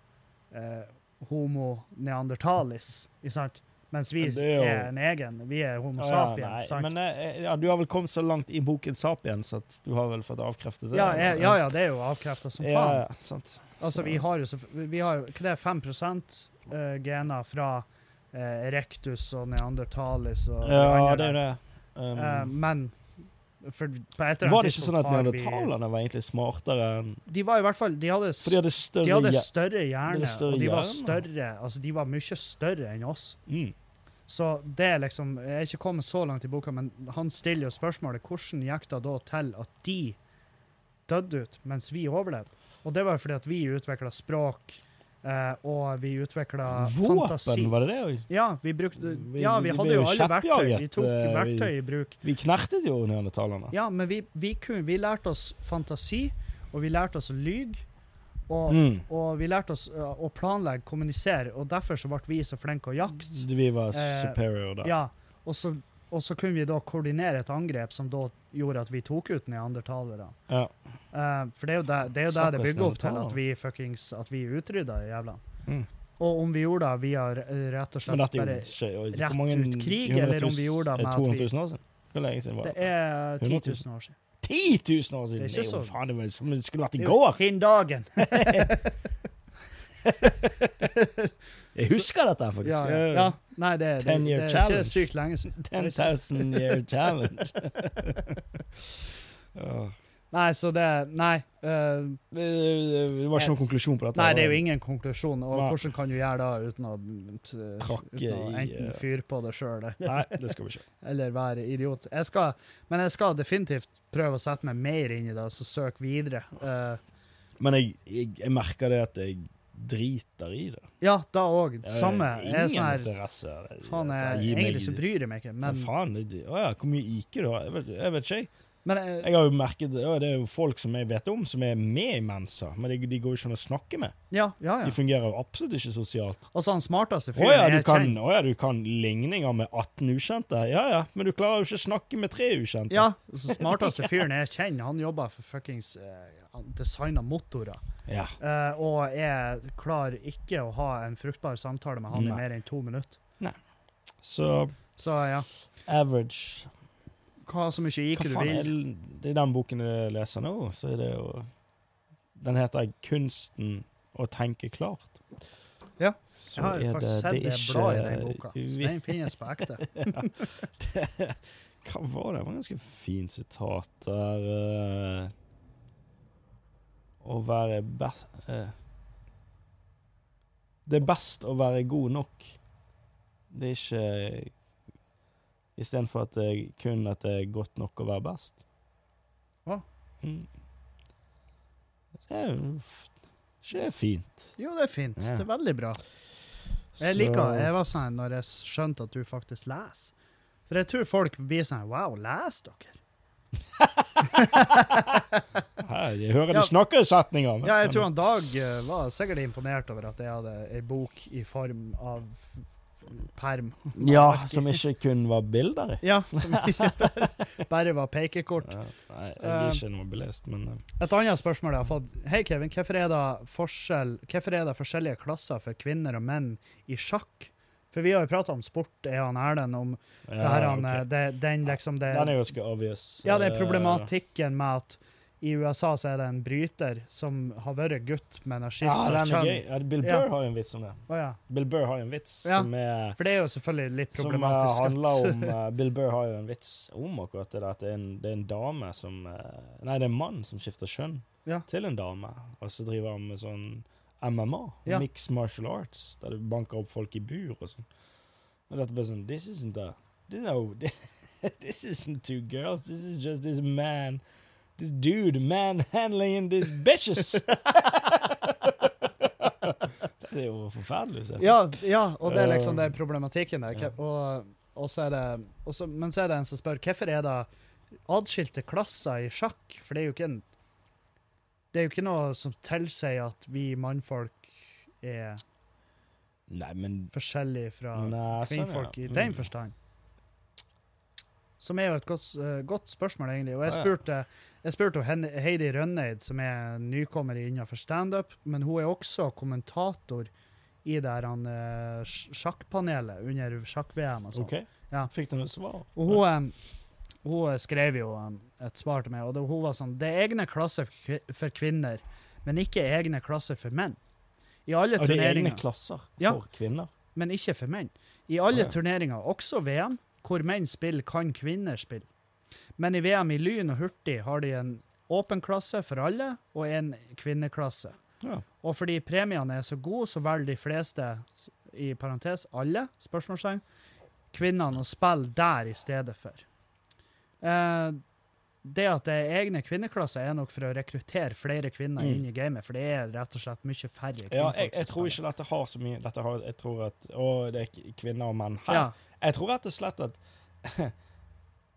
A: eh, homo neandertalis, ikke sant? Mens vi
B: Men det
A: er,
B: er jo-
A: en egen. Vi er homo
B: Å, ja,
A: sapiens,
B: nei,
A: sant?
B: Men eh, ja, du har vel kommet så langt i boken 'Sapiens' at du har vel fått avkreftet det?
A: ja,
B: eller?
A: jeg, ja, ja, det er jo avkrefta som
B: Ja,
A: faen.
B: ja, sant.
A: Altså,
B: Så-
A: vi har jo så, vi har, jo- hva det er 5 eh, gener fra eh, erectus og neandertalis og
B: Ja,
A: andre
B: det er
A: der.
B: det. Um,
A: Eh, men for, på et eller
B: var
A: annet
B: det ikke sånn
A: tidspunkt
B: at
A: har vi-
B: neandertalerne var egentlig smartere enn
A: De var i hvert fall De hadde, s-
B: For de hadde
A: de
B: større
A: hadde
B: hjer-
A: større hjerne,
B: hadde større
A: og de var
B: hjerne.
A: større Altså, de var mye større enn oss.
B: mm.
A: Så det er liksom Jeg er ikke kommet så langt i boka, men han stiller jo spørsmålet hvordan gikk det da til at de døde ut, mens vi overlevde? Og det var jo fordi at vi utvikla språk, eh, og vi utvikla fantasi.
B: Våpen, var det det òg?
A: Ja, vi brukte
B: Vi-
A: Ja, vi
B: vi ble
A: hadde jo
B: jo
A: alle verktøy. Vi
B: kjeppjaget,
A: tok
B: eh, vi-
A: verktøy i bruk.
B: Vi knertet jo neandertalerne.
A: Ja, men vi, vi, kunne, vi lærte oss fantasi, og vi lærte oss å lyge. Og,
B: Mm.
A: og vi lærte oss eh, å planlegge, kommunisere, og derfor så ble vi så flinke å jakte.
B: Vi var
A: Eh,
B: superior da.
A: Ja, og så, og så kunne vi da koordinere et angrep som da gjorde at vi tok ut neandertalere.
B: Ja.
A: Eh, for det er jo det det, er jo det, det
B: Stakkars
A: bygger opp til, at
B: neandertalere.
A: vi fuckings at vi utrydda jævla.
B: Mm.
A: Og om vi gjorde det via r- rett og
B: Men
A: slett
B: dette er
A: bare
B: jo skje- og
A: rett
B: hvor mange- eh,
A: ut krig, eller om vi
B: 100 000
A: gjorde det med at
B: 200
A: vi-
B: 000 år siden? Hvor lenge siden var
A: Det
B: det?
A: er 10
B: 100
A: 000 år siden.
B: 10 000 år siden!
A: Det er
B: Det
A: ikke
B: er jo
A: så-
B: faen, det var som om det skulle vært i
A: Det er jo
B: går!
A: Hin dagen!
B: Jeg husker dette, faktisk.
A: Ja, ja. ja. Nei, det, det,
B: Ten
A: det
B: year
A: er ikke
B: challenge.
A: sykt lenge siden.
B: 10 000 year challenge. ja.
A: Nei, så det Nei. eh,
B: det, det det var ikke noen konklusjon på dette.
A: nei, det er
B: var
A: jo ingen konklusjon. Og
B: Nei.
A: hvordan kan du gjøre det uten å, t,
B: Trakke
A: uten å
B: i,
A: enten
B: eh,
A: fyre på det sjøl
B: Nei, det skal vi ikke.
A: eller være idiot? Jeg skal, men jeg skal definitivt prøve å sette meg mer inn i det, så søke videre. Eh,
B: Men jeg, jeg, jeg merker det at jeg driter i det.
A: ja, da òg.
B: Jeg har
A: Samme. Jeg er
B: ingen
A: sånn her
B: interesse. av det.
A: Faen,
B: Dette
A: jeg,
B: gir meg-
A: egentlig så bryr jeg meg ikke, men,
B: faen, det, å ja, hvor mye IQ du har? Jeg vet, jeg vet ikke, jeg.
A: men eh,
B: Jeg har jo merket å, Det er jo folk som jeg vet om, som er med i Mensa, men de, de går jo ikke an å snakke med.
A: Ja, ja,
B: De
A: ja.
B: fungerer jo absolutt ikke sosialt.
A: Altså, han smarteste
B: Å ja,
A: fyren
B: du
A: jeg
B: kan,
A: kjenner
B: å ja, du kan ligninger med 18 ukjente. Ja ja, men du klarer jo ikke å snakke med tre ukjente.
A: Ja, altså, smarteste fyren jeg kjenner, han jobber for fuckings uh, designa motorer.
B: Ja.
A: Eh, og jeg klarer ikke å ha en fruktbar samtale med han i
B: Nei.
A: mer enn to minutter.
B: Så
A: Så ja,
B: average
A: hva så mye IQ
B: Hva
A: du
B: faen er
A: vil.
B: det- det er den boken jeg leser nå, så er det jo Den heter 'Kunsten å tenke klart'.
A: Ja,
B: Så
A: Jeg har
B: er
A: faktisk sett det
B: er
A: bladet i
B: ikke-
A: den boka, så
B: vi-
A: den finnes på ekte.
B: det- Hva var det? Det var en ganske fin sitat der eh, Å være best eh, Det er best å være god nok. Det er ikke Istedenfor at det er kun at det er godt nok å være best.
A: Hva?
B: Mm. Det er jo f- ikke fint.
A: Jo, det er fint.
B: Ja.
A: Det er veldig bra. Jeg liker Jeg var sånn når jeg skjønte at du faktisk leser. For jeg tror folk blir sånn Wow, leser dere?
B: Her, Jeg hører
A: Ja.
B: de snakker i setninger. men-
A: Ja, jeg tror han Dag eh, var sikkert imponert over at jeg hadde ei bok i form av perm.
B: Ja, som ikke kun var bilder i.
A: Ja, som bare var pekekort.
B: Ja, nei,
A: Eh,
B: jeg blir ikke noe belest, men eh,
A: Et annet spørsmål jeg har fått. Hei, Kevin. Hvorfor er det, forskjell, hvorfor er det forskjellige klasser for kvinner og menn i sjakk? For vi har jo prata om sport, jeg og han Erlend, om det
B: ja,
A: her, han,
B: ok.
A: eh, det, den liksom det,
B: Den er jo ganske obvious.
A: Ja, det er
B: eh,
A: problematikken med at i USA så er det en bryter som har vært gutt, men har
B: Ja,
A: skifta
B: den er gøy. Ja, Bill
A: Ja.
B: Burr har jo en vits om det. Bill Burr har jo en vits
A: Ja.
B: som er
A: For det er jo selvfølgelig litt
B: Som eh,
A: problematisk.
B: handler om eh, Bill Burr har jo en vits om akkurat det. der, At det er en, det er en dame som eh, Nei, det er en mann som skifter kjønn
A: Ja.
B: til en dame. Og så driver han med sånn MMA,
A: Ja.
B: mixed martial arts, der du banker opp folk i bur og sånn. Og dette blir sånn This isn't a this, no, this isn't two girls. This is just this man. This dude manhandling these bitches! det er jo forferdelig å se.
A: ja, ja, og det er liksom
B: Eh,
A: det er problematikken der.
B: ja.
A: Ke- Og, og så er det, og så, men så er det en som spør hvorfor er det adskilte klasser i sjakk? For det er jo ikke en Det er jo ikke noe som tilsier at vi mannfolk er
B: Nei, men
A: forskjellige fra
B: Nei, sånn, ja.
A: kvinnfolk i
B: Mm.
A: den forstand? Som er jo et godt, s- eh, godt spørsmål, egentlig. Og jeg
B: Ja, ja.
A: spurte, jeg spurte jo Hen- Heidi Rønneid, som er nykommer innenfor standup, men hun er også kommentator i det her han, eh, sj- sjakkpanelet under sjakk-VM. og sånn.
B: Mm. Ok.
A: Ja.
B: Fikk du noe svar?
A: Og hun, em, hun eh, skrev jo em, et svar til meg, og det, hun var sånn Det er egne klasser for kvi- for kvinner, men ikke egne klasser for menn. I alle
B: Og det er egne
A: turneringer.
B: klasser for
A: Ja.
B: kvinner?
A: men ikke for menn. I alle
B: Ah, ja.
A: turneringer, også VM, hvor menn spiller, kan kvinner spille. Men i VM i lyn og hurtig har de en åpen klasse for alle og en kvinneklasse.
B: Ja.
A: Og fordi premiene er så gode, så velger de fleste, i parentes alle, spørsmålstegn, kvinnene å spille der i stedet for. Eh, det at det er egne kvinneklasser, er nok for å rekruttere flere kvinner
B: Mm.
A: inn i gamet, for det er rett og slett mye færre kvinner.
B: Ja, jeg, jeg tror ikke dette har så mye dette har, Jeg tror at Å, det er k- kvinner og menn her.
A: Ja,
B: Jeg tror rett og slett at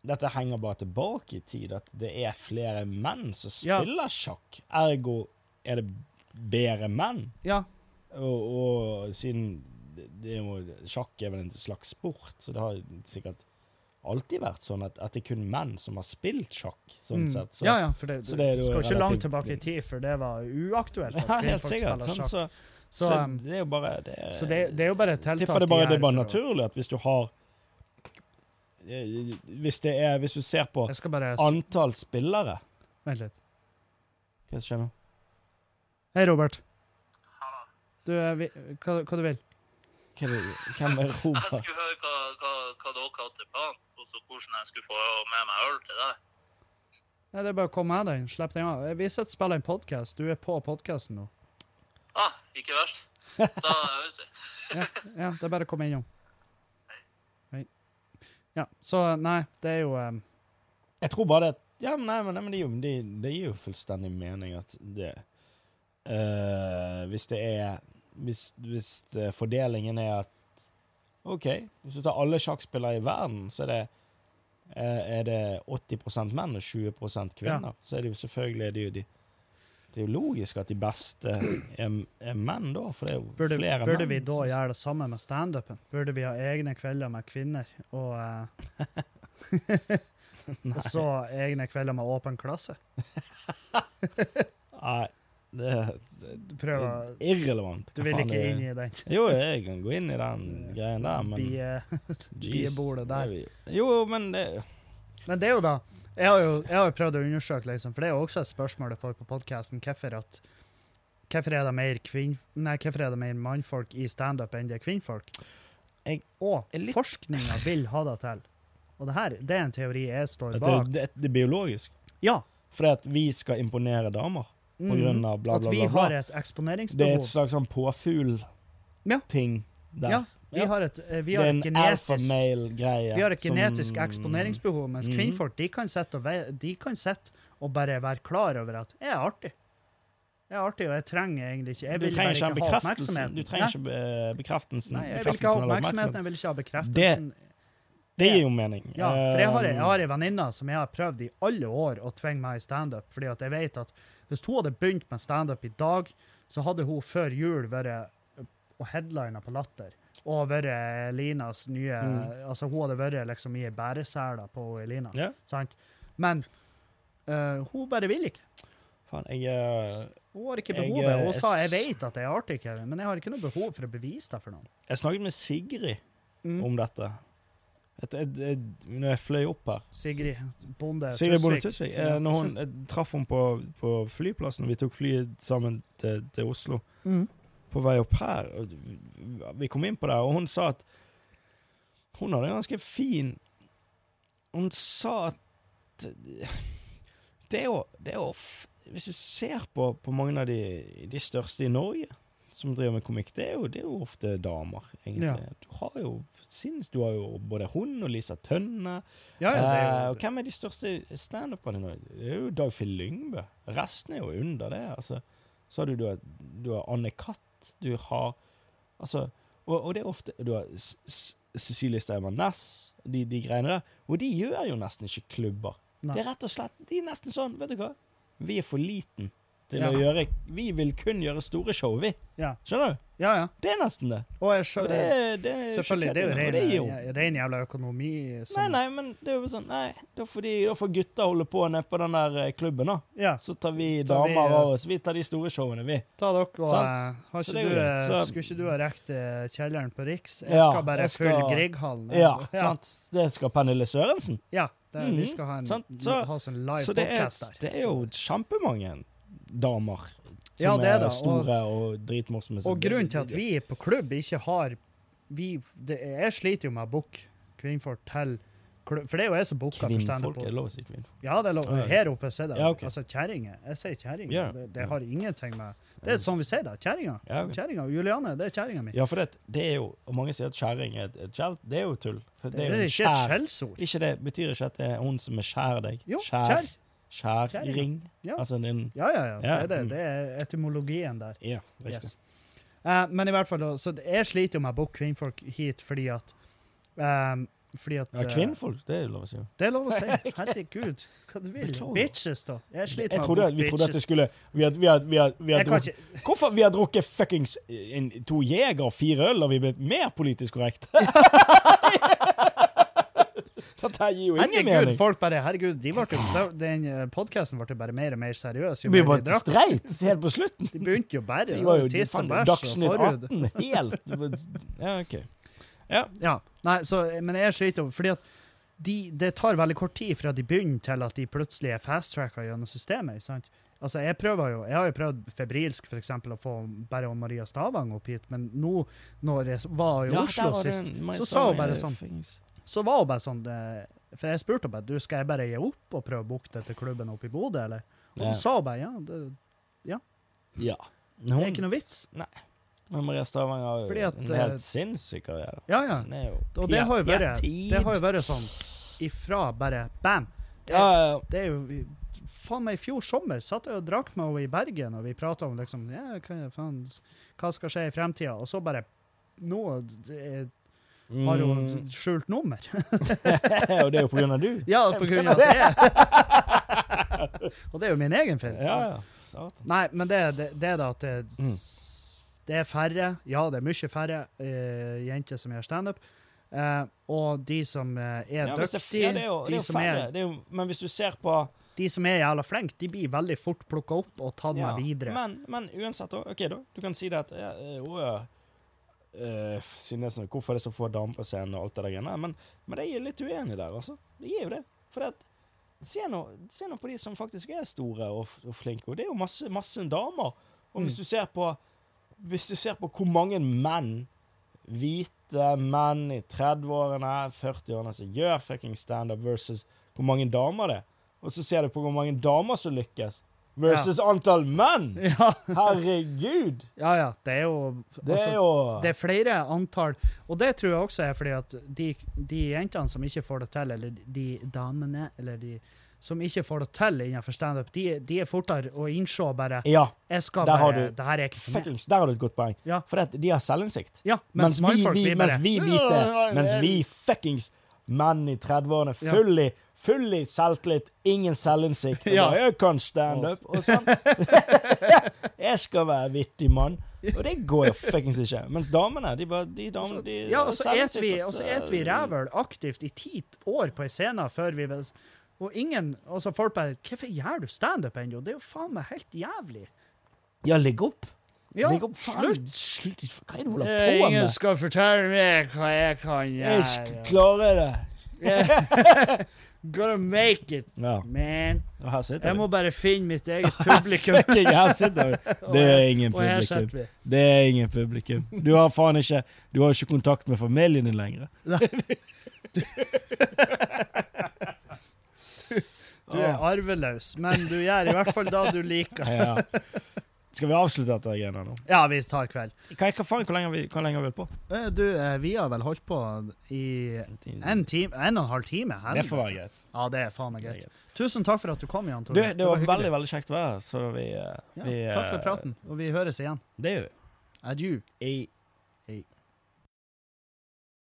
B: dette henger bare tilbake i tid. At det er flere menn som
A: Ja.
B: spiller sjakk. Ergo er det bedre menn.
A: ja,
B: Og, og siden det det er jo, Sjakk er vel en slags sport, så det har sikkert alltid vært sånn at, at det er kun menn som har spilt sjakk. sånn
A: Mm.
B: sett. Så
A: ja, ja, for det,
B: så det er jo
A: du skal ikke langt
B: relativt-
A: tilbake i tid, for det var uaktuelt. at
B: Ja, helt
A: kvinnfolk spiller
B: sikkert. Sånn,
A: sjakk.
B: så,
A: så,
B: så,
A: um,
B: det er jo bare det, er-
A: så det, det er jo bare et tiltak.
B: tipper det
A: de
B: bare
A: gjør
B: det er bare
A: for å-
B: naturlig at hvis du har eh, Hvis det er Hvis du ser på
A: Jeg skal bare s-
B: antall spillere
A: Vent litt.
B: Hva skjer nå?
A: Hei, Robert. Du, eh, vi, hva, hva du vil?
B: Hva er det- Hvem er
C: Jeg
B: Robert?
C: skulle høre hva, hva, hva dere hadde planen, og så hvordan jeg skulle få med meg øl til deg.
A: Nei, det er bare å komme med deg. Slipp den av. Eh, Vi sitter og spiller en podkast. Du er på podkasten nå.
C: Ah, ikke verst. Da høres vi.
A: Ja, det er bare å komme innom. Hei. Ja, så nei, det er jo eh,
B: Jeg tror bare det at- Ja, men nei, men, nei, men det, gir jo- det, det gir jo fullstendig mening at det eh, Hvis det er Hvis, hvis eh, fordelingen er at OK, hvis du tar alle sjakkspillere i verden, så er det eh, er det 80 menn og 20 kvinner. Så er det jo selvfølgelig er det, jo de, det er jo logisk at de beste er, er menn, da. For det er jo
A: Burde,
B: flere
A: burde
B: menn.
A: vi da
B: som-
A: gjøre det samme med standupen? Burde vi ha egne kvelder med kvinner, og, eh, og så egne kvelder med åpen klasse?
B: Nei, det
A: Du
B: det
A: prøver
B: er irrelevant.
A: Du vil ikke inn i den eh,
B: Jo, jeg kan gå inn i den greien der, men
A: bie-
B: Jeez.
A: biebordet der.
B: Det er jo- Jo, men det
A: Men det er jo da Jeg har jo, jeg har jo prøvd å undersøke, liksom, for det er jo også et spørsmål jeg får på podkasten. Hvorfor, at- hvorfor er det mer kvinn... Nei, hvorfor er det mer mannfolk i standup enn det er kvinnfolk?
B: Jeg
A: og
B: er litt-
A: forskninga vil ha det til. Og det her, det er en teori jeg står
B: at
A: bak.
B: det, det, det er biologisk.
A: Ja.
B: Fordi at vi skal imponere damer på
A: Mm.
B: grunn av bla,
A: at
B: bla,
A: vi
B: bla. bla.
A: har et
B: Det er et
A: eksponeringsbehov.
B: slags sånn
A: Ja.
B: påfugl-ting der.
A: Ja, vi
B: Ja.
A: har et, eh, vi
B: Det
A: har
B: er
A: et
B: en
A: genetisk
B: alfamale-greie.
A: vi har et genetisk
B: som-
A: eksponeringsbehov, mens
B: Mhm.
A: kvinnfolk de kan sitte og, ve- de kan sitte og bare være klar over at 'jeg er artig'. Jeg er artig, og jeg trenger egentlig ikke Jeg
B: Du
A: vil
B: trenger
A: bare
B: ikke
A: ikke
B: den
A: ha
B: bekreftelsen.
A: oppmerksomheten.
B: Du trenger ikke be- bekreftelsen.
A: Nei, jeg vil ikke ha
B: bekreftelsen eller
A: oppmerksomheten, jeg vil ikke ha
B: Det-
A: bekreftelsen.
B: Det gir jo mening.
A: Ja, for jeg har,
B: Um,
A: jeg har ei venninne som jeg har prøvd i alle år å tvinge meg i standup, fordi at jeg vet at hvis hun hadde begynt med standup i dag, så hadde hun før jul vært eh, og headlina på Latter. Og vært Elinas nye Altså, hun hadde vært liksom i ei bæresele på Elina.
B: Mm. Ja.
A: Sant? Men eh, hun bare vil ikke.
B: Faen, jeg eh,
A: Hun har ikke
B: Jeg,
A: behovet.
B: eh,
A: Hun
B: jeg
A: sa 'jeg
B: s-
A: vet at jeg er artig', Kevin, men jeg har ikke noe behov for å bevise det for noen.
B: Jeg snakket med Sigrid
A: Mm.
B: om dette. Et, et, et, når jeg fløy opp her
A: Sigrid Bonde
B: Sigrid Bonde
A: Eh, Tusvik.
B: Tusvik.
A: Ja.
B: eh, Når hun jeg traff henne på, på flyplassen, og vi tok flyet sammen til, til Oslo
A: Mm.
B: på vei opp her. Og vi- vi kom inn på det, og hun sa at Hun hadde en ganske fin Hun sa at Det er jo, det er jo f- Hvis du ser på, på mange av de, de største i Norge som driver med komikk, det er jo, det er jo ofte damer, egentlig. Du har jo sinns, du har jo både hun og Lisa Tønne.
A: Ja, ja, det
B: Eh,
A: er
B: og
A: jo
B: hvem er de største standuperne i Norge? Det er jo Dagfinn Lyngbø. Resten er jo under det. altså. Så har du, du, har, du har Anne Katt, du har Altså, og, og det er ofte Du har S S Cecilie Steinmann Næss, de, de greiene der. Og de gjør jo nesten ikke klubber.
A: Nei.
B: Det er rett og slett, De er nesten sånn, vet du hva Vi er for liten til
A: Ja.
B: å gjøre Vi vil kun gjøre store show, vi.
A: Ja.
B: Skjønner du?
A: Ja, ja.
B: Det er nesten det.
A: Og jeg
B: Og
A: skjø-
B: det, er- det er jo ikke
A: Selvfølgelig, det
B: kødd engang, og
A: er
B: Eh, det
A: jo ren, eh, ren jævla økonomi.
B: Nei,
A: som-
B: nei, men det er jo sånn Nei, da får, de, da får gutta holde på nede på den der eh, klubben, da.
A: Ja,
B: Så tar vi
A: Tar vi,
B: damer
A: eh,
B: av oss. Vi tar de store showene, vi.
A: ta dere og
B: Sant.
A: eh, har
B: Så
A: ikke
B: det
A: du,
B: er jo greit.
A: eh,
B: Så-
A: Skulle ikke du ha rekt eh, kjelleren på Riks? Jeg
B: Ja,
A: skal bare
B: jeg skal-
A: fylle Grieghallen.
B: Ja, sant. Det skal Pernille Sørensen.
A: Ja, det, vi
B: Mhm,
A: skal ha en,
B: sant. Så-
A: ha oss en live
B: Så det er,
A: podcast der.
B: det er jo kjempemange damer som
A: Ja, det er
B: er,
A: det, og-
B: store og, dritmorsomme.
A: Og grunnen til at vi på klubb ikke har vi, det, Jeg sliter jo med å booke kvinnfolk til klubb, for det er jo jeg som booker for
B: Kvinnfolk
A: standup.
B: er lov å si kvinnfolk.
A: Ja, det er lov.
B: Ja, ja.
A: Her oppe sier det.
B: Ja, ok.
A: Altså kjerringer. Jeg sier kjerringer.
B: Ja.
A: Det, det har ingenting med Det er sånn vi sier det. Kjerringer.
B: Ja, ok.
A: Kjerringer. Juliane, det er kjerringa mi.
B: Ja, for det, det er jo Og mange sier at kjerring er et- et skjell. Det er jo tull. For
A: Det
B: det er jo
A: er ikke
B: en
A: et
B: skjær.
A: skjellsord.
B: Ikke det betyr ikke at det er hun som er skjær deg.
A: Jo,
B: skjær.
A: kjær. Kjæring.
B: Skjæring.
A: Ja.
B: Altså din
A: Ja, ja, ja. Det
B: Ja,
A: er, det.
B: mm.
A: det er etymologien der.
B: Ja, riktig.
A: Yes. Eh, men i hvert fall, da, så jeg sliter jo med å booke kvinnfolk hit fordi at eh, Fordi at
B: Ja,
A: eh,
B: kvinnfolk, det er jo lov å si.
A: Det er lov å si. Herregud, hva du vil.
B: Beklager.
A: Bitches, da. Jeg sliter
B: Jeg
A: med
B: trodde,
A: å
B: vi
A: bli
B: trodde at det
A: bitches.
B: skulle Vi har, vi har, vi har, vi har
A: Jeg kan
B: drukket Hvorfor? Vi har drukket fuckings eh, en, to jeger og fire øl, og vi er blitt mer politisk korrekte. Dette her gir jo ingen
A: Herregud,
B: mening.
A: folk bare Herregud, de ble, jo- den podkasten ble jo bare mer og mer seriøs. Jo
B: Vi
A: mer de,
B: var
A: drakk.
B: streit helt på slutten.
A: de begynte jo bare
B: Vi
A: å
B: var jo
A: tisse og
B: faen,
A: bæsj og
B: Dagsnytt
A: forhud.
B: 18 helt Ja, OK.
A: Ja. Nei, så, men jeg sliter jo fordi at de, det tar veldig kort tid fra de begynner til at de plutselig er fast-tracka gjennom systemet. ikke sant? Altså, Jeg prøver jo, jeg har jo prøvd febrilsk for eksempel, å få bare Maria Stavang opp hit, men nå når jeg var i
B: Ja, der
A: Oslo
B: var det
A: sist,
B: en-
A: så sa hun bare
B: eh,
A: sånn
B: fuckings-
A: så var hun bare sånn eh, For jeg spurte henne bare du, skal jeg bare gi opp og prøve å booke det til klubben oppe i Bodø, eller? Og
B: Ja.
A: hun sa bare ja, det,
B: Ja.
A: det
B: Hun,
A: er ikke noe vits.
B: men Maria Stavang har
A: Fordi
B: jo
A: at,
B: en
A: eh,
B: helt sinnssyk karriere.
A: Ja, ja.
B: Hun er jo
A: Og det har jo vært,
B: Piatin.
A: det har jo vært sånn ifra bare bam.
B: Ja, ja, ja.
A: Det er jo vi- Faen meg, i fjor sommer satt jeg og drakk med henne i Bergen, og vi prata om liksom ja, hva, faen, hva skal skje i fremtida, og så bare nå eh, har hun
B: Mm.
A: skjult nummer.
B: og det er jo på grunn av du.
A: ja, på grunn av det. og det er jo min egen feil.
B: Ja, ja. Satan.
A: Nei, men det, det, det er da at det,
B: Mm.
A: det er færre, ja, det er mye færre eh, jenter som gjør standup. Eh, og de som eh, er
B: Ja, hvis det,
A: dyktige,
B: ja, det er jo, det er
A: de,
B: jo
A: som
B: færre.
A: er,
B: Det er jo, men hvis du ser på
A: de som er jævla flinke, de blir veldig fort plukka opp og tatt
B: ja,
A: med videre.
B: men, men uansett, da, OK, da. Du kan si det at ja, eh, å, ja, eh, siden det er sånn, Hvorfor er det så få damer på scenen og alt det der greiene der? Men, men jeg er litt uenig der, altså. Det er jo det. For det at Se nå, se nå på de som faktisk er store og, f- og flinke, og det er jo masse, masse damer. Og
A: Mm.
B: hvis du ser på Hvis du ser på hvor mange menn, hvite menn i 30-årene, 40-årene, som gjør fucking standup, versus hvor mange damer det er, og så ser du på hvor mange damer som lykkes, versus antall menn!
A: Ja,
B: Herregud!
A: ja, ja, det er jo
B: Det
A: altså,
B: er jo
A: Det er flere antall, og det tror jeg også er fordi at de, de jentene som ikke får det til, eller de damene, eller de som ikke får det til innenfor standup, de, de er fortere å innse bare
B: Ja,
A: Jeg skal
B: Der har
A: bare
B: du-
A: Det her er ikke for meg.
B: fuckings, der har du et godt poeng.
A: Ja.
B: For det, at de har selvinnsikt.
A: Ja,
B: Mens,
A: mens,
B: vi,
A: mannfolk
B: vi,
A: blir
B: mens
A: bare
B: vi hvite, mens vi fuckings menn i 30-årene,
A: Ja.
B: full i, full i selvtillit, ingen selvinnsikt. og
A: Ja.
B: bare, Jeg kan standup og sånn. jeg skal være vittig mann. Og det går jo fuckings ikke. Mens damene, de bare de damene, de, altså.
A: Ja, og så et vi,
B: selvsikker,
A: og så et vi rævøl aktivt i ti år på ei scene før vi vel- Og ingen Altså, folk bare 'Hvorfor gjør du standup ennå?' Det er jo faen meg helt jævlig.
B: Ja, legg opp.
A: Ja,
B: legg opp. Faen,
A: slutt. Eh,
B: slutt. Hva er det du holder på med?
A: skal fortelle meg hva jeg kan
B: Jeg skal klare det.
A: Gotta make it,
B: Ja.
A: man.
B: Og her sitter
A: Jeg
B: vi.
A: må bare finne mitt eget publikum.
B: Fucking, her sitter vi. Det er ingen
A: Og her
B: publikum.
A: sitter vi.
B: Det er ingen publikum. Du har faen ikke Du har ikke kontakt med familien din lenger.
A: Du er arveløs, men du gjør i hvert fall det du liker.
B: Ah. Ja. Skal vi avslutte dette greiene nå?
A: Ja, vi tar kveld.
B: Hva, hva faen, hvor lenge har vi, hvor lenge har vi holdt på?
A: Eh, Du, eh, vi har vel holdt på i en time, en og en halv time.
B: Det får være greit.
A: Ja, det er faen meg
B: Det er
A: greit. Tusen takk for at du kom, Jan
B: Du,
A: Tore.
B: det var
A: hyggelig.
B: veldig, veldig kjekt å være her, så vi, eh,
A: Ja,
B: vi
A: takk for
B: eh,
A: praten, og vi høres igjen.
B: Det gjør vi.
A: Adjø.
B: Ei.